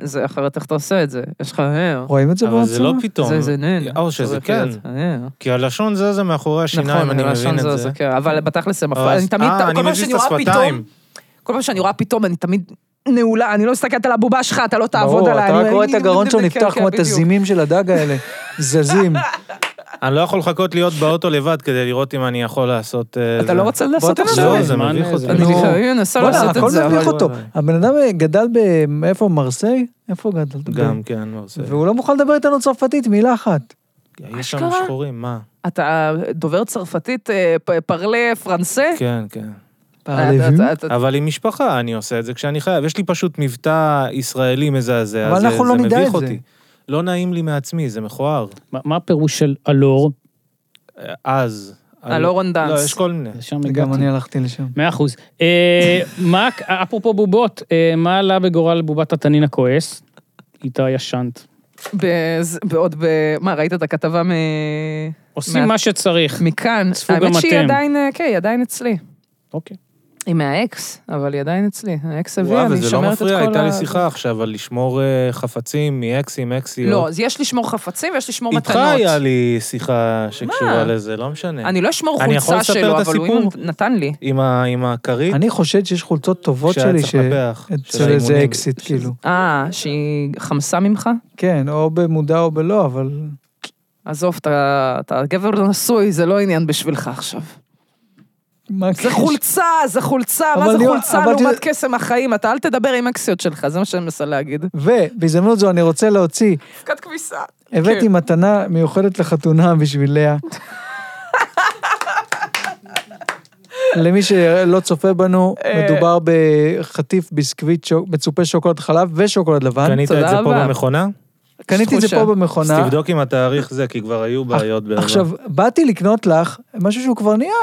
C: זה אחרת איך אתה עושה את זה, יש לך הר.
A: רואים את זה
D: אבל זה לא
A: בעצמה?
D: פתאום.
C: זה זה נן.
A: אה,
D: או שזה
C: צריך
D: כן.
C: להיות הר.
D: כי הלשון זזה מאחורי השיניים,
C: נכון,
D: אני
C: הלשון
D: מבין
C: זו,
D: את
C: זה
D: זה.
C: כן, אבל בתכלס זה מפריע,
D: אבל-
C: אני תמיד,
D: אה,
C: כל
D: אני
C: פעם
D: מזיז
C: שאני
D: את
C: רואה פתאום,
D: השפתיים.
C: כל פעם שאני רואה פתאום, אני תמיד נעולה, אני לא מסתכלת על הבובה שלך, אתה לא תעבוד
A: ברור,
C: עליי.
A: אתה רק
C: אני-
A: רואה את הגרון שלו
C: כן,
A: נפתח
C: כן,
A: כמו
C: בדיוק.
A: תזימים של הדג האלה, זזים.
D: אני לא יכול לחכות להיות באוטו לבד כדי לראות אם אני יכול לעשות... אה,
C: אתה
D: זה.
C: לא רוצה לעשות את
A: תחשוב.
C: זה?
D: לא, זה
B: זמן,
D: מביך
B: אה,
D: אותי.
B: זה-
C: אני
A: נו.
C: לפעמים מנסה
A: בוא'נה,
C: לעשות
A: הכל
C: לא את
D: לא
C: זה,
A: מביך
C: אבל...
A: אותו. הבן אדם אה, גדל ב... איפה, מרסיי? איפה גדל?
D: גם כן, לא, זה...
A: והוא לא מוכן לדבר איתנו צרפתית, מילה אחת.
D: היו שם
C: אשכרה?
D: שחורים, מה?
C: אתה דובר צרפתית, אה, פ- פרלה פרנסה?
D: כן, כן.
A: אבל
C: אתה- אתה-
D: אבל עם משפחה אני עושה את זה כשאני חייב. יש לי פשוט מבטא ישראלי מזעזע,
A: אבל
D: זה-
A: אנחנו לא
D: זה
A: נדע
D: מביך
A: את זה.
D: אותי. לא נעים לי מעצמי, זה מכוער.
B: מה- מה הפירוש של אלור?
D: אה, אז.
C: אה, לא רון דאנס.
D: לא, יש כל מיני.
B: לשם
A: גם
B: הגעתי.
A: אני הלכתי לשם.
B: מאה אחוז. אה, מה, אפרופו בובות, אה, מה עלה בגורל בובת התנין הכועס? איתה ישנת.
C: בז- בעוד ב... מה, ראית את הכתבה מ...
B: עושים
C: מה-
B: מה שצריך.
C: מכאן?
B: צפו גם
C: האמת שהיא
B: אתם.
C: עדיין, אה, כן, היא עדיין אצלי.
B: אוקיי.
C: היא מהאקס, אבל היא עדיין אצלי. האקס הביא,
D: וואו,
C: אני
D: וזה לא
C: שומרת את כל ה...
D: מפריע, הייתה לי שיחה עכשיו על לשמור אה, חפצים מאקסים, אקסיות.
C: לא, אז יש לשמור חפצים ויש לשמור
D: איתך
C: מתנות.
D: היה לי שיחה שקשורה
C: מה?
D: לזה, לא משנה.
C: אני לא אשמור
D: אני יכול
C: חולצה
D: לספר
C: שלו,
D: את
C: אבל הוא
D: הסיפור?
C: נתן לי.
D: עם ה- עם הכרית,
A: אני חושד שיש חולצות טובות
D: שהיה
A: שלי
D: צריך
A: ש...
D: לנפח, של
A: אצל איזה
D: האימונים.
A: אקסיט, כאילו.
C: אה, שהיא חמסה ממך?
A: כן, או במודע או בלא, אבל...
C: עזוב, אתה אתה גבר נשוי, זה לא עניין בשבילך עכשיו.
A: מה
C: זה חולצה, זה חולצה, מה
A: כן, אבל
C: זה
A: ליאור,
C: חולצה
A: אבל
C: לעומת
A: תראה-
C: קסם החיים? אתה אל תדבר עם אקסיות שלך, זה מה שאני מנסה להגיד.
A: ובהזדמנות זו אני רוצה להוציא,
C: אבקת כביסה.
A: הבאתי מתנה מיוחדת לחתונה בשביל לאה. למי שלא צופה בנו, מדובר בחטיף ביסקוויט, שוק- מצופה שוקולד חלב ושוקולד לבן.
D: קנית
C: תודה
D: את זה פה
C: רבה.
D: במכונה?
A: קניתי את זה פה
C: תחושה.
D: אז
A: במכונה.
D: תבדוק אם התאריך זה, כי כבר היו בעיות בעבר.
A: עכשיו, באתי לקנות לך משהו שהוא כבר נהיה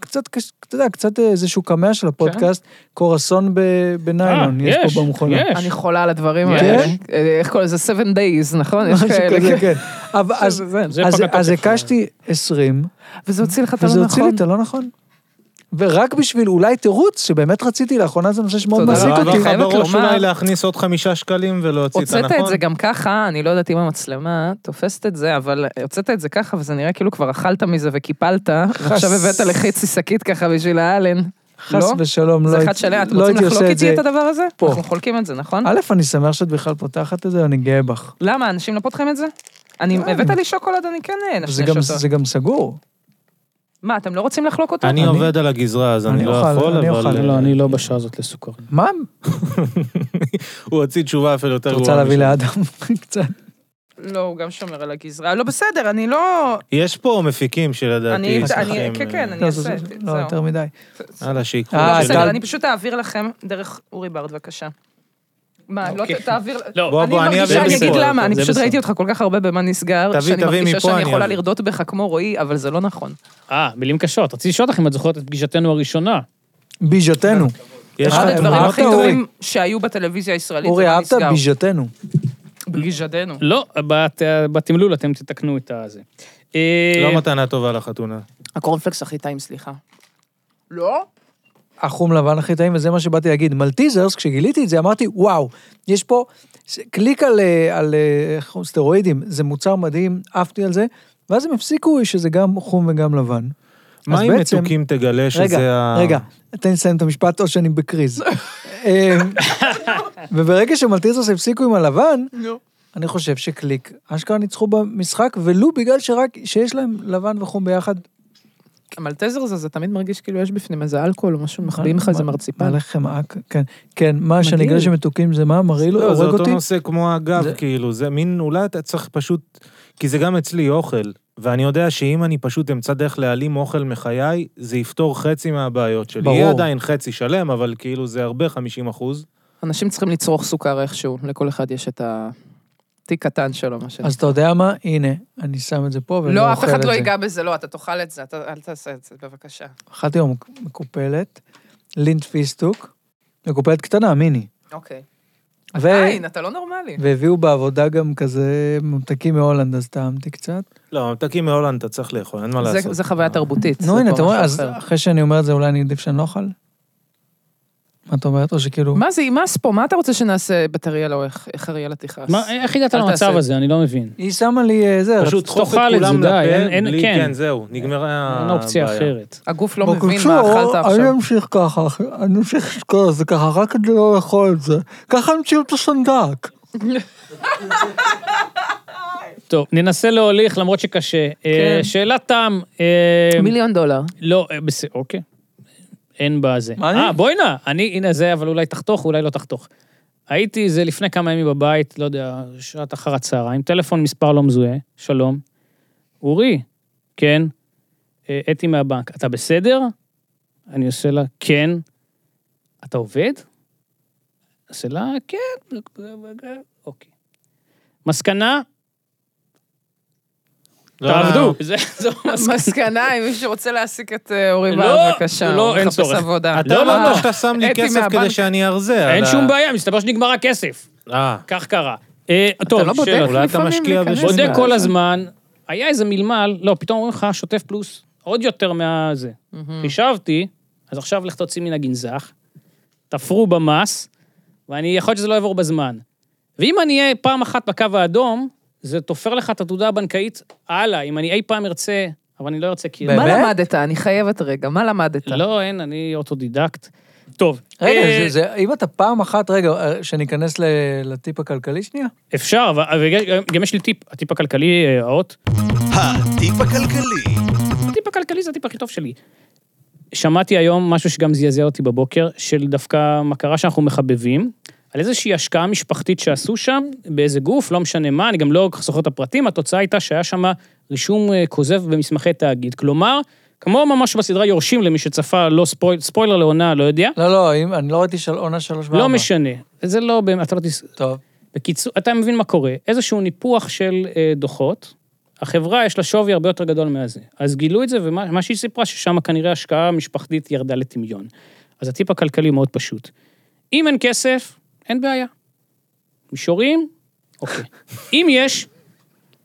A: קצת, קש- אתה יודע, קצת איזשהו קמע של הפודקאסט, קורסון ב- בניילון,
B: אה,
A: יש פה במכונה.
C: אני חולה על הדברים
B: יש.
C: האלה. אה, איך קוראים לזה? 7 days, נכון? יש
A: משהו
C: כאלה.
A: כזה,
C: כן.
A: כן. אבל אז-
C: זה-
B: זה
A: אז-
B: פגע
A: אז
B: תוקף.
A: הקשתי 20,
C: וזה הוציא לך את
A: וזה
C: הלא
A: הוציא לי
C: נכון.
A: את הלא נכון. ורק בשביל אולי תירוץ, שבאמת רציתי לאחרונה, זה נושא שמאוד
C: תודה
A: מעסיק
C: רבה. לא?
A: אותי.
C: אני חייבת
D: בראש
C: לומר-
D: לא אולי להכניס עוד חמישה שקלים ולהוציא את הנכון.
C: הוצאת את
A: נכון.
C: זה גם ככה, אני לא יודעת אם המצלמה תופסת את זה, אבל הוצאת את זה ככה, וזה נראה כאילו כבר אכלת מזה וקיפלת, ועכשיו הבאת לחצי שקית ככה בשביל האלן.
A: חס
C: לא?
A: ושלום, לא
C: זה אחד
A: הייתי-
C: שלם, אתם
A: לא
C: רוצים
A: הייתי
C: לחלוק
A: עושה את
C: איתי
A: זה.
C: את הדבר הזה?
A: פה.
C: אנחנו חולקים את זה, נכון?
A: א', אני שמח שאת בכלל פותחת את זה, אני גאה בך.
C: למה, אנשים לא פותחים את זה? אני, הבאת לי שוקולד, אני כן
A: זה
C: נשנש
A: גם-
C: אותו.
A: זה גם סגור.
C: מה, אתם לא רוצים לחלוק אותו?
D: אני עובד על הגזרה, אז אני
A: אני
D: לא
A: אוכל,
D: יכול,
A: אני
D: אבל...
A: אוכל.
D: אה,
B: לא, אני לא בשעה הזאת לסוכר.
A: מה?
D: הוא הוציא תשובה אפילו יותר
A: את
D: גרועה.
A: רוצה להביא
D: משלי.
A: לאדם קצת?
C: לא, הוא גם שומר על הגזרה. לא, בסדר, אני לא...
D: יש פה מפיקים שלדעתי...
C: אני-
D: צריכים,
C: אני- כן,
D: אה,
C: כן, אני-
A: לא,
C: אעשה
A: זה-
C: את זה,
A: לא,
C: זהו.
A: יותר מדי.
D: יאללה, שיקחו.
A: אה,
C: לא,
D: את שלי.
A: טל.
C: בסדר, אני פשוט אעביר לכם דרך אורי ברד, בבקשה. מה, לא
B: אוקיי.
C: ת- תעביר...
B: לא,
D: בוא,
C: אני
D: בוא, אני
C: מרגישה,
D: אעביר
C: אני
D: מפה.
C: אגיד למה, אני
D: זה
C: פשוט
D: בסדר.
C: ראיתי אותך כל כך הרבה במה נסגר,
D: תביא,
C: שאני
D: תביא
C: מרגישה
D: מפה,
C: שאני
D: אני
C: יכולה
D: אעביר.
C: לרדות בך כמו רועי, אבל זה לא נכון.
B: אה, מילים קשות. רציתי לשאול אותך אם את זוכרת את פגישתנו הראשונה.
A: ביז'ותנו.
C: לא,
D: יש
C: אחד
A: אה,
D: לך
C: הדברים
A: אמרת,
D: תמונות?
C: הכי
A: אורי?
C: טובים
D: אה.
C: שהיו בטלוויזיה הישראלית,
A: אורי,
C: זה מה
A: אהבת?
C: לא נסגר.
A: ביז'ותנו.
C: בגיז'דנו.
B: לא, בת- בתמלול אתם תתקנו את הזה. אה,
D: לא מתנה טובה לחתונה.
C: הקורנפלקס הכי טעים, סליחה. לא?
A: החום לבן הכי טעים, וזה מה שבאתי להגיד. מלטיזרס, כשגיליתי את זה, אמרתי, וואו, יש פה, ש- קליק על, אה, על אה, איך קוראים, סטרואידים, זה מוצר מדהים, עפתי על זה, ואז הם הפסיקו שזה גם חום וגם לבן.
D: מה
A: אז
D: אם
A: בעצם-
D: מתוקים תגלה שזה
A: רגע,
D: ה...
A: רגע, תן לי לסיים את המשפט, או שאני בקריז. אה, וברגע שמלטיזרס הפסיקו עם הלבן,
C: נו.
A: אני חושב שקליק, אשכרה ניצחו במשחק, ולו בגלל שרק, שיש להם לבן וחום ביחד,
C: המלטזר הזה, זה תמיד מרגיש כאילו יש בפנים איזה אלכוהול או משהו, מחביאים לך איזה
A: מה-
C: מרציפן.
A: מלא חמאה, כן, כן, מה שאני
C: מדהים.
A: אגלה שמתוקים זה מה, מרעיל,
D: לא, זה
A: הורג
D: אותו
A: אותי?
D: נושא כמו הגב,
A: זה-
D: כאילו, זה מין, אולי אתה צריך פשוט... כי זה גם אצלי אוכל, ואני יודע שאם אני פשוט אמצא דרך להעלים אוכל מחיי, זה יפתור חצי מהבעיות שלי.
A: ברור.
D: יהיה עדיין חצי שלם, אבל כאילו זה הרבה 50 אחוז.
C: אנשים צריכים לצרוך סוכר איכשהו, לכל אחד יש את התיק קטן שלו, מה שנקרא.
A: אז אתה יודע מה? הנה, אני שם את זה פה ולא
C: לא,
A: אוכל
C: אף
A: את זה.
C: אחד לא ייגע בזה, לא, אתה תאכל את זה, אתה- אל תעשה את זה, בבקשה.
A: אכלתי היום מקופלת, לינט פיסטוק, מקופלת קטנה, מיני.
C: אוקיי.
A: ו-
C: עין, אתה לא נורמלי.
A: והביאו בעבודה גם כזה ממתקים מהולנד, אז טעמתי קצת.
D: לא, ממתקים מהולנד אתה צריך לאכול, אין מה
C: זה-
D: לעשות.
C: זה חוויה תרבותית.
A: נו,
C: זה
A: הנה,
C: כבר
A: אתה רואה,
C: משהו
A: אז
C: אחר.
A: אחרי שאני אומר את זה, אולי אני עדיף שאני לא אוכל? מה את אומרת? או שכאילו...
C: מה זה ימאס פה? מה אתה רוצה שנעשה בת אריאל או איך איך אריאלה תכעס?
B: מה, איך הגעת
C: אל
B: למצב
C: תעשה.
B: הזה? אני לא מבין.
A: היא שמה לי אה, זה,
D: פשוט
A: רצ-
D: דחוף את
B: תאכל את זה,
D: כולם
B: די,
D: לפה,
B: אין- אין-
D: בלי,
B: כן.
D: כן, זהו, נגמרה
C: אה,
B: אין אופציה
D: הבעיה.
B: אחרת.
C: הגוף לא מבין
A: בקיצור,
C: מה אכלת
A: אני
C: עכשיו.
A: אמשיך ככה, אני אמשיך כל זה ככה, רק כדי לא לאכול את זה. ככה המציאו את הסנדק.
B: טוב, ננסה להוליך, למרות שקשה.
C: כן.
B: אה, שאלת תם. אה,
C: מיליון דולר.
B: לא, אה, בסדר, אוקיי. אין בזה.
A: מה אני?
B: אה, בואי נא, אני, הנה זה, אבל אולי תחתוך, אולי לא תחתוך. הייתי זה לפני כמה ימים בבית, לא יודע, שעת אחר הצהריים, טלפון מספר לא מזוהה, שלום. אורי, כן, אה, אתי מהבנק, אתה בסדר? אני עושה לה, כן. אתה עובד? עושה לה, כן. אוקיי. מסקנה,
D: לא,
B: תעבדו. זה- זו מסקנה.
C: מסקנה, אם מישהו רוצה להעסיק את אה, אורי
B: לא,
C: בר, בבקשה.
B: לא,
C: הוא
B: אין
C: מחפש
B: צורך.
C: עבודה.
D: אתה
B: לא, לא,
D: אמרת
B: לא.
D: שאתה שם לי
C: אתי
D: כסף כדי
C: מהבנק.
D: שאני ארזה.
B: אין
D: על
B: שום
D: ה-
B: בעיה, מסתבר שנגמר הכסף.
D: אה,
B: כך קרה. אה, טוב,
C: אתה לא בודק
B: שאלות.
D: אולי אתה
C: לפעמים
D: משקיע
C: להיכנס?
D: בשביל
B: בודק
D: זה.
B: כל הזמן, היה איזה מלמל, לא, פתאום אומרים לך, שוטף פלוס, עוד יותר מהזה.
C: Mm.
B: חישבתי, אז עכשיו לך תוציא מן הגנזך, תפרו במס, ואני, יכול להיות שזה לא יעבור בזמן. ואם אני אהיה פעם אחת בקו האדום, זה תופר לך את התעודה הבנקאית הלאה, אם אני אי פעם ארצה, אבל אני לא ארצה כי...
A: באמת?
C: מה למדת? אני חייבת רגע, מה למדת?
B: לא, אין, אני אוטודידקט. טוב.
A: רגע,
B: אה,
A: זה- זה- אם אתה פעם אחת, רגע, אה, שניכנס ל- לטיפ הכלכלי שנייה?
B: אפשר, אבל אבל גם יש לי טיפ, הטיפ הכלכלי, אה, האות.
E: הטיפ הכלכלי.
B: הטיפ הכלכלי זה הטיפ הכי טוב שלי. שמעתי היום משהו שגם זעזע אותי בבוקר, של דווקא מה קרה שאנחנו מחבבים, על איזושהי השקעה משפחתית שעשו שם, באיזה גוף, לא משנה מה, אני גם לא כל כך זוכר את הפרטים, התוצאה הייתה שהיה שם רישום אה, כוזב במסמכי תאגיד. כלומר, כמו ממש בסדרה יורשים למי שצפה, לא ספויל, ספוילר לעונה, לא יודע,
A: לא, לא, אם- אני לא ראיתי של עונה שלוש וארבע.
B: לא משנה. זה לא, באמת- אתה לא תס...
A: טוב.
B: בקיצור, אתה מבין מה קורה, איזשהו ניפוח של אה, דוחות, החברה יש לה שווי הרבה יותר גדול מהזה. אז גילו את זה, ומה מה שהיא סיפרה, ששם כנראה ההשקעה המשפחתית ירדה לטמיון. אז הטיפ הכלכלי מאוד פשוט. אם אין כסף, אין בעיה. מישורים, אוקיי. אם יש,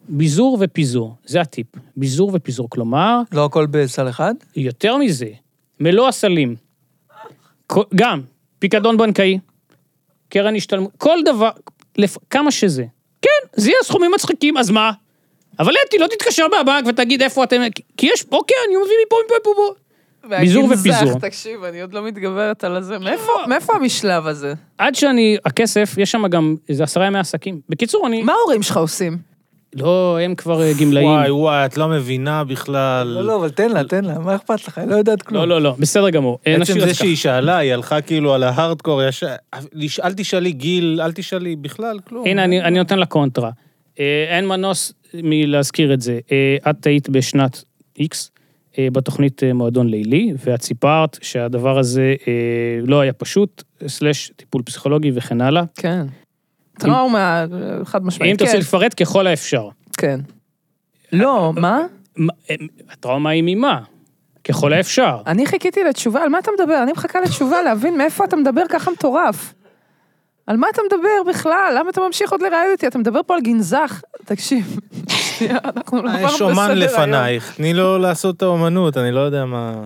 B: ביזור ופיזור, זה הטיפ. ביזור ופיזור, כלומר,
A: לא הכל בסל אחד?
B: יותר מזה, מלוא הסלים, כל- גם פיקדון בנקאי, קרן השתלמות, כל דבר, לפ... כמה שזה. כן, זה יהיה סכומים מצחיקים, אז מה? אבל אתי, לא תתקשר מהבנק ותגיד איפה אתם... כי יש, אוקיי, אני מביא מפה, מפה, מפה, מפה. ביזור
C: והגנזך,
B: ופיזור. לא.
C: תקשיב, אני עוד לא מתגברת על הזה. מאיפה- מאיפה המשלב הזה?
B: עד שאני, הכסף, יש שם גם איזה עשרה ימי עסקים. בקיצור, אני...
C: מה ההורים שלך עושים?
B: לא, הם כבר אה, גמלאים.
D: וואי, וואי, את לא מבינה בכלל.
A: לא, לא, אבל תן לה, תן לה, מה אכפת לך? היא לא יודעת כלום.
B: לא, לא, לא, בסדר גמור. אה,
D: עצם
B: נשאיר את
D: זה
B: זה ככה.
D: שהיא שאלה, היא הלכה כאילו על ההארדקור, יש... לש- אל תשאלי גיל, אל תשאלי בכלל, כלום.
B: הנה,
A: אוקיי.
B: אני, אני נותן לה קונטרה. אה, אין מנוס מלהזכיר את זה. אה, את היית בשנת X אה, בתוכנית אה, מועדון לילי, ואת סיפרת שהדבר הזה אה, לא היה פשוט, סלש טיפול פסיכולוגי וכן הלאה.
C: כן. אתה
B: אם-
C: לא אומר, חד
B: אם
C: משמעית,
B: תרצי
C: כן,
B: לפרט ככל האפשר.
C: כן. לא, מה?
B: מה- אה, הטראומה היא ממה? ככל האפשר.
C: אני חיכיתי לתשובה, על מה אתה מדבר? אני מחכה לתשובה להבין מאיפה אתה מדבר ככה מטורף. על מה אתה מדבר בכלל? למה אתה ממשיך עוד לראיין אותי? אתה מדבר פה על גנזך. תקשיב, שנייה, אנחנו לא עברנו
D: אה, יש אומן
C: בסדר היום.
D: לפנייך, תני לו לעשות את האומנות, אני לא יודע מה...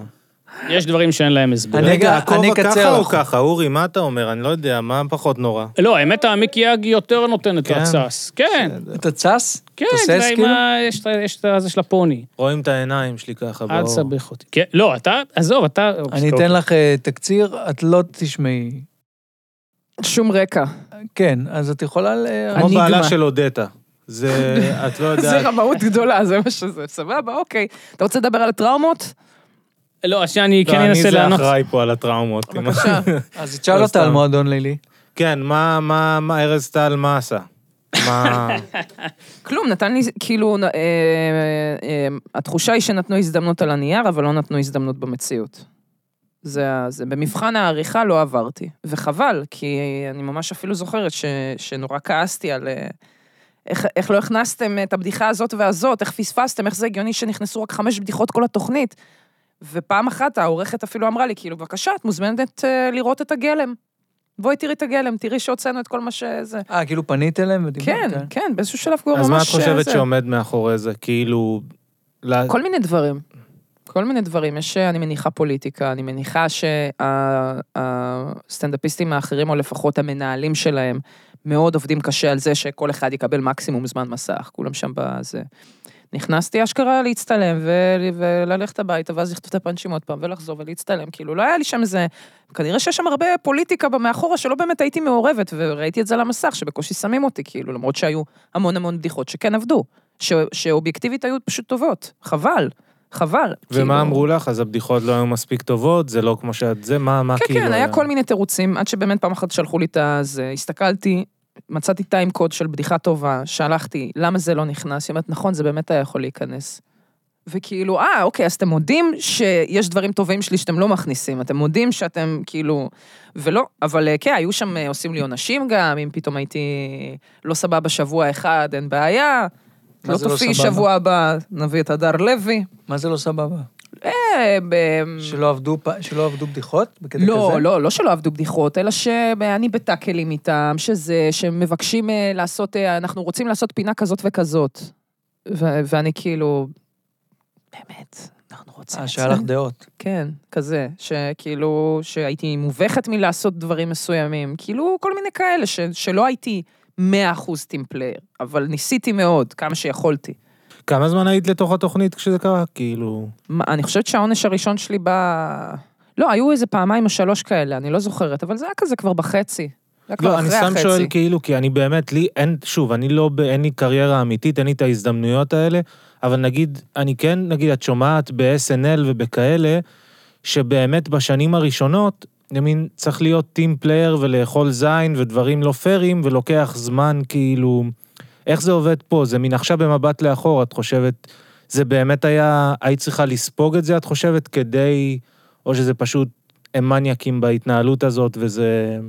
B: יש דברים שאין להם הסבר.
A: אני-
D: רגע,
A: רגע, אני
D: הכובע
A: אקצר
D: ככה או
A: לך.
D: ככה? אורי, מה אתה אומר? אני לא יודע, מה פחות נורא?
B: לא, האמת המיקי יאג יותר נותנת
D: כן?
B: לצס. כן,
A: אתה צס?
B: כן,
A: תוסס
B: זה עם
A: כאילו?
B: ה- יש את ה- יש את הזה של הפוני.
D: רואים את העיניים שלי ככה,
B: אל
D: ברור.
B: תסבך אותי. כן, לא, אתה, עזוב, אתה...
A: אני אתן לך אה, תקציר, את לא תשמעי.
C: שום רקע.
A: כן, אז את יכולה ל... אה,
D: כמו
C: אניגמה.
D: בעלה של אודטה. זה, את לא
C: זה
D: יודעת.
C: רמאות גדולה, זה מה שזה. סבבה, אוקיי. אתה רוצה לדבר על הטראומות?
B: לא, אז שאני
D: לא,
B: כן אנסה
D: אני זה
B: לענות.
D: אחראי פה על הטראומות. כאילו.
C: בבקשה.
A: אז תשאל אותה על מועדון לילי.
D: כן, מה, מה, מה, ארז טל, מה עשה? מה...
C: כלום, נתן לי, כאילו, אה, אה, התחושה היא שנתנו הזדמנות על הנייר, אבל לא נתנו הזדמנות במציאות. זה, ה- זה במבחן העריכה לא עברתי, וחבל, כי אני ממש אפילו זוכרת ש, שנורא כעסתי על אה, איך, איך לא הכנסתם את הבדיחה הזאת והזאת, איך פספסתם, איך זה הגיוני שנכנסו רק חמש בדיחות כל התוכנית. ופעם אחת העורכת אפילו אמרה לי, כאילו, בבקשה, את מוזמנת אה, לראות את הגלם. בואי תראי את הגלם, תראי שהוצאנו את כל מה שזה.
A: אה, כאילו פנית אליהם
C: כן,
A: ודיברת?
C: כן, באיזשהו שלב כבר ממש...
D: אז מה את
C: אה,
D: חושבת
C: זה.
D: שעומד מאחורי זה? כאילו... לה-
C: כל מיני דברים. כל מיני דברים. יש, אה, אני מניחה, פוליטיקה, אני מניחה שהסטנדאפיסטים האחרים, או לפחות המנהלים שלהם, מאוד עובדים קשה על זה שכל אחד יקבל מקסימום זמן מסך, כולם שם בזה. נכנסתי אשכרה להצטלם ו- וללכת הביתה, ואז לכתוב את הפאנצ'ים עוד פעם, ולחזור ולהצטלם. כאילו, לא היה לי שם איזה... כנראה שיש שם הרבה פוליטיקה במאחורה שלא באמת הייתי מעורבת, וראיתי את זה על המסך, שבקושי שמים אותי, כאילו, למרות שהיו המון המון בדיחות שכן עבדו. ש- שאובייקטיבית היו פשוט טובות. חבל, חבל.
D: ומה
C: כאילו-
D: אמרו לך? אז הבדיחות לא היו מספיק טובות? זה לא כמו שאת... זה, מה, מה
C: כן,
D: כאילו...
C: כן, היה כל מיני תירוצים, עד שבאמת פעם אחת שלחו לי את הזה, הסתכלתי, מצאתי טיים קוד של בדיחה טובה, שלחתי, למה זה לא נכנס? היא אומרת, נכון, זה באמת היה יכול להיכנס. וכאילו, אה, אוקיי, אז אתם מודים שיש דברים טובים שלי שאתם לא מכניסים, אתם מודים שאתם כאילו... ולא, אבל אה, כן, היו שם, אה, עושים לי עונשים גם, אם פתאום הייתי לא סבבה שבוע אחד, אין בעיה.
A: מה
C: לא
A: זה לא
C: תופיעי
A: סבבה?
C: שבוע הבא, נביא את הדר לוי.
A: מה זה לא סבבה?
C: אה, ב-
A: שלא עבדו פ- שלא עבדו בדיחות? בקטע
C: לא,
A: כזה?
C: לא, לא שלא עבדו בדיחות, אלא שאני בטאקלים איתם, שזה, שמבקשים אה, לעשות, אה, אנחנו רוצים לעשות פינה כזאת וכזאת. ו- ואני כאילו, באמת, אנחנו רוצים
A: אה,
C: את זה.
A: שהיה לך דעות.
C: כן, כזה, שכאילו, שהייתי מובכת מלעשות דברים מסוימים, כאילו כל מיני כאלה, ש- שלא הייתי 100% טים פלייר, אבל ניסיתי מאוד, כמה שיכולתי.
D: כמה זמן היית לתוך התוכנית כשזה קרה? כאילו...
C: מה, אני חושבת שהעונש הראשון שלי בא... לא, היו איזה פעמיים או שלוש כאלה, אני לא זוכרת, אבל זה היה כזה כבר בחצי. זה היה כבר
D: לא,
C: אחרי
D: אני
C: החצי.
D: סתם שואל כאילו, כי אני באמת, לי אין, שוב, אני לא, ב- אין לי קריירה אמיתית, אין לי את ההזדמנויות האלה, אבל נגיד, אני כן, נגיד, את שומעת ב-SNL ובכאלה, שבאמת בשנים הראשונות, אני מין, צריך להיות טים פלייר ולאכול זין ודברים לא פיירים, ולוקח זמן כאילו... איך זה עובד פה? זה מין עכשיו במבט לאחור, את חושבת, זה באמת היה, היית צריכה לספוג את זה, את חושבת, כדי, או שזה פשוט, הם מניאקים בהתנהלות הזאת, וזה...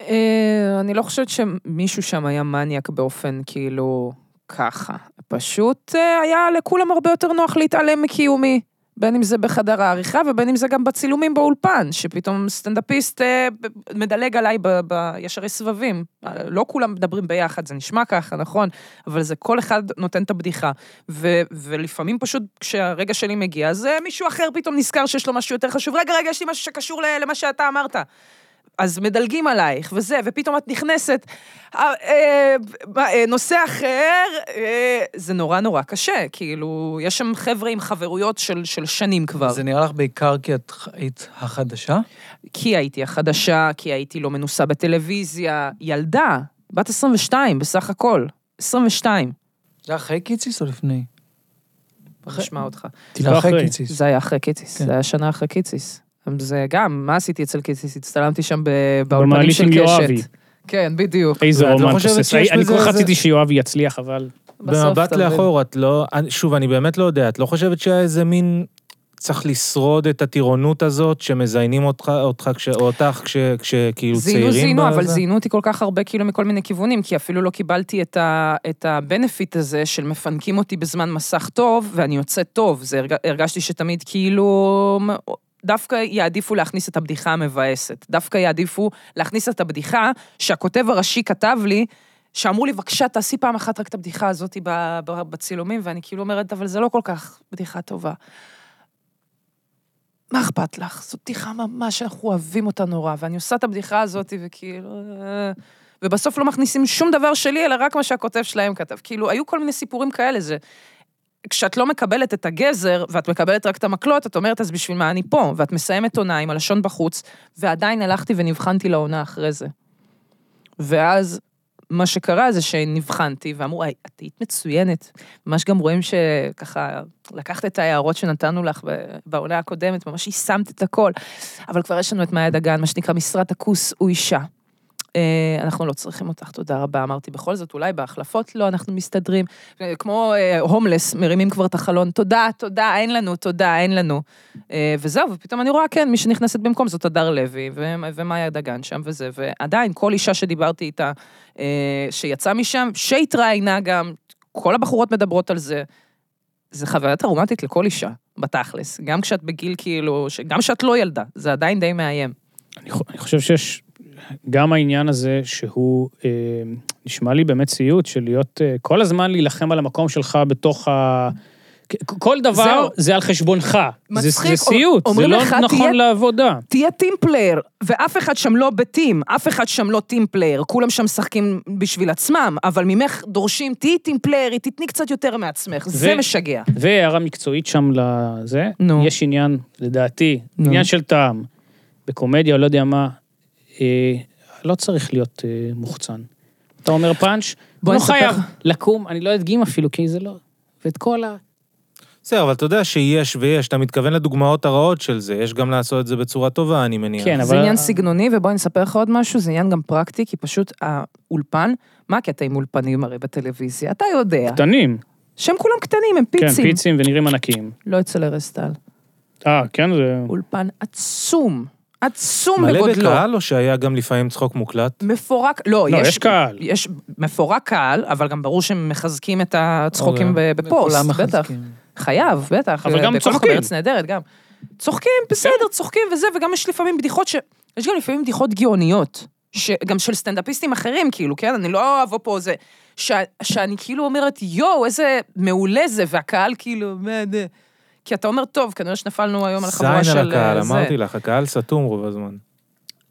C: אה, אני לא חושבת שמישהו שם היה מניאק באופן כאילו ככה. פשוט אה, היה לכולם הרבה יותר נוח להתעלם מקיומי. בין אם זה בחדר העריכה ובין אם זה גם בצילומים באולפן, שפתאום סטנדאפיסט אה, ב- מדלג עליי ב- בישרי סבבים. אה, לא כולם מדברים ביחד, זה נשמע ככה, נכון? אבל זה כל אחד נותן את הבדיחה. ו- ולפעמים פשוט כשהרגע שלי מגיע, אז אה, מישהו אחר פתאום נזכר שיש לו משהו יותר חשוב. רגע, רגע, יש לי משהו שקשור ל- למה שאתה אמרת. אז מדלגים עלייך, וזה, ופתאום את נכנסת. אה, אה, מה, אה, נושא אחר, אה, זה נורא נורא קשה, כאילו, יש שם חבר'ה עם חברויות של, של שנים כבר.
A: זה נראה לך בעיקר כי את ח- היית החדשה?
C: כי הייתי החדשה, כי הייתי לא מנוסה בטלוויזיה, ילדה, בת 22 בסך הכל, 22.
A: זה אחרי קיציס או לפני?
C: בוא נשמע אותך.
B: טיפה אחרי.
A: לא קיציס.
C: זה היה אחרי קיציס,
A: כן.
C: זה היה שנה אחרי קיציס. זה גם, מה עשיתי אצל קיציס? הצטלמתי שם ב-
B: במעלים
C: באולפנים של
B: של יואבי.
C: קשת. כן, בדיוק.
B: איזה
D: ואת לא
B: רומן
D: חושבת
B: תוסס.
D: שיש
B: אני כל
D: בזה
B: כך
D: איזה-
B: רציתי שיואב יצליח, אבל...
C: בסוף,
D: במבט
C: אתה מבין.
D: לאחור, את לא... אני- שוב, אני באמת לא יודע, את לא חושבת שהיה איזה מין... צריך לשרוד את הטירונות הזאת שמזיינים אותך, אותך כש, או אותך כש, כשכאילו כאילו, צעירים.
C: זיינו, זיינו, אבל
D: בזה?
C: זיינו אותי כל כך הרבה כאילו מכל מיני כיוונים, כי אפילו לא קיבלתי את, ה, את הבנפיט הזה של מפנקים אותי בזמן מסך טוב, ואני יוצאת טוב. זה הרג, הרגשתי שתמיד כאילו... מ- דווקא יעדיפו להכניס את הבדיחה המבאסת. דווקא יעדיפו להכניס את הבדיחה שהכותב הראשי כתב לי, שאמרו לי, בבקשה, תעשי פעם אחת רק את הבדיחה הזאת ב- ב- בצילומים, ואני כאילו אומרת, אבל זה לא כל כך בדיחה טובה. מה אכפת לך? זו בדיחה ממש, אנחנו אוהבים אותה נורא, ואני עושה את הבדיחה הזאת, וכאילו... אה, ובסוף לא מכניסים שום דבר שלי, אלא רק מה שהכותב שלהם כתב. כאילו, היו כל מיני סיפורים כאלה, זה... כשאת לא מקבלת את הגזר, ואת מקבלת רק את המקלות, את אומרת, אז בשביל מה אני פה? ואת מסיימת עונה עם הלשון בחוץ, ועדיין הלכתי ונבחנתי לעונה אחרי זה. ואז, מה שקרה זה שנבחנתי, ואמרו, "היי, את היית מצוינת. ממש גם רואים שככה, לקחת את ההערות שנתנו לך ב- בעונה הקודמת, ממש יישמת את הכל. אבל כבר יש לנו את מאיה דגן, מה שנקרא משרת הכוס הוא אישה. אה, אנחנו לא צריכים אותך, תודה רבה. אמרתי, בכל זאת, אולי בהחלפות לא, אנחנו מסתדרים. אה, כמו אה, הומלס, מרימים כבר את החלון, תודה, תודה, אין לנו, תודה, אין לנו. אה, וזהו, ופתאום אני רואה, כן, מי שנכנסת במקום זאת הדר לוי, ו- ומאיה דגן שם וזה, ועדיין, כל אישה שדיברתי איתה, אה, שיצאה משם, שהתראיינה גם, כל הבחורות מדברות על זה. זה חוויה טראומטית לכל אישה, בתכלס. גם כשאת בגיל כאילו, ש- גם כשאת לא ילדה, זה עדיין די מאיים.
B: אני חו- אני חושב שיש גם העניין הזה שהוא, אה, נשמע לי באמת סיוט של להיות, אה, כל הזמן להילחם על המקום שלך בתוך ה... כ- כל דבר
C: זהו.
B: זה על חשבונך. זה-
C: מצחיק,
B: זה סיוט, זה
C: אומרים
B: לא
C: לך,
B: נכון
C: תהיה-
B: לעבודה.
C: תהיה טים פלייר, ואף אחד שם לא בטים, אף אחד שם לא טים פלייר, כולם שם משחקים בשביל עצמם, אבל ממך דורשים, תהיי טים פליירית, תתני קצת יותר מעצמך, זה
B: ו-
C: משגע.
B: והערה מקצועית שם לזה,
C: נו.
B: יש עניין, לדעתי,
C: נו.
B: עניין של טעם. בקומדיה, או לא יודע מה, אה, לא צריך להיות אה, מוחצן. אתה אומר פאנץ',
C: בוא
B: לא
C: נספר.
B: חייב לקום, אני לא אדגים אפילו, כי זה לא... ואת כל ה...
D: בסדר, אבל אתה יודע שיש ויש, אתה מתכוון לדוגמאות הרעות של זה, יש גם לעשות את זה בצורה טובה, אני מניח.
B: כן, אבל...
C: זה עניין סגנוני, ובוא אני אספר לך עוד משהו, זה עניין גם פרקטי, כי פשוט האולפן, מה הקטע עם אולפנים הרי בטלוויזיה? אתה יודע,
B: קטנים.
C: שהם כולם קטנים, הם
B: כן,
C: פיצים.
B: פיצים ונראים ענקיים.
C: לא אצל ארז טל.
B: אה, כן, זה...
C: אולפן עצום, עצום
D: מלא
C: בגודלו.
D: בקהל, או שהיה גם לפעמים צחוק מוקלט?
C: מפורק, לא,
B: לא,
C: יש...
B: יש קהל.
C: יש מפורק קהל, אבל גם ברור שהם מחזקים את הצחוקים
D: אוקיי.
C: ב- בפוסט,
A: כולם
C: בטח.
A: מחזקים.
C: חייב, בטח.
B: אבל גם
C: בכל כך
B: צוחקים.
C: בארץ נהדרת, גם. צוחקים, בסדר, צוחקים וזה, וגם יש לפעמים בדיחות ש... יש גם לפעמים בדיחות גאוניות. ש... גם של סטנדאפיסטים אחרים, כאילו, כן? אני לא אבוא פה זה... ש... שאני כאילו אומרת, יואו, איזה מעולה זה, והקהל כאילו, מה זה? כי אתה אומר, טוב, כנראה שנפלנו היום על החבורה של...
D: על הקהל,
C: אה, זה."
D: אמרתי לך, הקהל סתום רוב הזמן.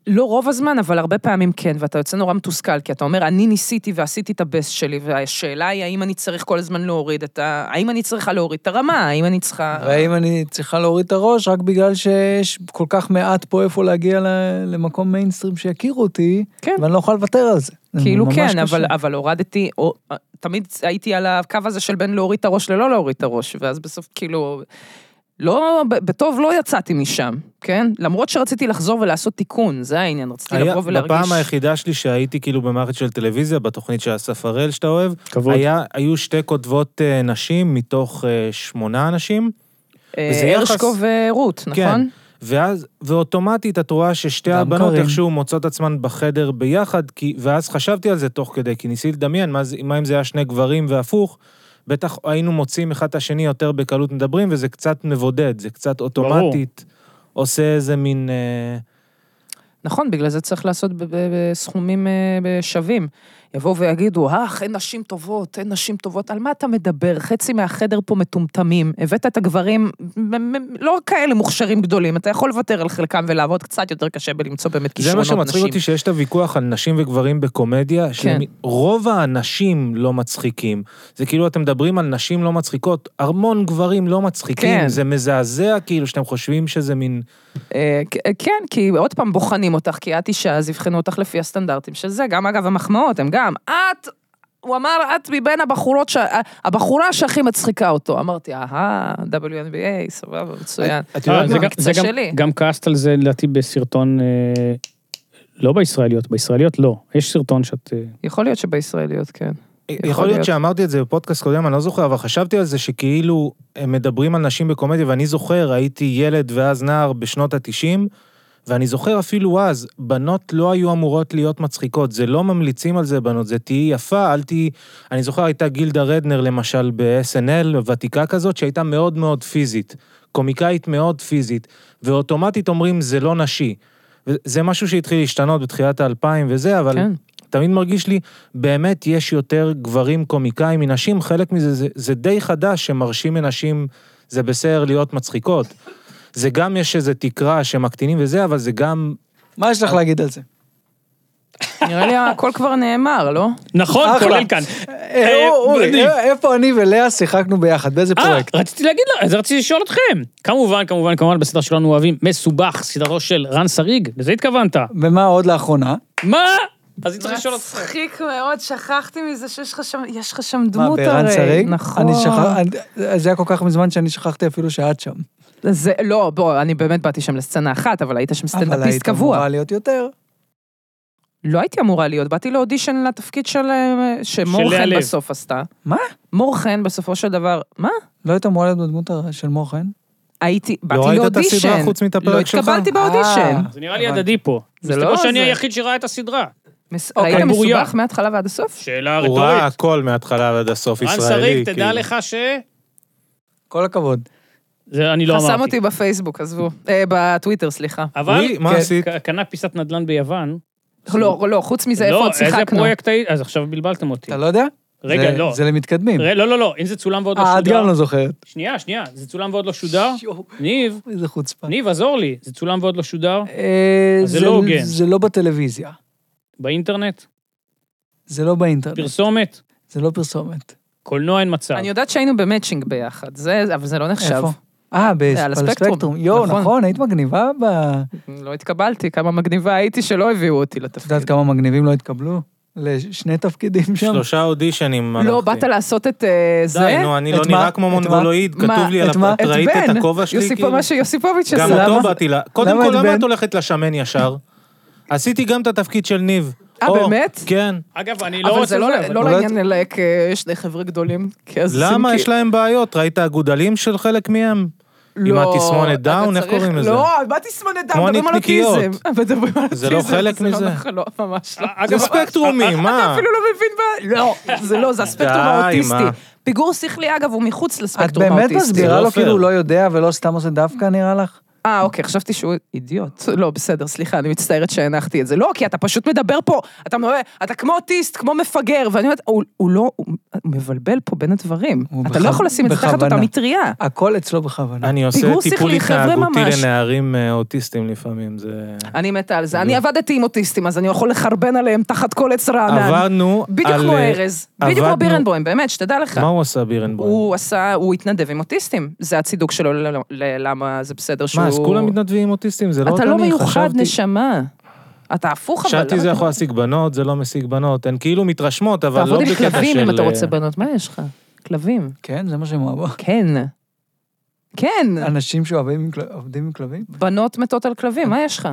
C: לא רוב הזמן, אבל הרבה פעמים כן, ואתה יוצא נורא מתוסכל, כי אתה אומר, אני ניסיתי ועשיתי את הבסט שלי, והשאלה היא האם אני צריך כל הזמן להוריד את ה... האם אני צריכה להוריד את הרמה, האם אני צריכה...
A: והאם אני צריכה להוריד את הראש רק בגלל שיש כל כך מעט פה איפה להגיע ל- למקום מיינסטרים שיכירו אותי,
C: כן.
A: ואני לא יכולה לוותר על זה. זה
C: כאילו
A: ממש
C: כן,
A: קשה.
C: אבל, אבל הורדתי, או, תמיד הייתי על הקו הזה של בין להוריד את הראש ללא להוריד את הראש, ואז בסוף כאילו, לא, ב- בטוב לא יצאתי משם, כן? למרות שרציתי לחזור ולעשות תיקון, זה העניין, רציתי
D: היה,
C: לבוא ולהרגיש...
D: בפעם היחידה שלי שהייתי כאילו במערכת של טלוויזיה, בתוכנית של אסף הראל שאתה אוהב,
B: כבוד.
D: היה, היו שתי כותבות אה, נשים מתוך אה, שמונה אנשים,
C: אה,
D: וזה יחס-
C: הרשקו ורות, נכון?
D: כן. ואז, ואוטומטית את רואה ששתי
A: גם
D: הבנות
A: קארין.
D: איכשהו מוצאות עצמן בחדר ביחד, כי, ואז חשבתי על זה תוך כדי, כי ניסיתי לדמיין מה, זה- מה אם זה היה שני גברים והפוך, בטח היינו מוצאים אחד את השני יותר בקלות מדברים, וזה קצת מבודד, זה קצת אוטומטית עושה איזה מין... אה,
C: נכון, בגלל זה צריך לעשות ב- ב- בסכומים אה, ב- שווים. יבואו ויגידו, אך, אין נשים טובות, אין נשים טובות, על מה אתה מדבר? חצי מהחדר פה מטומטמים. הבאת את הגברים, מ- מ- לא כאלה מוכשרים גדולים, אתה יכול לוותר על חלקם ולעבוד קצת יותר קשה בלמצוא באמת
D: זה
C: כישרונות
D: מה
C: נשים. כן.
D: שמצחיק אותי, שיש את הוויכוח על נשים וגברים בקומדיה, שרוב האנשים לא מצחיקים. זה כאילו, אתם מדברים על נשים לא מצחיקות, המון גברים לא מצחיקים,
C: כן.
D: זה מזעזע כאילו שאתם חושבים שזה מין...
C: אה, כ- אה, כן, כי עוד פעם בוחנים אותך, כי את אישה, אז יבחנו אותך לפי הסטנדרטים של זה. גם, אגב, המחמאות, הם גם, את... הוא אמר, את מבין הבחורות, ש... הבחורה שהכי מצחיקה אותו. אמרתי, אהה, WNBA, סבבה, מצוין.
D: את יודעת
B: אה, זה
D: מה?
B: גם- זה
C: המקצוע
B: גם-
C: לא שלי.
B: גם כעסת על זה, לדעתי, בסרטון... אה, לא בישראליות, בישראליות לא. יש סרטון שאת... אה,
C: יכול להיות שבישראליות, כן.
D: יכול להיות שאמרתי את זה בפודקאסט קודם, אני לא זוכר, אבל חשבתי על זה שכאילו הם מדברים על נשים בקומדיה, ואני זוכר, הייתי ילד ואז נער בשנות התשעים, ואני זוכר אפילו אז, בנות לא היו אמורות להיות מצחיקות, זה לא ממליצים על זה בנות, זה תהיי יפה, אל תהיי... אני זוכר הייתה גילדה רדנר למשל ב-SNL, ותיקה כזאת, שהייתה מאוד מאוד פיזית, קומיקאית מאוד פיזית, ואוטומטית אומרים זה לא נשי. זה משהו שהתחיל להשתנות בתחילת האלפיים וזה, אבל...
C: כן.
D: תמיד מרגיש לי, באמת יש יותר גברים קומיקאים מנשים, חלק מזה זה, זה די חדש שמרשים מנשים, זה בסדר להיות מצחיקות. זה גם יש איזו תקרה שמקטינים וזה, אבל זה גם...
A: מה
C: אה,
A: יש לך להגיד על זה?
C: נראה לי הכל כבר נאמר, לא?
B: נכון,
A: אחלה.
B: כולל כאן.
A: אה, אורי,
B: בני.
A: אה, איפה אני ולאה שיחקנו ביחד? באיזה
B: אה,
A: פרויקט?
B: רציתי להגיד, לה- אז רציתי לשאול אתכם. כמובן, כמובן, כמובן, בסדרה שלנו אוהבים מסובך, סדרו של רן שריג, לזה התכוונת.
A: ומה עוד לאחרונה?
B: מה? אז אני צריך לשאול אותך.
C: מצחיק מאוד, שכחתי מזה שיש לך שם, יש לך שם
A: מה,
C: דמות הרי.
A: בערן שריג?
C: נכון.
A: אני שכח... אני- זה היה כל כך מזמן שאני שכחתי אפילו שאת שם.
C: זה, לא, בוא, אני באמת באתי שם לסצנה אחת, אבל היית שם
A: אבל
C: סטנדאפיסט
A: היית
C: קבוע.
A: אמורה להיות יותר.
C: לא הייתי אמורה להיות, באתי לאודישן לתפקיד של... אה,
B: של לאה
C: שמורחן
B: לב.
C: בסוף עשתה.
A: מה?
C: מורחן בסופו של דבר, מה?
A: לא היית אמורה להיות בדמות הר- של מור חן?
C: הייתי, באתי
D: לא
C: לאודישן.
D: ראית את הסדרה חוץ מאת הפרק שלך?
C: לא התקבלתי באודישן.
A: אה,
B: זה נראה לי
A: הבנתי.
B: הדדי פה.
C: זה
B: מסתבר
C: לא
B: שאני
C: זה.
B: היחיד שראה את הסדרה.
C: מס-
B: אוקיי.
C: ראית
B: גלבוריה.
C: מסובך מההתחלה ועד הסוף?
B: שאלה
D: הוא ראה
B: רטורית.
D: הכל מההתחלה ועד הסוף
B: רן
D: ישראלי.
B: שריג, תדע
D: כאילו.
B: לך ש...
A: כל הכבוד.
B: זה אני לא אמרתי.
C: חסם אותי בפייסבוק, עזבו. אה, בטוויטר, סליחה.
B: אבל...
D: אוי, מה
B: כן,
D: עשית?
B: ק- קנה פיסת נדל"ן ביוון.
C: לא, לא, חוץ מזה, איפה
B: לא,
C: עוד
B: איזה
C: שיחקנו?
B: פרויקט היית? אז עכשיו בלבלתם אותי.
A: אתה לא יודע?
B: רגע,
A: זה-
B: לא.
A: זה למתקדמים.
B: ר- לא, לא, לא, אם זה צולם ועוד לא
A: אה, את
B: שודר.
A: גם לא זוכרת.
B: שנייה, שנייה, זה צולם ועוד לא שודר.
A: יואו,
B: ניב,
A: איזה חוצפה.
B: ניב, עזור לי. זה צולם ועוד לא שודר
A: אה,
B: אז זה לא הוגן.
A: זה לא בטלוויזיה.
B: באינטרנט,
A: זה לא באינטרנט.
B: פרסומת,
A: זה לא פרסומת.
B: קולנוע אין מצב.
C: אני יודעת שהיינו במצ'ינג ביחד, זה, אבל זה לא נחשב.
A: איפה? אה, בס-
C: זה
A: על
C: על הספקטרום.
A: הספקטרום. יואו,
C: נכון.
A: נכון, היית מגניבה ב...
C: לא התקבלתי, כמה מגניבה הייתי שלא הביאו אותי
A: את
C: לתפקיד.
A: יודעת כמה מגניבים לא התקבלו? לשני תפקידים שם?
D: שלושה אודישנים
C: לא,
D: הלכתי.
C: באת לעשות את אה, זה?
D: די, נו, אני
A: את
D: לא
A: מה?
D: נראה כמו
A: את מה?
D: מונגולואיד,
C: מה?
D: כתוב לי על
A: את מה?
D: הפרק,
C: את
D: ראית
C: בן.
D: את הכובע שלי?
C: יוסיפו-
D: כאילו?
C: מה שיוסיפוביץ'
D: גם
C: עשה.
D: אותו
A: למה?
D: באתי לה. קודם
A: למה
D: כל,
A: את
D: למה
A: בן?
D: את הולכת לשמן ישר? עשיתי גם את התפקיד של ניב.
C: אה,
D: או,
C: באמת?
D: כן.
B: אגב, אני לא
C: אבל
B: רוצה...
C: זה לא-
B: אבל-
C: לא
A: אולי-
C: לעניין אלא כשני חבר'ה גדולים. כי אז עושים
D: למה?
C: כאילו-
D: יש להם בעיות. ראית הגודלים של חלק מהם? עם
C: לא,
D: התסמונת
C: אתה
D: דאון, איך
C: צריך-
D: קוראים לזה?
C: לא, מה תסמונת דאון?
D: כמו
C: מדברים על
D: הנקניקיות.
C: אוטיזם. מדברים על
D: זה לא
C: אוטיזם,
D: חלק
C: זה לא
D: מזה. אה,
C: נכון, לא, ממש לא.
B: אגב, אה,
D: זה ספקטרומי, מה?
C: אפילו לא מבין ב... לא, זה לא, זה הספקטרום
D: די,
C: האוטיסטי.
D: מה?
C: פיגור שכלי, אגב, הוא מחוץ
A: את
C: לספקטרום
A: באמת
C: האוטיסטי.
A: מסבירה
D: זה
A: לו
D: לא
A: כאילו
D: פייר.
A: הוא לא יודע ולא סתם עושה דווקא, נראה לך?
C: אה, אוקיי, חשבתי שהוא אידיוט. לא, בסדר, סליחה, אני מצטערת שהנחתי את זה. לא, כי אתה פשוט מדבר פה, אתה, מדבר- אתה כמו אוטיסט, כמו מפגר, ואני אומרת, הוא, הוא לא, הוא מבלבל פה בין הדברים.
A: הוא
C: אתה
A: בכו-
C: לא יכול לשים את זה תחת
A: בכוונה.
C: אותה מטריה.
A: הכל אצלו בכוונה.
D: אני עושה
C: לא- פיגור
D: טיפול
C: שכלי, חבר'ה,
D: התנהגותי
C: ממש.
D: לנערים אה, אוטיסטים לפעמים, זה...
C: אני מתה על
D: לא.
C: זה. אני עבדתי עם אוטיסטים, אז אני יכול לחרבן עליהם תחת כל עץ רענן.
D: עבדנו
C: בדיוק
D: על...
C: כמו
D: אה,
C: ארז. בדיוק כמו
D: עבדנו-
C: בירנבוים, באמת, שתדע לך.
D: מה הוא עשה בירנבוים?
C: הוא עשה, הוא התנדב עם אוטיסטים. זה הצידוק שלו ל- ל- ללמה זה בסדר שהוא...
D: מה, אז כולם מתנדבים עם אוטיסטים? זה לא
C: אתה
D: אותני,
C: לא מיוחד,
D: חשבתי-
C: נשמה. אתה הפוך, אבל...
D: חשבתי
C: למה
D: זה
C: אתה-
D: יכול להשיג בנות, זה לא משיג בנות. הן כאילו מתרשמות, אבל לא
C: תעבוד עם
D: בקטע של...
C: כלבים אם אתה
D: אה,
C: רוצה בנות, מה יש לך? כלבים.
A: כן, זה מה שהם אוהבו.
C: כן. כן.
A: אנשים שאוהבים עם כל- עובדים עם כלבים?
C: בנות מתות על כלבים, מה יש לך?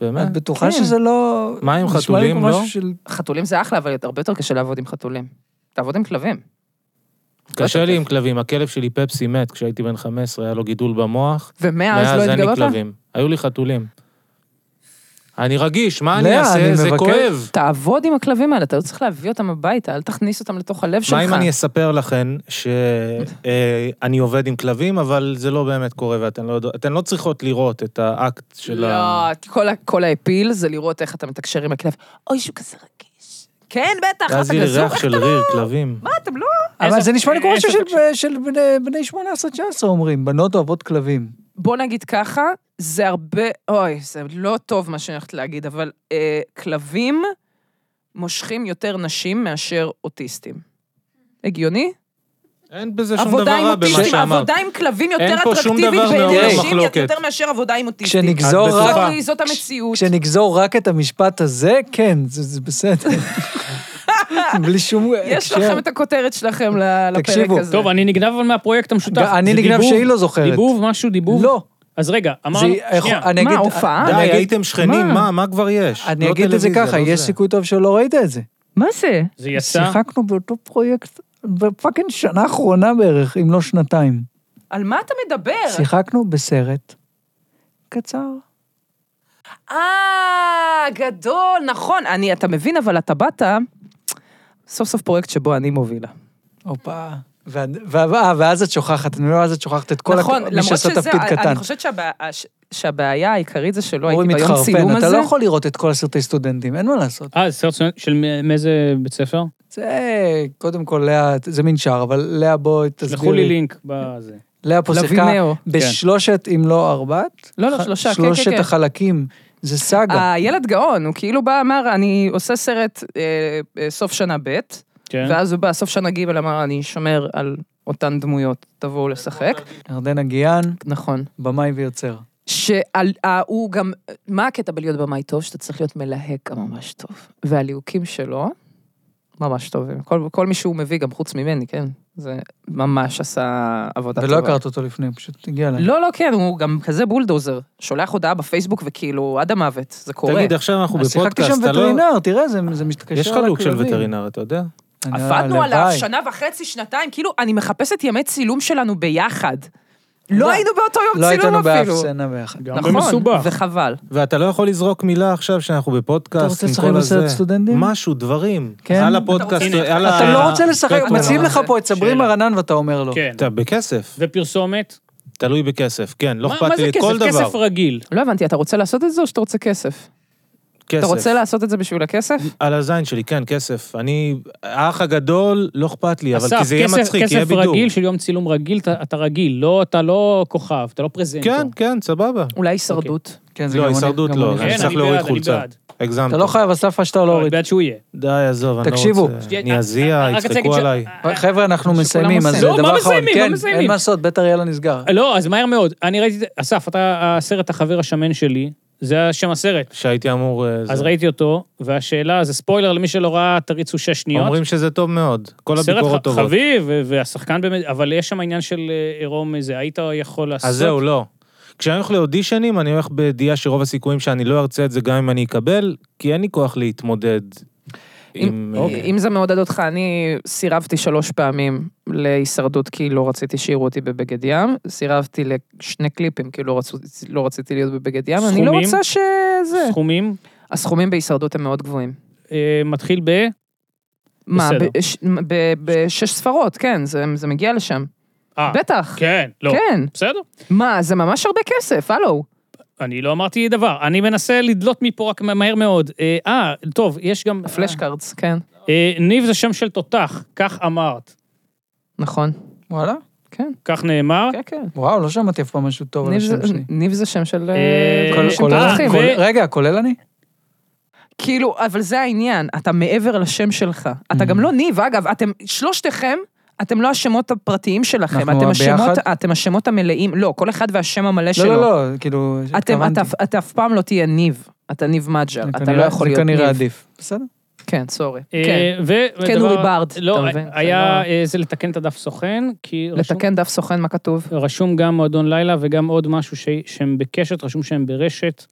D: באמת?
A: את בטוחה
C: כן.
A: שזה לא...
D: מה עם
A: נשמע לי
D: חתולים,
A: כמו
D: לא?
A: משהו של-
C: חתולים זה אחלה, אבל הרבה יותר קשה לעבוד עם חתולים. תעבוד עם כלבים.
D: קשה לי עם כלבים, הכלב שלי פפסי מת כשהייתי בן 15, היה לו גידול במוח.
C: ומאז
D: מאז
C: לא
D: אין לי
C: התגלות לה?
D: כלבים. היו לי חתולים. אני רגיש, מה אני
A: לאה,
D: אעשה?
A: אני
D: זה
A: מבקש-
D: כואב.
C: תעבוד עם הכלבים האלה, אתה לא צריך להביא אותם הביתה, אל תכניס אותם לתוך הלב שלך.
D: מה אם אני אספר לכן שאני עובד עם כלבים, אבל זה לא באמת קורה ואתן לא יודעות, אתן לא צריכות לראות את האקט של ה...
C: לא, כל ה- כל האפיל זה לראות איך אתה מתקשר עם הכלב. אוי, שהוא כזה רגיש. כן, בטח,
D: ואז
C: אתה
D: יהיה
C: גזור,
D: ריח
C: איך
D: של
C: אתה לא...
D: ריר כלבים.
C: מה, אתם לא...
A: אבל
B: איזה-
A: זה נשמע לי כמו
B: איזה
A: משהו של-
B: תקשיב.
A: של בני- בני 18-19 אומרים, בנות אוהבות כלבים.
C: בוא נגיד ככה, זה הרבה, אוי, זה לא טוב מה שאני הולכת להגיד, אבל אה, כלבים מושכים יותר נשים מאשר אוטיסטים. הגיוני?
D: אין בזה שום דבר
C: עבודה עם
D: רע במה
C: אוטיסטים,
D: שאמרת.
C: עבודה עם כלבים יותר
D: אין פה שום
C: אטרקטיבית
D: דבר
C: בעיני
D: מעורר
C: נשים
D: מחלוקת.
C: יותר מאשר עבודה עם אוטיסטים.
A: כשנגזור
D: את בטוחה?
A: רק...
C: סורי, זאת המציאות.
A: כשנגזור רק את המשפט הזה, כן, זה זה בסדר. בלי שום
C: יש
A: הקשר.
C: לכם את הכותרת שלכם ל- לפרק
A: תקשיבו,
C: הזה.
B: טוב, אני נגנב אבל מהפרויקט המשותף.
A: אני
B: זה
A: נגנב
B: דיבוב?
A: שהיא לא זוכרת.
B: דיבוב, משהו, דיבוב?
A: לא.
B: אז רגע,
A: זה-
B: אמרנו, שנייה.
A: אני
C: מה,
A: אגיד-
C: הופעה?
A: אה, אני
D: די,
A: אגיד-
D: הייתם שכנים,
C: מה?
D: מה, מה כבר יש?
A: אני
D: לא
A: אגיד את זה
D: טלוויזיה,
A: ככה,
D: לא
A: יש
D: זה.
A: סיכוי טוב שלא ראית את זה.
C: מה זה?
B: זה יצא,
A: שיחקנו באותו פרויקט בפאקינג שנה האחרונה בערך, אם לא שנתיים.
C: על מה אתה מדבר?
A: שיחקנו בסרט קצר.
C: אה, גדול, נכון. אני, אתה מבין, אבל אתה באת, סוף סוף פרויקט שבו אני מובילה.
A: הופה. וה- וה- אה, ואז את שוכחת, אני אומר, אז את שוכחת את כל
C: נכון,
A: הכ- מי
C: למרות
A: שעשה
C: שזה,
A: תפקיד
C: אני-
A: קטן.
C: אני חושבת שהבע- ש- שהבעיה העיקרית זה שלא
A: אורי
C: הייתי ביום
A: מתחרפן,
C: צילום
A: אתה
C: הזה.
A: לא יכול לראות את כל הסרטי סטודנטים, אין מה לעשות.
B: אה, זה סרט של- של מ- מאיזה בית ספר?
A: זה קודם כל, לאה, זה מין שער, אבל לאה בואי
B: שלחו
A: תסביר
B: לי
A: לי.
B: לינק בזה.
A: לאה פה שיחקה
C: לווינאו.
D: כן.
A: בשלושת, אם לא ארבעת.
C: לא, לא,
A: ח-
C: שלושה, כן, כן,
A: שלושת
C: כן. אה.
A: החלקים, זה סאגה.
C: הילד גאון, הוא כאילו בא, אמר, אני עושה סרט אה, אה, סוף שנה ב',
B: כן.
C: ואז הוא בא, סוף שנה ג', אמר, אני שומר על אותן דמויות, תבואו לשחק.
A: ירדנה גיאן,
C: נכון.
A: במאי ויוצר.
C: שהוא אה, גם, מה הקטע בלהיות במאי טוב? שאתה צריך להיות מלהק גם ממש טוב. והליהוקים שלו, ממש טובים. כל, כל מי שהוא מביא, גם חוץ ממני, כן? זה ממש עשה עבודה
A: ולא
C: טובה.
A: הכרת אותו לפני, פשוט הגיע אליי.
C: לא, לא, כן, הוא גם כזה בולדוזר. שולח הודעה בפייסבוק וכאילו, עד המוות, זה קורה.
D: תגיד, עכשיו אנחנו
A: אז שיחקתי
D: בפודקאסט,
A: שם
D: אתה לא...
A: וטרינר, תראה, זה זה מתקשר
D: יש חלוק של
A: לכלבים.
D: וטרינר, אתה יודע?
A: אני-
C: עבדנו
A: אה, הלוואי.
C: עליו שנה וחצי, שנתיים, כאילו, אני מחפשת ימי צילום שלנו ביחד. לא היינו באותו
A: לא
C: יום צילום
A: הייתנו באף
C: אפילו.
A: סצנה ביחד.
B: גם
C: נכון,
B: במסובך.
C: וחבל.
D: ואתה לא יכול לזרוק מילה עכשיו שאנחנו בפודקאסט,
A: אתה רוצה
D: עם
A: לשחק
D: כל
A: בסרט
D: הזה.
A: סטודנטים?
D: משהו, דברים.
A: כן.
D: על
A: אתה
D: הפודקאסט,
B: רוצה-
D: על ה...
A: אתה לא רוצה לשחק,
D: פלטפורמה.
A: מציעים לך פה את
B: שאלה.
A: סברי מרנן ואתה אומר לו.
B: כן.
D: אתה בכסף,
B: ופרסומת?
D: תלוי בכסף, כן, לא
B: מה-
D: אכפת
B: מה
D: לי
B: זה
D: כל
B: כסף?
D: דבר.
B: כסף רגיל.
C: לא הבנתי, אתה רוצה לעשות את זה או שאתה רוצה כסף? אתה רוצה לעשות את זה בשביל הכסף?
D: על הזין שלי, כן, כסף. אני, האח הגדול, לא אכפת לי, אבל
B: אסף,
D: כי זה יהיה
B: כסף-
D: מצחיק, יהיה
B: כסף
D: בידור.
B: רגיל של יום צילום רגיל, אתה- אתה רגיל, לא, אתה לא כוכב, אתה לא פרזנטור.
D: כן, כן, סבבה.
C: אולי
B: אוקיי.
C: הישרדות.
A: כן, זה
D: לא,
A: גם אני-
D: הישרדות
A: גם
D: לא,
A: אני-
D: אני
B: כן,
D: צריך
B: אני
D: להוריד
B: בעד, אני
D: חולצה.
B: בעד.
D: הגזמת.
A: אתה לא חייב, אסף, עד שאתה לא
B: לא,
A: הוריד.
B: אני בעד שהוא יהיה.
D: די, עזוב, אני לא רוצה.
A: תקשיבו.
D: אני אזיע,
B: אה, רק רציתי
D: יצחקו
B: להגיד ש- אה,
D: עליי.
A: חבר'ה, אנחנו מסיימים, אז זה
B: מסיימים. לא,
A: דבר
B: מה
A: אחרון.
B: מסיימים? לא
A: כן,
B: מסיימים.
A: אין מה לעשות, בית אריאלה נסגר.
B: לא, אז מהר מאוד. אני ראיתי, את- אסף, אתה הסרט החבר השמן שלי, זה השם הסרט.
D: שהייתי אמור... אה,
B: אז
D: זה.
B: ראיתי אותו, והשאלה, זה ספוילר למי שלא ראה, תריצו שש שניות.
D: אומרים שזה טוב מאוד, כל
B: סרט
D: הביקורות
B: ח-
D: טובות.
B: חביב, ו- והשחקן באמת, אבל יש שם עניין של אה, עירום איזה, היית יכול לעשות...
D: אז זהו, לא. כשאני הולך לאודישנים, אני הולך בידיעה שרוב הסיכויים שאני לא ארצה את זה גם אם אני אקבל, כי אין לי כוח להתמודד עם... אה,
B: אוקיי.
C: אם זה מעודד אותך, אני סירבתי שלוש פעמים להישרדות כי לא רציתי שיראו אותי בבגד ים, סירבתי לשני קליפים כי לא, רצו, לא רציתי להיות בבגד ים, אני לא
B: סכומים?
C: רוצה
D: לא
C: שזה...
B: סכומים,
C: הסכומים בהישרדות הם מאוד גבוהים.
B: אה, מתחיל ב...
C: מה,
B: בסדר.
C: בש- ב- בשש ספרות, כן, זה, זה מגיע לשם.
B: אה,
C: בטח,
B: כן, לא.
C: כן.
B: בסדר.
C: מה, זה ממש הרבה כסף, הלו.
B: אני לא אמרתי דבר, אני מנסה לדלות מפה רק מה- מהר מאוד. אה, אה, טוב, יש גם...
C: הפלאש קארדס, כן,
B: אה, ניב זה שם של תותח, כך אמרת,
C: נכון.
A: וואלה?
C: כן,
B: כך נאמר.
C: כן, כן.
A: וואו, לא שמעתי אף פעם משהו טוב על
C: ניב זה-
A: השם שלי.
C: ניב זה שם של...
B: אה,
C: אה,
B: כל-
C: אנשים
A: כולל-
B: אה,
C: תותחים.
B: ו-
A: כולל- רגע, כולל אני?
C: כאילו, אבל זה העניין, אתה מעבר לשם שלך. אתה גם לא ניב, אגב, אתם, שלושתכם, אתם לא השמות הפרטיים שלכם,
A: אנחנו
C: אתם השמות,
A: ביחד?
C: אתם השמות המלאים, לא, כל אחד והשם המלא
A: לא,
C: שלו.
A: לא, לא, כאילו,
C: אתם,
A: התכוונתי.
C: אתה, אתה אף פעם לא תהיה ניב, אתה ניב מג'ר,
A: זה
C: אתה
A: כנראה-
C: לא יכול להיות
A: זה
C: ניב.
A: כנראה עדיף. בסדר.
C: כן, סורי.
B: אה,
C: כן.
B: ו-
C: כן,
B: ודבר-
C: אורי בארד, אתה
B: לא,
C: מבין?
B: היה
C: זה
B: אה, זה לתקן את הדף סוכן, כי רשום-
C: לתקן דף סוכן, מה כתוב?
B: רשום גם מועדון לילה וגם עוד משהו ש- שהם בקשת, רשום שהם ברשת.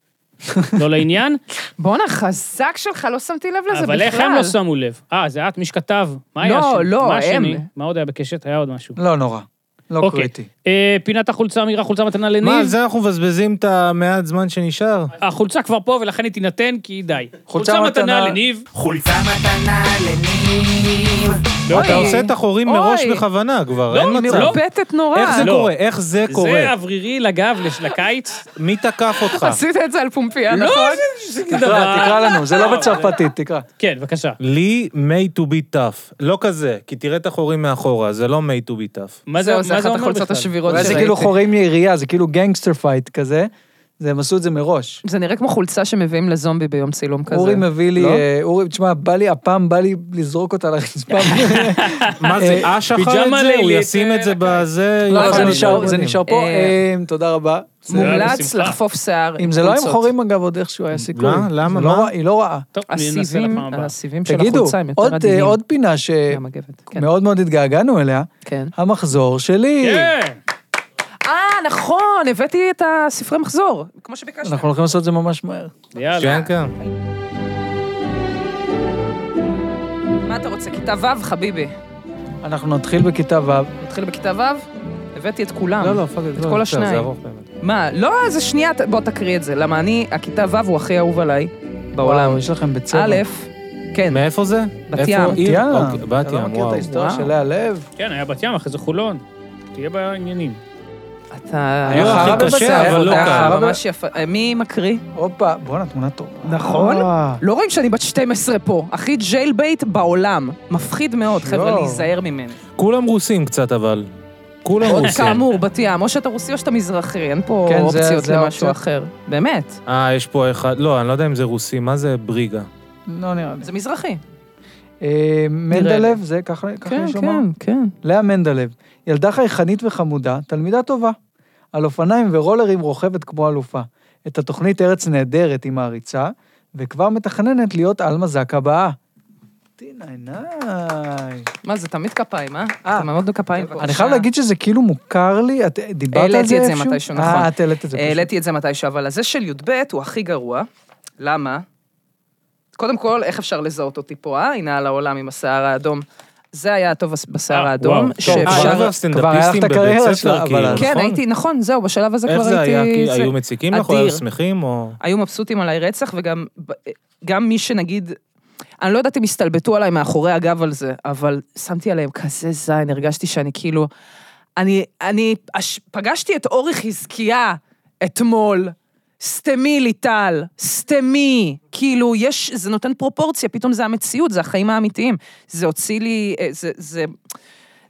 B: לא לעניין,
C: בואנה, חזק שלך, לא שמתי לב לזה בכלל.
B: אבל איך הם לא שמו לב? אה, זה את, מי שכתב. מה היה
C: לא,
B: השני?
C: לא,
B: מה
C: הם.
B: השני? מה עוד היה בקשת? היה עוד משהו.
A: לא נורא. לא
B: אוקיי.
A: קריטי.
B: אה, פינת החולצה, אמירה חולצה מתנה לניב.
D: מה, על זה אנחנו מבזבזים את המעט זמן שנשאר?
B: החולצה כבר פה ולכן היא תינתן, כי די.
A: חולצה
B: חולצה מתנה
A: מתנה-
B: לניב.
E: חולצה מתנה לניב.
B: לא,
D: אתה עושה את החורים מראש
C: אוי.
D: בכוונה כבר,
B: לא,
D: אין
B: אני
D: מצב.
B: לא.
C: מרפטת נורא.
D: איך זה
B: לא.
D: קורה? איך זה
B: זה
D: קורה?
B: אוורירי לגב לש- לקיץ.
D: מי תקף
A: אה.
D: אותך?
C: עשית את זה על פומפייה,
B: לא,
C: נכון?
B: אה,
A: תקרא, תקרא לנו, זה לא בצרפתית, תקרא.
B: כן, בבקשה.
D: לי made to be tough. לא כזה, כי תראה את החורים מאחורה, זה לא made to be tough.
B: מה זה
C: זהו, זה
B: מה
C: אחת
B: זה אומר
C: החולצות
B: בכלל? כאילו
C: השבירות
A: אולי זה
C: שראיתי.
A: כאילו חורים ירייה, זה כאילו גנגסטר פייט כזה. זה, הם עשו את זה מראש.
C: זה נראה כמו חולצה שמביאים לזומבי ביום צילום כזה.
A: אורי מביא לי,
C: לא?
A: אה, אורי, תשמע, בא לי, הפעם בא לי לזרוק אותה לרצפה.
D: מה זה, אש אכל את
B: פיג'מה
D: זה? הוא
B: לילית,
D: ישים את זה
B: אה,
D: בזה?
C: לא,
D: יאכל
A: זה
D: את
A: נשאר- זה
D: בונים.
A: נשאר פה,
C: אה,
A: אה, תודה רבה.
C: מומלץ
B: בשמחה.
C: לחפוף שיער עם
A: אם זה לא היה עם
C: חולצות.
A: חורים, אגב, עוד איכשהו היה סיכוי.
D: מה? למה?
A: זה לא
D: מה?
A: רע- היא לא רעה.
B: טוב, אני אנסה
C: הסיבים,
B: לפעם הבאה.
C: הסיבים של
A: תגידו,
C: החולצה הם יותר
A: עוד, אה,
C: עדינים.
A: עוד פינה שמאוד
C: גם מגבת, כן.
A: מאוד התגעגענו אליה,
C: כן.
A: המחזור שלי.
B: כן.
C: אה, נכון, הבאתי את הספרי מחזור, כמו שביקשת.
A: אנחנו הולכים לעשות את זה ממש מהר.
B: יאללה.
D: כן, כן.
C: מה אתה רוצה, כיתה ו', חביבי?
A: אנחנו נתחיל בכיתה ו'.
C: נתחיל בכיתה ו'? הבאתי את כולם.
D: לא, לא, פאק,
C: את כל השניים.
D: זה ארוך באמת.
C: מה? לא, אז שנייה, ת- בוא תקריא את זה. למה אני, הכיתה ו' הוא הכי אהוב עליי בעולם.
A: וואו, יש לכם בית ספר.
C: א', כן,
D: מאיפה זה?
C: בת
D: איפה
C: ים.
D: עיר?
A: בת ים.
D: אוקיי, בת
A: אתה לא
D: ים,
A: מכיר את
D: וואו.
A: ההיסטוריה
C: וואו.
A: של לאה לב?
B: כן, היה בת ים, אחרי זה חולון. תהיה בעניינים.
C: אתה...
A: היה
D: לא,
A: חרא
D: הכי
A: בבשר,
D: קשה, אבל לא
A: אתה
D: קל.
A: חרא.
C: אתה ממש יפה. אה, מי מקריא?
A: הופה, בואנה, תמונה טובה.
C: נכון.
A: אה,
C: לא רואים שאני בת 12 פה. הכי ג'ייל בייט בעולם. מפחיד מאוד, חבר'ה,
A: יואו.
C: להיזהר ממני.
A: אוקיי.
D: כולם רוסים קצת, אבל. כולם
C: עוד
D: רוסים.
C: כאמור, בת ים, או שאתה רוסי או שאתה מזרחי, אין פה
A: כן, זה-
C: אופציות
A: זה
C: למשהו
A: האופציות.
C: אחר. באמת,
D: אה, יש פה אחד, לא, אני לא יודע אם זה רוסי, מה זה בריגה?
A: לא נראה לי.
C: זה מזרחי.
A: אה, מנדלב, זה ככה ככה יש לומר?
C: כן.
A: לאה מנדלב, ילדה חייכנית וחמודה, תלמידה טובה. על אופניים ורולרים רוכבת כמו אלופה. את התוכנית ארץ נהדרת היא מעריצה, וכבר מתכננת להיות עלמה זק הבאה. תינאי ניי.
C: מה, זה תמיד כפיים, אה?
A: אה.
C: אתם עמדנו כפיים. פה.
A: אני חייב להגיד שזה כאילו מוכר לי, את דיברת על זה איפשהו?
C: העליתי את זה מתישהו, נכון.
A: אה, את העלית את זה פשוט.
C: העליתי את זה מתישהו, אבל הזה של י"ב הוא הכי גרוע. למה? קודם כל, איך אפשר לזהות אותי פה, אה? הנה על העולם עם השיער האדום. זה היה הטוב בשיער
B: אה,
C: האדום,
B: וואו, טוב.
D: אה,
C: שאפשר...
D: כבר
A: היה לך
D: סטנדאפיסטים
A: את הקריירה
D: בבית
A: שלה,
D: ספר, כאילו,
A: אבל-
D: נכון?
C: כן, הייתי, נכון, זהו, בשלב הזה כבר
D: איך
C: הייתי...
D: זה היה? כי
C: זה-
D: היו מציקים לך, או
C: אדיר.
D: היו שמחים, או...
C: היו מבסוטים עליי רצח, וגם גם מי שנגיד, אני לא יודעת אם הסתלבטו עליי מאחורי הגב על זה, אבל שמתי עליהם כזה זין, הרגשתי שאני כאילו... אני, אני אש, פגשתי את אורי חזקיה אתמול, סתמי ליטל, סתמי, כאילו, יש, זה נותן פרופורציה, פתאום זה המציאות, זה החיים האמיתיים. זה הוציא לי, אה, זה, זה,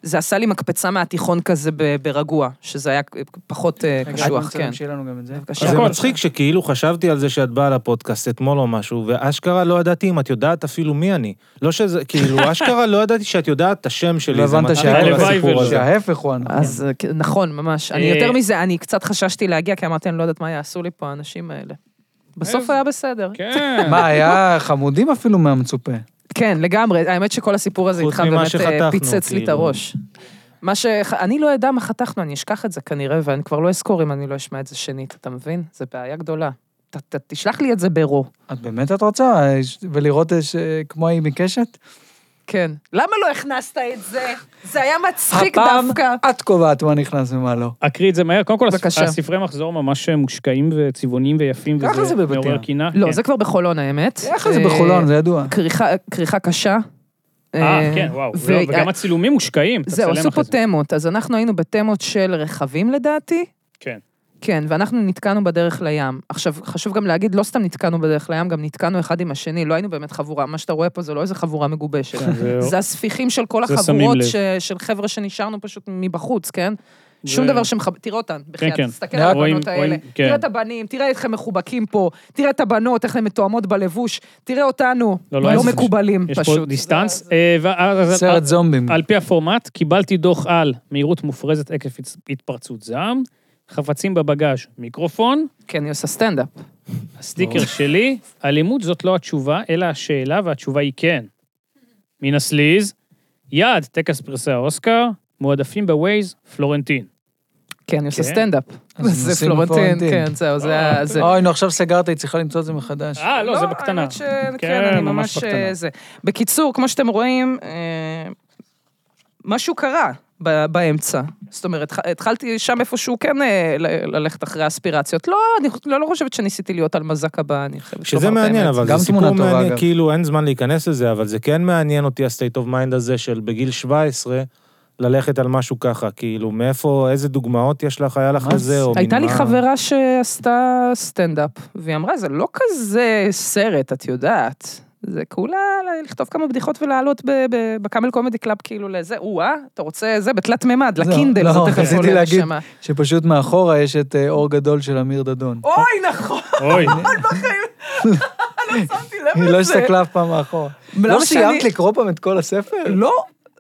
C: זה עשה לי מקפצה מהתיכון כזה ב- ברגוע, שזה היה פחות אה,
A: רגע,
C: קשוח,
A: אני רוצה
C: כן.
A: שיהיה לנו גם את זה.
C: בבקשה.
D: זה
B: הכל.
D: מצחיק שכאילו חשבתי על זה שאת באה לפודקאסט אתמול או משהו, ואשכרה לא ידעתי אם את יודעת אפילו מי אני. לא שזה, כאילו, אשכרה לא ידעתי שאת יודעת את השם שלי.
A: לא
D: זה
A: הבנת
D: מצחיק,
A: שההפך-
D: כל הסיפור
B: הלוואי
D: הזה.
A: שההפך הוא הנכון.
C: אז אה, כן, נכון, ממש. אני
B: אה,
C: יותר מזה, אני קצת חששתי להגיע, כי אמרתי, אני לא יודעת מה יעשו לי פה האנשים האלה. בסוף
B: איזה-
C: היה בסדר.
B: כן.
A: מה, היה חמודים אפילו מהמצופה.
C: כן, לגמרי. האמת שכל הסיפור הזה
D: חוץ
C: איתך
D: ממה
C: באמת אה,
D: שחתכנו,
C: פיצץ לי את
D: כאילו.
C: הראש. מה ש... אני לא אדע מה חתכנו, אני אשכח את זה כנראה, ואני כבר לא אזכור אם אני לא אשמע את זה שנית, אתה מבין? זו בעיה גדולה. ת- ת- תשלח לי את זה ברו.
A: את באמת את רוצה? אה, ש- ולראות אה, ש- כמו ההיא מקשת?
C: כן. למה לא הכנסת את זה? זה היה מצחיק
A: הפעם
C: דווקא.
A: את קובעת מה נכנס ומה לא.
B: אקריא את זה מהר. קודם כל,
C: בבקשה.
B: הספרי מחזור ממש מושקעים וצבעוניים ויפים,
A: ככה זה
B: וזה
A: בבת
B: מעורר
A: ים.
B: קינה.
C: לא,
B: כן.
C: זה כבר בחולון האמת.
A: ככה זה
C: אה,
A: בחולון, זה ידוע.
C: כריכה- כריכה קשה.
B: אה, כן, וואו.
C: ו-
B: לא, וגם הצילומים מושקעים. אתה
C: זהו,
B: צלם
C: עשו פה
B: אחרי זה.
C: תמות, אז אנחנו היינו בתמות של רכבים לדעתי.
B: כן.
C: כן, ואנחנו נתקענו בדרך לים. עכשיו, חשוב גם להגיד, לא סתם נתקענו בדרך לים, גם נתקענו אחד עם השני, לא היינו באמת חבורה. מה שאתה רואה פה זה לא איזה חבורה מגובשת.
B: כן, זה-
C: זה הספיחים של כל
B: זה שמים
C: החבורות,
B: לב.
C: ש... של חבר'ה שנשארנו פשוט מבחוץ, כן?
B: זה-
C: שום דבר שמחב... תראה אותן, בחייאת,
B: כן.
C: תסתכל על
B: רואים-
C: הבנות האלה.
B: רואים- כן.
C: תראה את הבנים, תראה איך הם מחובקים פה, תראה את הבנות, איך הן מתואמות בלבוש, תראה אותנו,
B: לא, לא,
C: לא
B: יש-
C: מקובלים
B: יש פה
C: פשוט.
B: דיסטנס. אה, ואז-
A: סרט זומבים.
B: על פי הפורמט, קיבלתי דוח על מהירות מופרזת עקב הצ- התפרצות זעם, חפצים בבגאז' מיקרופון,
C: כן, אני עושה סטנדאפ.
B: הסטיקר שלי, אלימות זאת לא התשובה, אלא השאלה, והתשובה היא כן. מן הסליז, יעד טקס פרסי האוסקר, מועדפים בווייז, פלורנטין.
C: כן, אני עושה
B: כן.
C: סטנדאפ.
A: אז
C: זה
A: נשים
C: פלורנטין,
A: פלורנטין.
C: כן, זהו, זה... ה- זה-
A: אוי, נו, עכשיו סגרת, היא צריכה למצוא את לא, זה מחדש.
B: אה, לא, זה בקטנה.
C: האמת ש- כן, אני ממש... אה, זה. בקיצור, כמו שאתם רואים, אה, משהו קרה ב- באמצע. זאת אומרת, התח- התחלתי שם איפשהו כן אה, ל- ללכת אחרי האספירציות. לא, אני חוש- לא לא חושבת שניסיתי להיות על מזק הבא, אני חייבת
D: שזה מעניין, אבל
A: גם
D: זה
A: תמונה
D: סיפור
A: טובה,
D: מעניין,
A: אגב.
D: כאילו אין זמן להיכנס לזה, אבל זה כן מעניין אותי ה-state of mind הזה של בגיל 17, ללכת על משהו ככה, כאילו, מאיפה, איזה דוגמאות יש לך, היה לך
A: מה
D: לזה,
A: זה?
D: או
C: הייתה
D: מן
C: לי
D: מה?
C: חברה שעשתה סטנדאפ, והיא אמרה, זה לא כזה סרט, את יודעת. זה כולה ל- לכתוב כמה בדיחות ולעלות ב- ב- בקאמל קומדי קלאב כאילו לזה, או-אה, אתה רוצה זה בתלת מימד,
A: זהו,
C: לקינדל,
A: לא,
C: זה תכף
A: רציתי
C: עולה
A: להגיד.
C: לשמה.
A: שפשוט מאחורה יש את אה, אור גדול של אמיר דדון.
C: אוי, נכון,
D: אוי,
C: שמתי לב
A: היא לא
C: לזה.
A: הסתכלה אף פעם מאחורה.
C: למה
A: לא
C: שאני-
A: סיימת לקרוא פעם את כל הספר?
C: לא,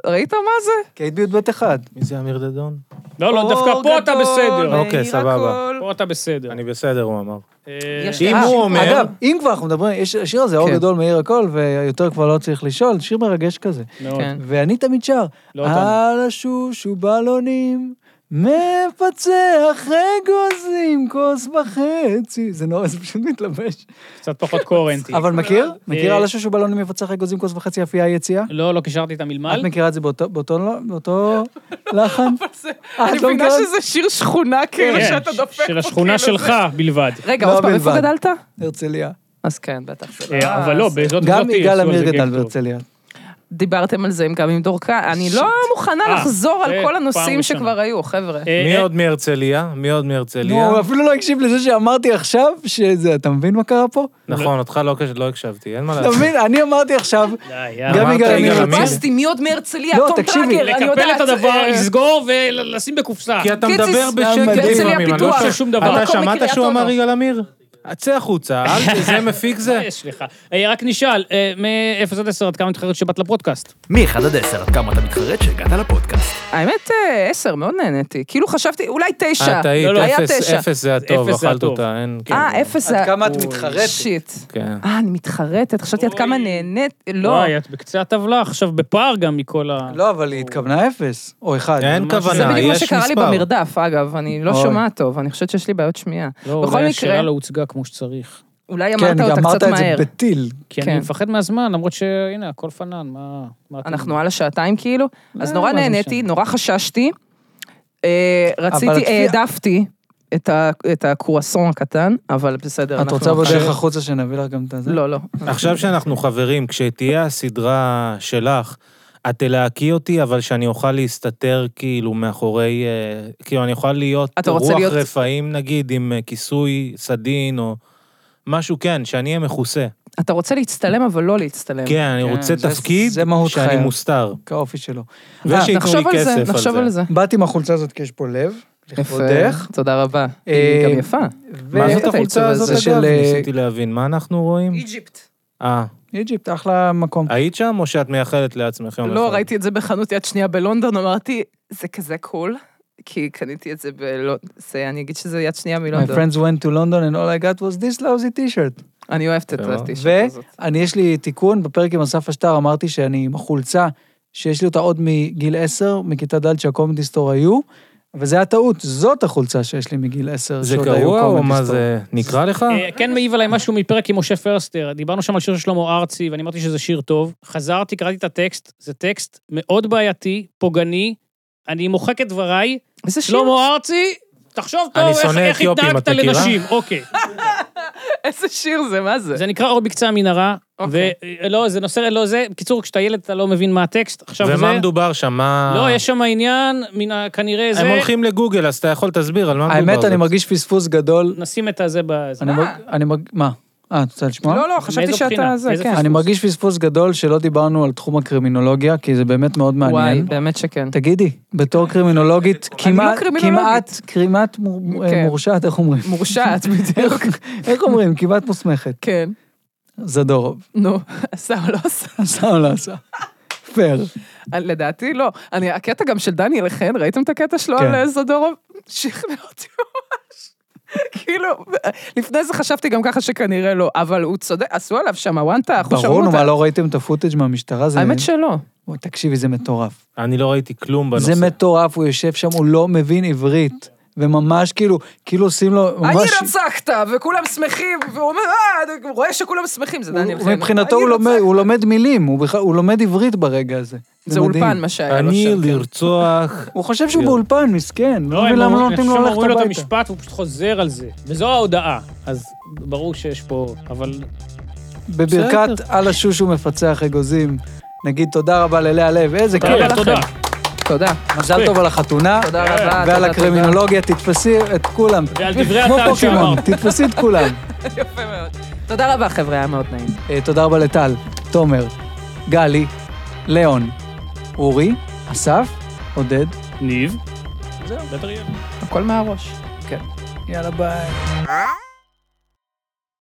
C: ראית מה זה?
A: כי היית בי"ב אחד.
D: מי זה אמיר דדון?
B: לא, לא,
C: אור
B: דווקא פה אתה
C: גדול,
B: בסדר.
C: מאיר
D: אוקיי, סבבה.
C: הכל.
B: פה אתה בסדר.
D: אני בסדר, הוא אמר.
B: אה,
C: יש
D: אם
C: אה,
D: הוא אומר...
A: אגב, אם כבר אנחנו מדברים, יש השיר הזה, אור
C: כן.
A: גדול מאיר הכל, ויותר כבר לא צריך לשאול, שיר מרגש כזה.
B: מאוד.
C: כן.
A: ואני תמיד שר,
B: לא אותנו.
A: על השוש ובלונים, מפצח אגוזים, כוס וחצי. זה נורא, זה פשוט מתלבש.
B: קצת פחות קוהרנטי.
A: אבל מכיר? מכיר
B: אה,
A: על השוש ובלונים, מפצח אגוזים, כוס וחצי, אפייה יציאה?
B: לא, לא קישרתי את המלמל.
A: את מכירה את זה באותו- באותו לא- באותו לחן?
C: זה-
A: אה,
C: אני
A: את לא
C: מבינה
A: מכירה?
C: שזה שיר שכונה כאילו
B: כן,
C: שאתה דופק פה,
B: של השכונה
C: כאילו,
B: שלך
C: זה-
B: בלבד.
C: רגע,
A: לא
C: עוד פעם, איפה
A: בלבד.
C: גדלת?
A: הרצליה.
C: אז כן, בטח. זה
B: אה, אבל לא,
C: אז-
B: בזאת
A: גם
B: וזאתי
A: יגאל
B: עשו על
A: עמיר
B: לא, זה גג
A: גדל
B: טוב.
A: בהרצליה.
C: דיברתם על זה עם- גם עם דורקה, אני לא מוכנה
B: אה,
C: לחזור על
B: זה
C: כל
B: פעם ראשונה.
C: הנושאים שכבר היו, חבר'ה.
B: אה,
D: מי
B: אה,
D: עוד מהרצליה? מי עוד מהרצליה?
A: נו, הוא אפילו לא הקשיב לזה שאמרתי עכשיו, שזה, אתה מבין מה קרה פה?
D: נכון, אותך לא הקש- לא הקשבתי, אין מה
A: אתה
D: לעשות.
A: מבין? אני אמרתי עכשיו,
B: אה. די, יא.
A: גם
D: אמרת
A: יגאל
D: יגאל
A: עמיר
D: עמיר.
A: הרצליה.
C: רמזתי מי עוד מהרצליה,
A: לא,
C: תום
A: תקשיבי,
C: טראגר, אני יודעת.
B: לקפל את הדבר,
C: אה,
B: לסגור ולשים בקופסה.
D: כי אתה
C: קיציס,
D: מדבר
A: מדהים. לא,
D: בשקט
A: הרצליה
D: לפעמים, אני לא
C: פיתוח.
D: חושב
B: שום דבר.
D: אתה
C: מקום
D: שמעת
C: מקריית
D: שהוא אמר
C: אונו.
D: יגאל עמיר? צא החוצה, אל זה מפיק
B: מה
D: זה.
B: יש לך? אה, רק נשאל, אה, מ-0 עד 10 עד כמה מתחרט שבאת לפודקאסט?
F: מ-1 עד 10 עד כמה אתה מתחרט שהגעת לפודקאסט.
C: האמת, אה, עשר, מאוד נהניתי. כאילו חשבתי, אולי תשע.
D: את היית,
B: לא, לא,
C: היה
D: אה, אפס-
C: תשע.
D: אפס זה הטוב,
B: אפס זה
D: אכלת
B: הטוב.
D: אותה, אין... כן.
C: אה, אפס זה...
A: עד כמה את מתחרטת?
C: שיט.
D: כן.
C: אה, אני מתחרטת, חשבתי עד כמה נהנית, לא.
B: וואי, את בקצה הטבלה, עכשיו בפער גם מכל ה...
A: לא, אבל היא התכוונה אפס, או אחד.
D: אין כוונה,
C: זה בדיוק מה
D: יש
C: שקרה לי
D: מספר.
C: במרדף, אגב, אני לא
A: אוי.
C: שומעת טוב, אני חושבת שיש לי בעיות שמיעה.
B: לא,
C: בכל
B: אולי השאלה
C: מקרה,
B: לא הוצגה כמו שצריך.
C: אולי
A: כן,
C: אמרת
A: גם
C: אותה
A: אמרת
C: קצת
A: את זה
C: מהר.
A: בטיל.
B: כי
C: כן.
B: אני מפחד מהזמן, למרות שהנה, הכל פנן, מה... מה אתם-
C: אנחנו על השעתיים כאילו, אז
B: לא,
C: נורא
B: מה זה
C: נהניתי,
B: משנה?
C: נורא חששתי. אה, רציתי,
A: הצפייה-
C: העדפתי את ה- את הקרואסון הקטן, אבל בסדר,
A: את
C: אנחנו-
A: רוצה בדרך החוצה שנביא לך גם את הזה?
C: לא, לא.
D: עכשיו שאנחנו חברים, כשתהיה הסדרה שלך, את תלהקי אותי, אבל שאני אוכל להסתתר כאילו מאחורי... אה, כאילו, אני אוכל להיות
C: אתה רוצה
D: רוח
C: להיות-
D: רפאים נגיד, עם אה, כיסוי סדין או... משהו כן, שאני אהיה מכוסה.
C: אתה רוצה להצטלם, אבל לא להצטלם.
D: כן, אני רוצה
A: זה-
D: תפקיד
A: זה מהות
D: שאני
A: חייו.
D: מוסתר.
A: כאופי שלו. אה,
D: ושייתנו לי
C: נחשוב על זה,
D: כסף על
C: נחשוב
D: זה.
C: על זה.
A: באתי עם החולצה הזאת כי יש פה לב, לכבודך.
C: יפה, תודה רבה.
A: אה,
C: היא גם יפה.
A: ו-
D: מה
C: את
D: זאת
C: העיצוב
D: החולצה הזאת,
A: הזה
D: אגב?
A: של, אה,
D: ניסיתי להבין, מה אנחנו רואים?
C: איג'יפט.
D: אה,
A: איג'יפט, אחלה מקום.
D: היית שם או שאת מייחלת לעצמך יום
C: לא,
D: אחד?
C: ראיתי את זה בחנות יד שנייה בלונדון, אמרתי, זה כזה קול, כי קניתי את זה בלונדון, אני אגיד שזה יד שנייה
D: לא
A: My
C: מלונדון.
A: friends went to London and all I got was this lousy t-shirt.
C: אני אוהבת את
D: בסדר.
C: הטישרט הזאת.
A: ואני, יש לי תיקון, בפרק עם אסף אשטר אמרתי שאני עם החולצה, שיש לי אותה עוד מגיל 10, מכיתה ד' שהקומדי סטור היו, וזה היה טעות, זאת החולצה שיש לי מגיל 10,
D: זה
A: שעוד היו
D: קרוע או
A: קומדי
D: מה
A: סטור.
D: זה? נקרא לך?
B: אה, כן מעיב עליי משהו מפרק עם משה פרסטר, דיברנו שם על שיר של שלמה ארצי, ואני אמרתי שזה שיר טוב. חזרתי, קראתי את הטקסט, זה טקסט מאוד בעייתי, פוגעני, אני מוחק את דבריי,
D: לא
C: איזה שיר,
B: שלמה ארצי, תחשוב
D: אני
B: טוב איך-
D: שונא
B: איך
D: אתיופים,
B: התנהגת
D: את מכירה?
B: לנשים, אוקיי.
C: איזה שיר זה, מה זה?
B: זה נקרא אור בקצה המנהרה,
C: אוקיי.
B: ולא, זה נושא, לא זה, בקיצור, כשאתה ילד אתה לא מבין מה הטקסט, עכשיו זה...
D: ומה מדובר שם? מה...
B: לא, יש שם עניין, מן ה- כנראה זה...
D: הם הולכים לגוגל, אז אתה יכול תסביר על מה מדובר.
A: האמת, אני
D: זה-
A: מרגיש פספוס גדול.
B: נשים את הזה ב... זה.
A: אני מרג- אני מרג... מה? אה, את רוצה לשמוע?
C: אה. לא, לא, חשבתי
B: מאיזו
C: שאתה
B: בחינה?
C: זה,
B: מאיזה
C: כן.
A: אני מרגיש פספוס גדול שלא דיברנו על תחום הקרימינולוגיה, כי זה באמת מאוד
C: וואי,
A: מעניין.
C: באמת שכן.
A: תגידי, בתור קרימינולוגית, כמעט,
C: קרימינולוגית.
A: כמעט, כמעט מור- אה,
C: כן.
A: מורשעת, איך אומרים?
C: מורשעת בדיוק,
A: איך אומרים? כמעט מוסמכת.
C: כן.
A: זדורוב.
C: נו, עשה או לא עשה?
A: עשה או לא עשה? פייר.
C: לדעתי לא. אני, הקטע גם של דניאל חן, ראיתם את הקטע שלו
A: כן.
C: על אה, זדורוב? שכנע אותי ממש. כאילו, לפני זה חשבתי גם ככה שכנראה לא, אבל הוא צודק, עשו עליו שם וואנטה, אחו
A: ברור, נו,
C: שמוטה.
A: מה, לא ראיתם את הפוטאג' מהמשטרה? זה...
C: האמת שלא.
A: וואי, תקשיבי, זה מטורף.
D: אני לא ראיתי כלום בנושא.
A: זה מטורף, הוא יושב שם, הוא לא מבין עברית. וממש כאילו, כאילו עושים לו,
C: אני
A: ממש...
C: רצחת, וכולם שמחים, והוא אומר, אה, אני רואה שכולם שמחים, זה
A: הוא-
C: דניאל
A: הוא-
C: חן.
A: מבחינתו
C: אני
A: הוא לומד-
C: רצחתי.
A: הוא לומד מילים, הוא בכלל- הוא לומד עברית ברגע הזה.
C: זה
A: מדהים. כן.
C: אולפן, מה שהיה לו
D: אני
C: שם. כן.
D: לרצוח...
A: הוא חושב שהוא באולפן, מסכן.
B: לא,
A: לא
B: הם
A: מבין למה לא
B: אומרים-
A: נותנים לו
B: עכשיו
A: ללכת
B: אומרים לו את
A: הביתה.
B: המשפט והוא פשוט חוזר על זה. וזו ההודעה. אז ברור שיש פה, אבל...
A: בברכת על השוש הוא מפצח אגוזים. נגיד תודה רבה ללאה לב, איזה
B: תודה,
A: כיף.
B: כן, תודה.
C: תודה,
A: מזל טוב על החתונה.
C: תודה רבה. תודה,
A: ועל
C: תודה.
A: הקרימינולוגיה, תתפסי את כולם.
B: ועל דברי
A: כמו
B: הטעם
A: פוקימון,
B: שאמרת.
A: תתפסי את כולם.
C: יפה מאוד. תודה רבה, חבר'ה, היה מאוד נעים.
A: אה, תודה רבה לטל. תומר, גלי, ליאון, אורי, אסף, עודד.
B: ניב.
A: זהו.
B: בטח יהיה.
A: כן.
C: הכל מהראש.
A: יאללה ביי.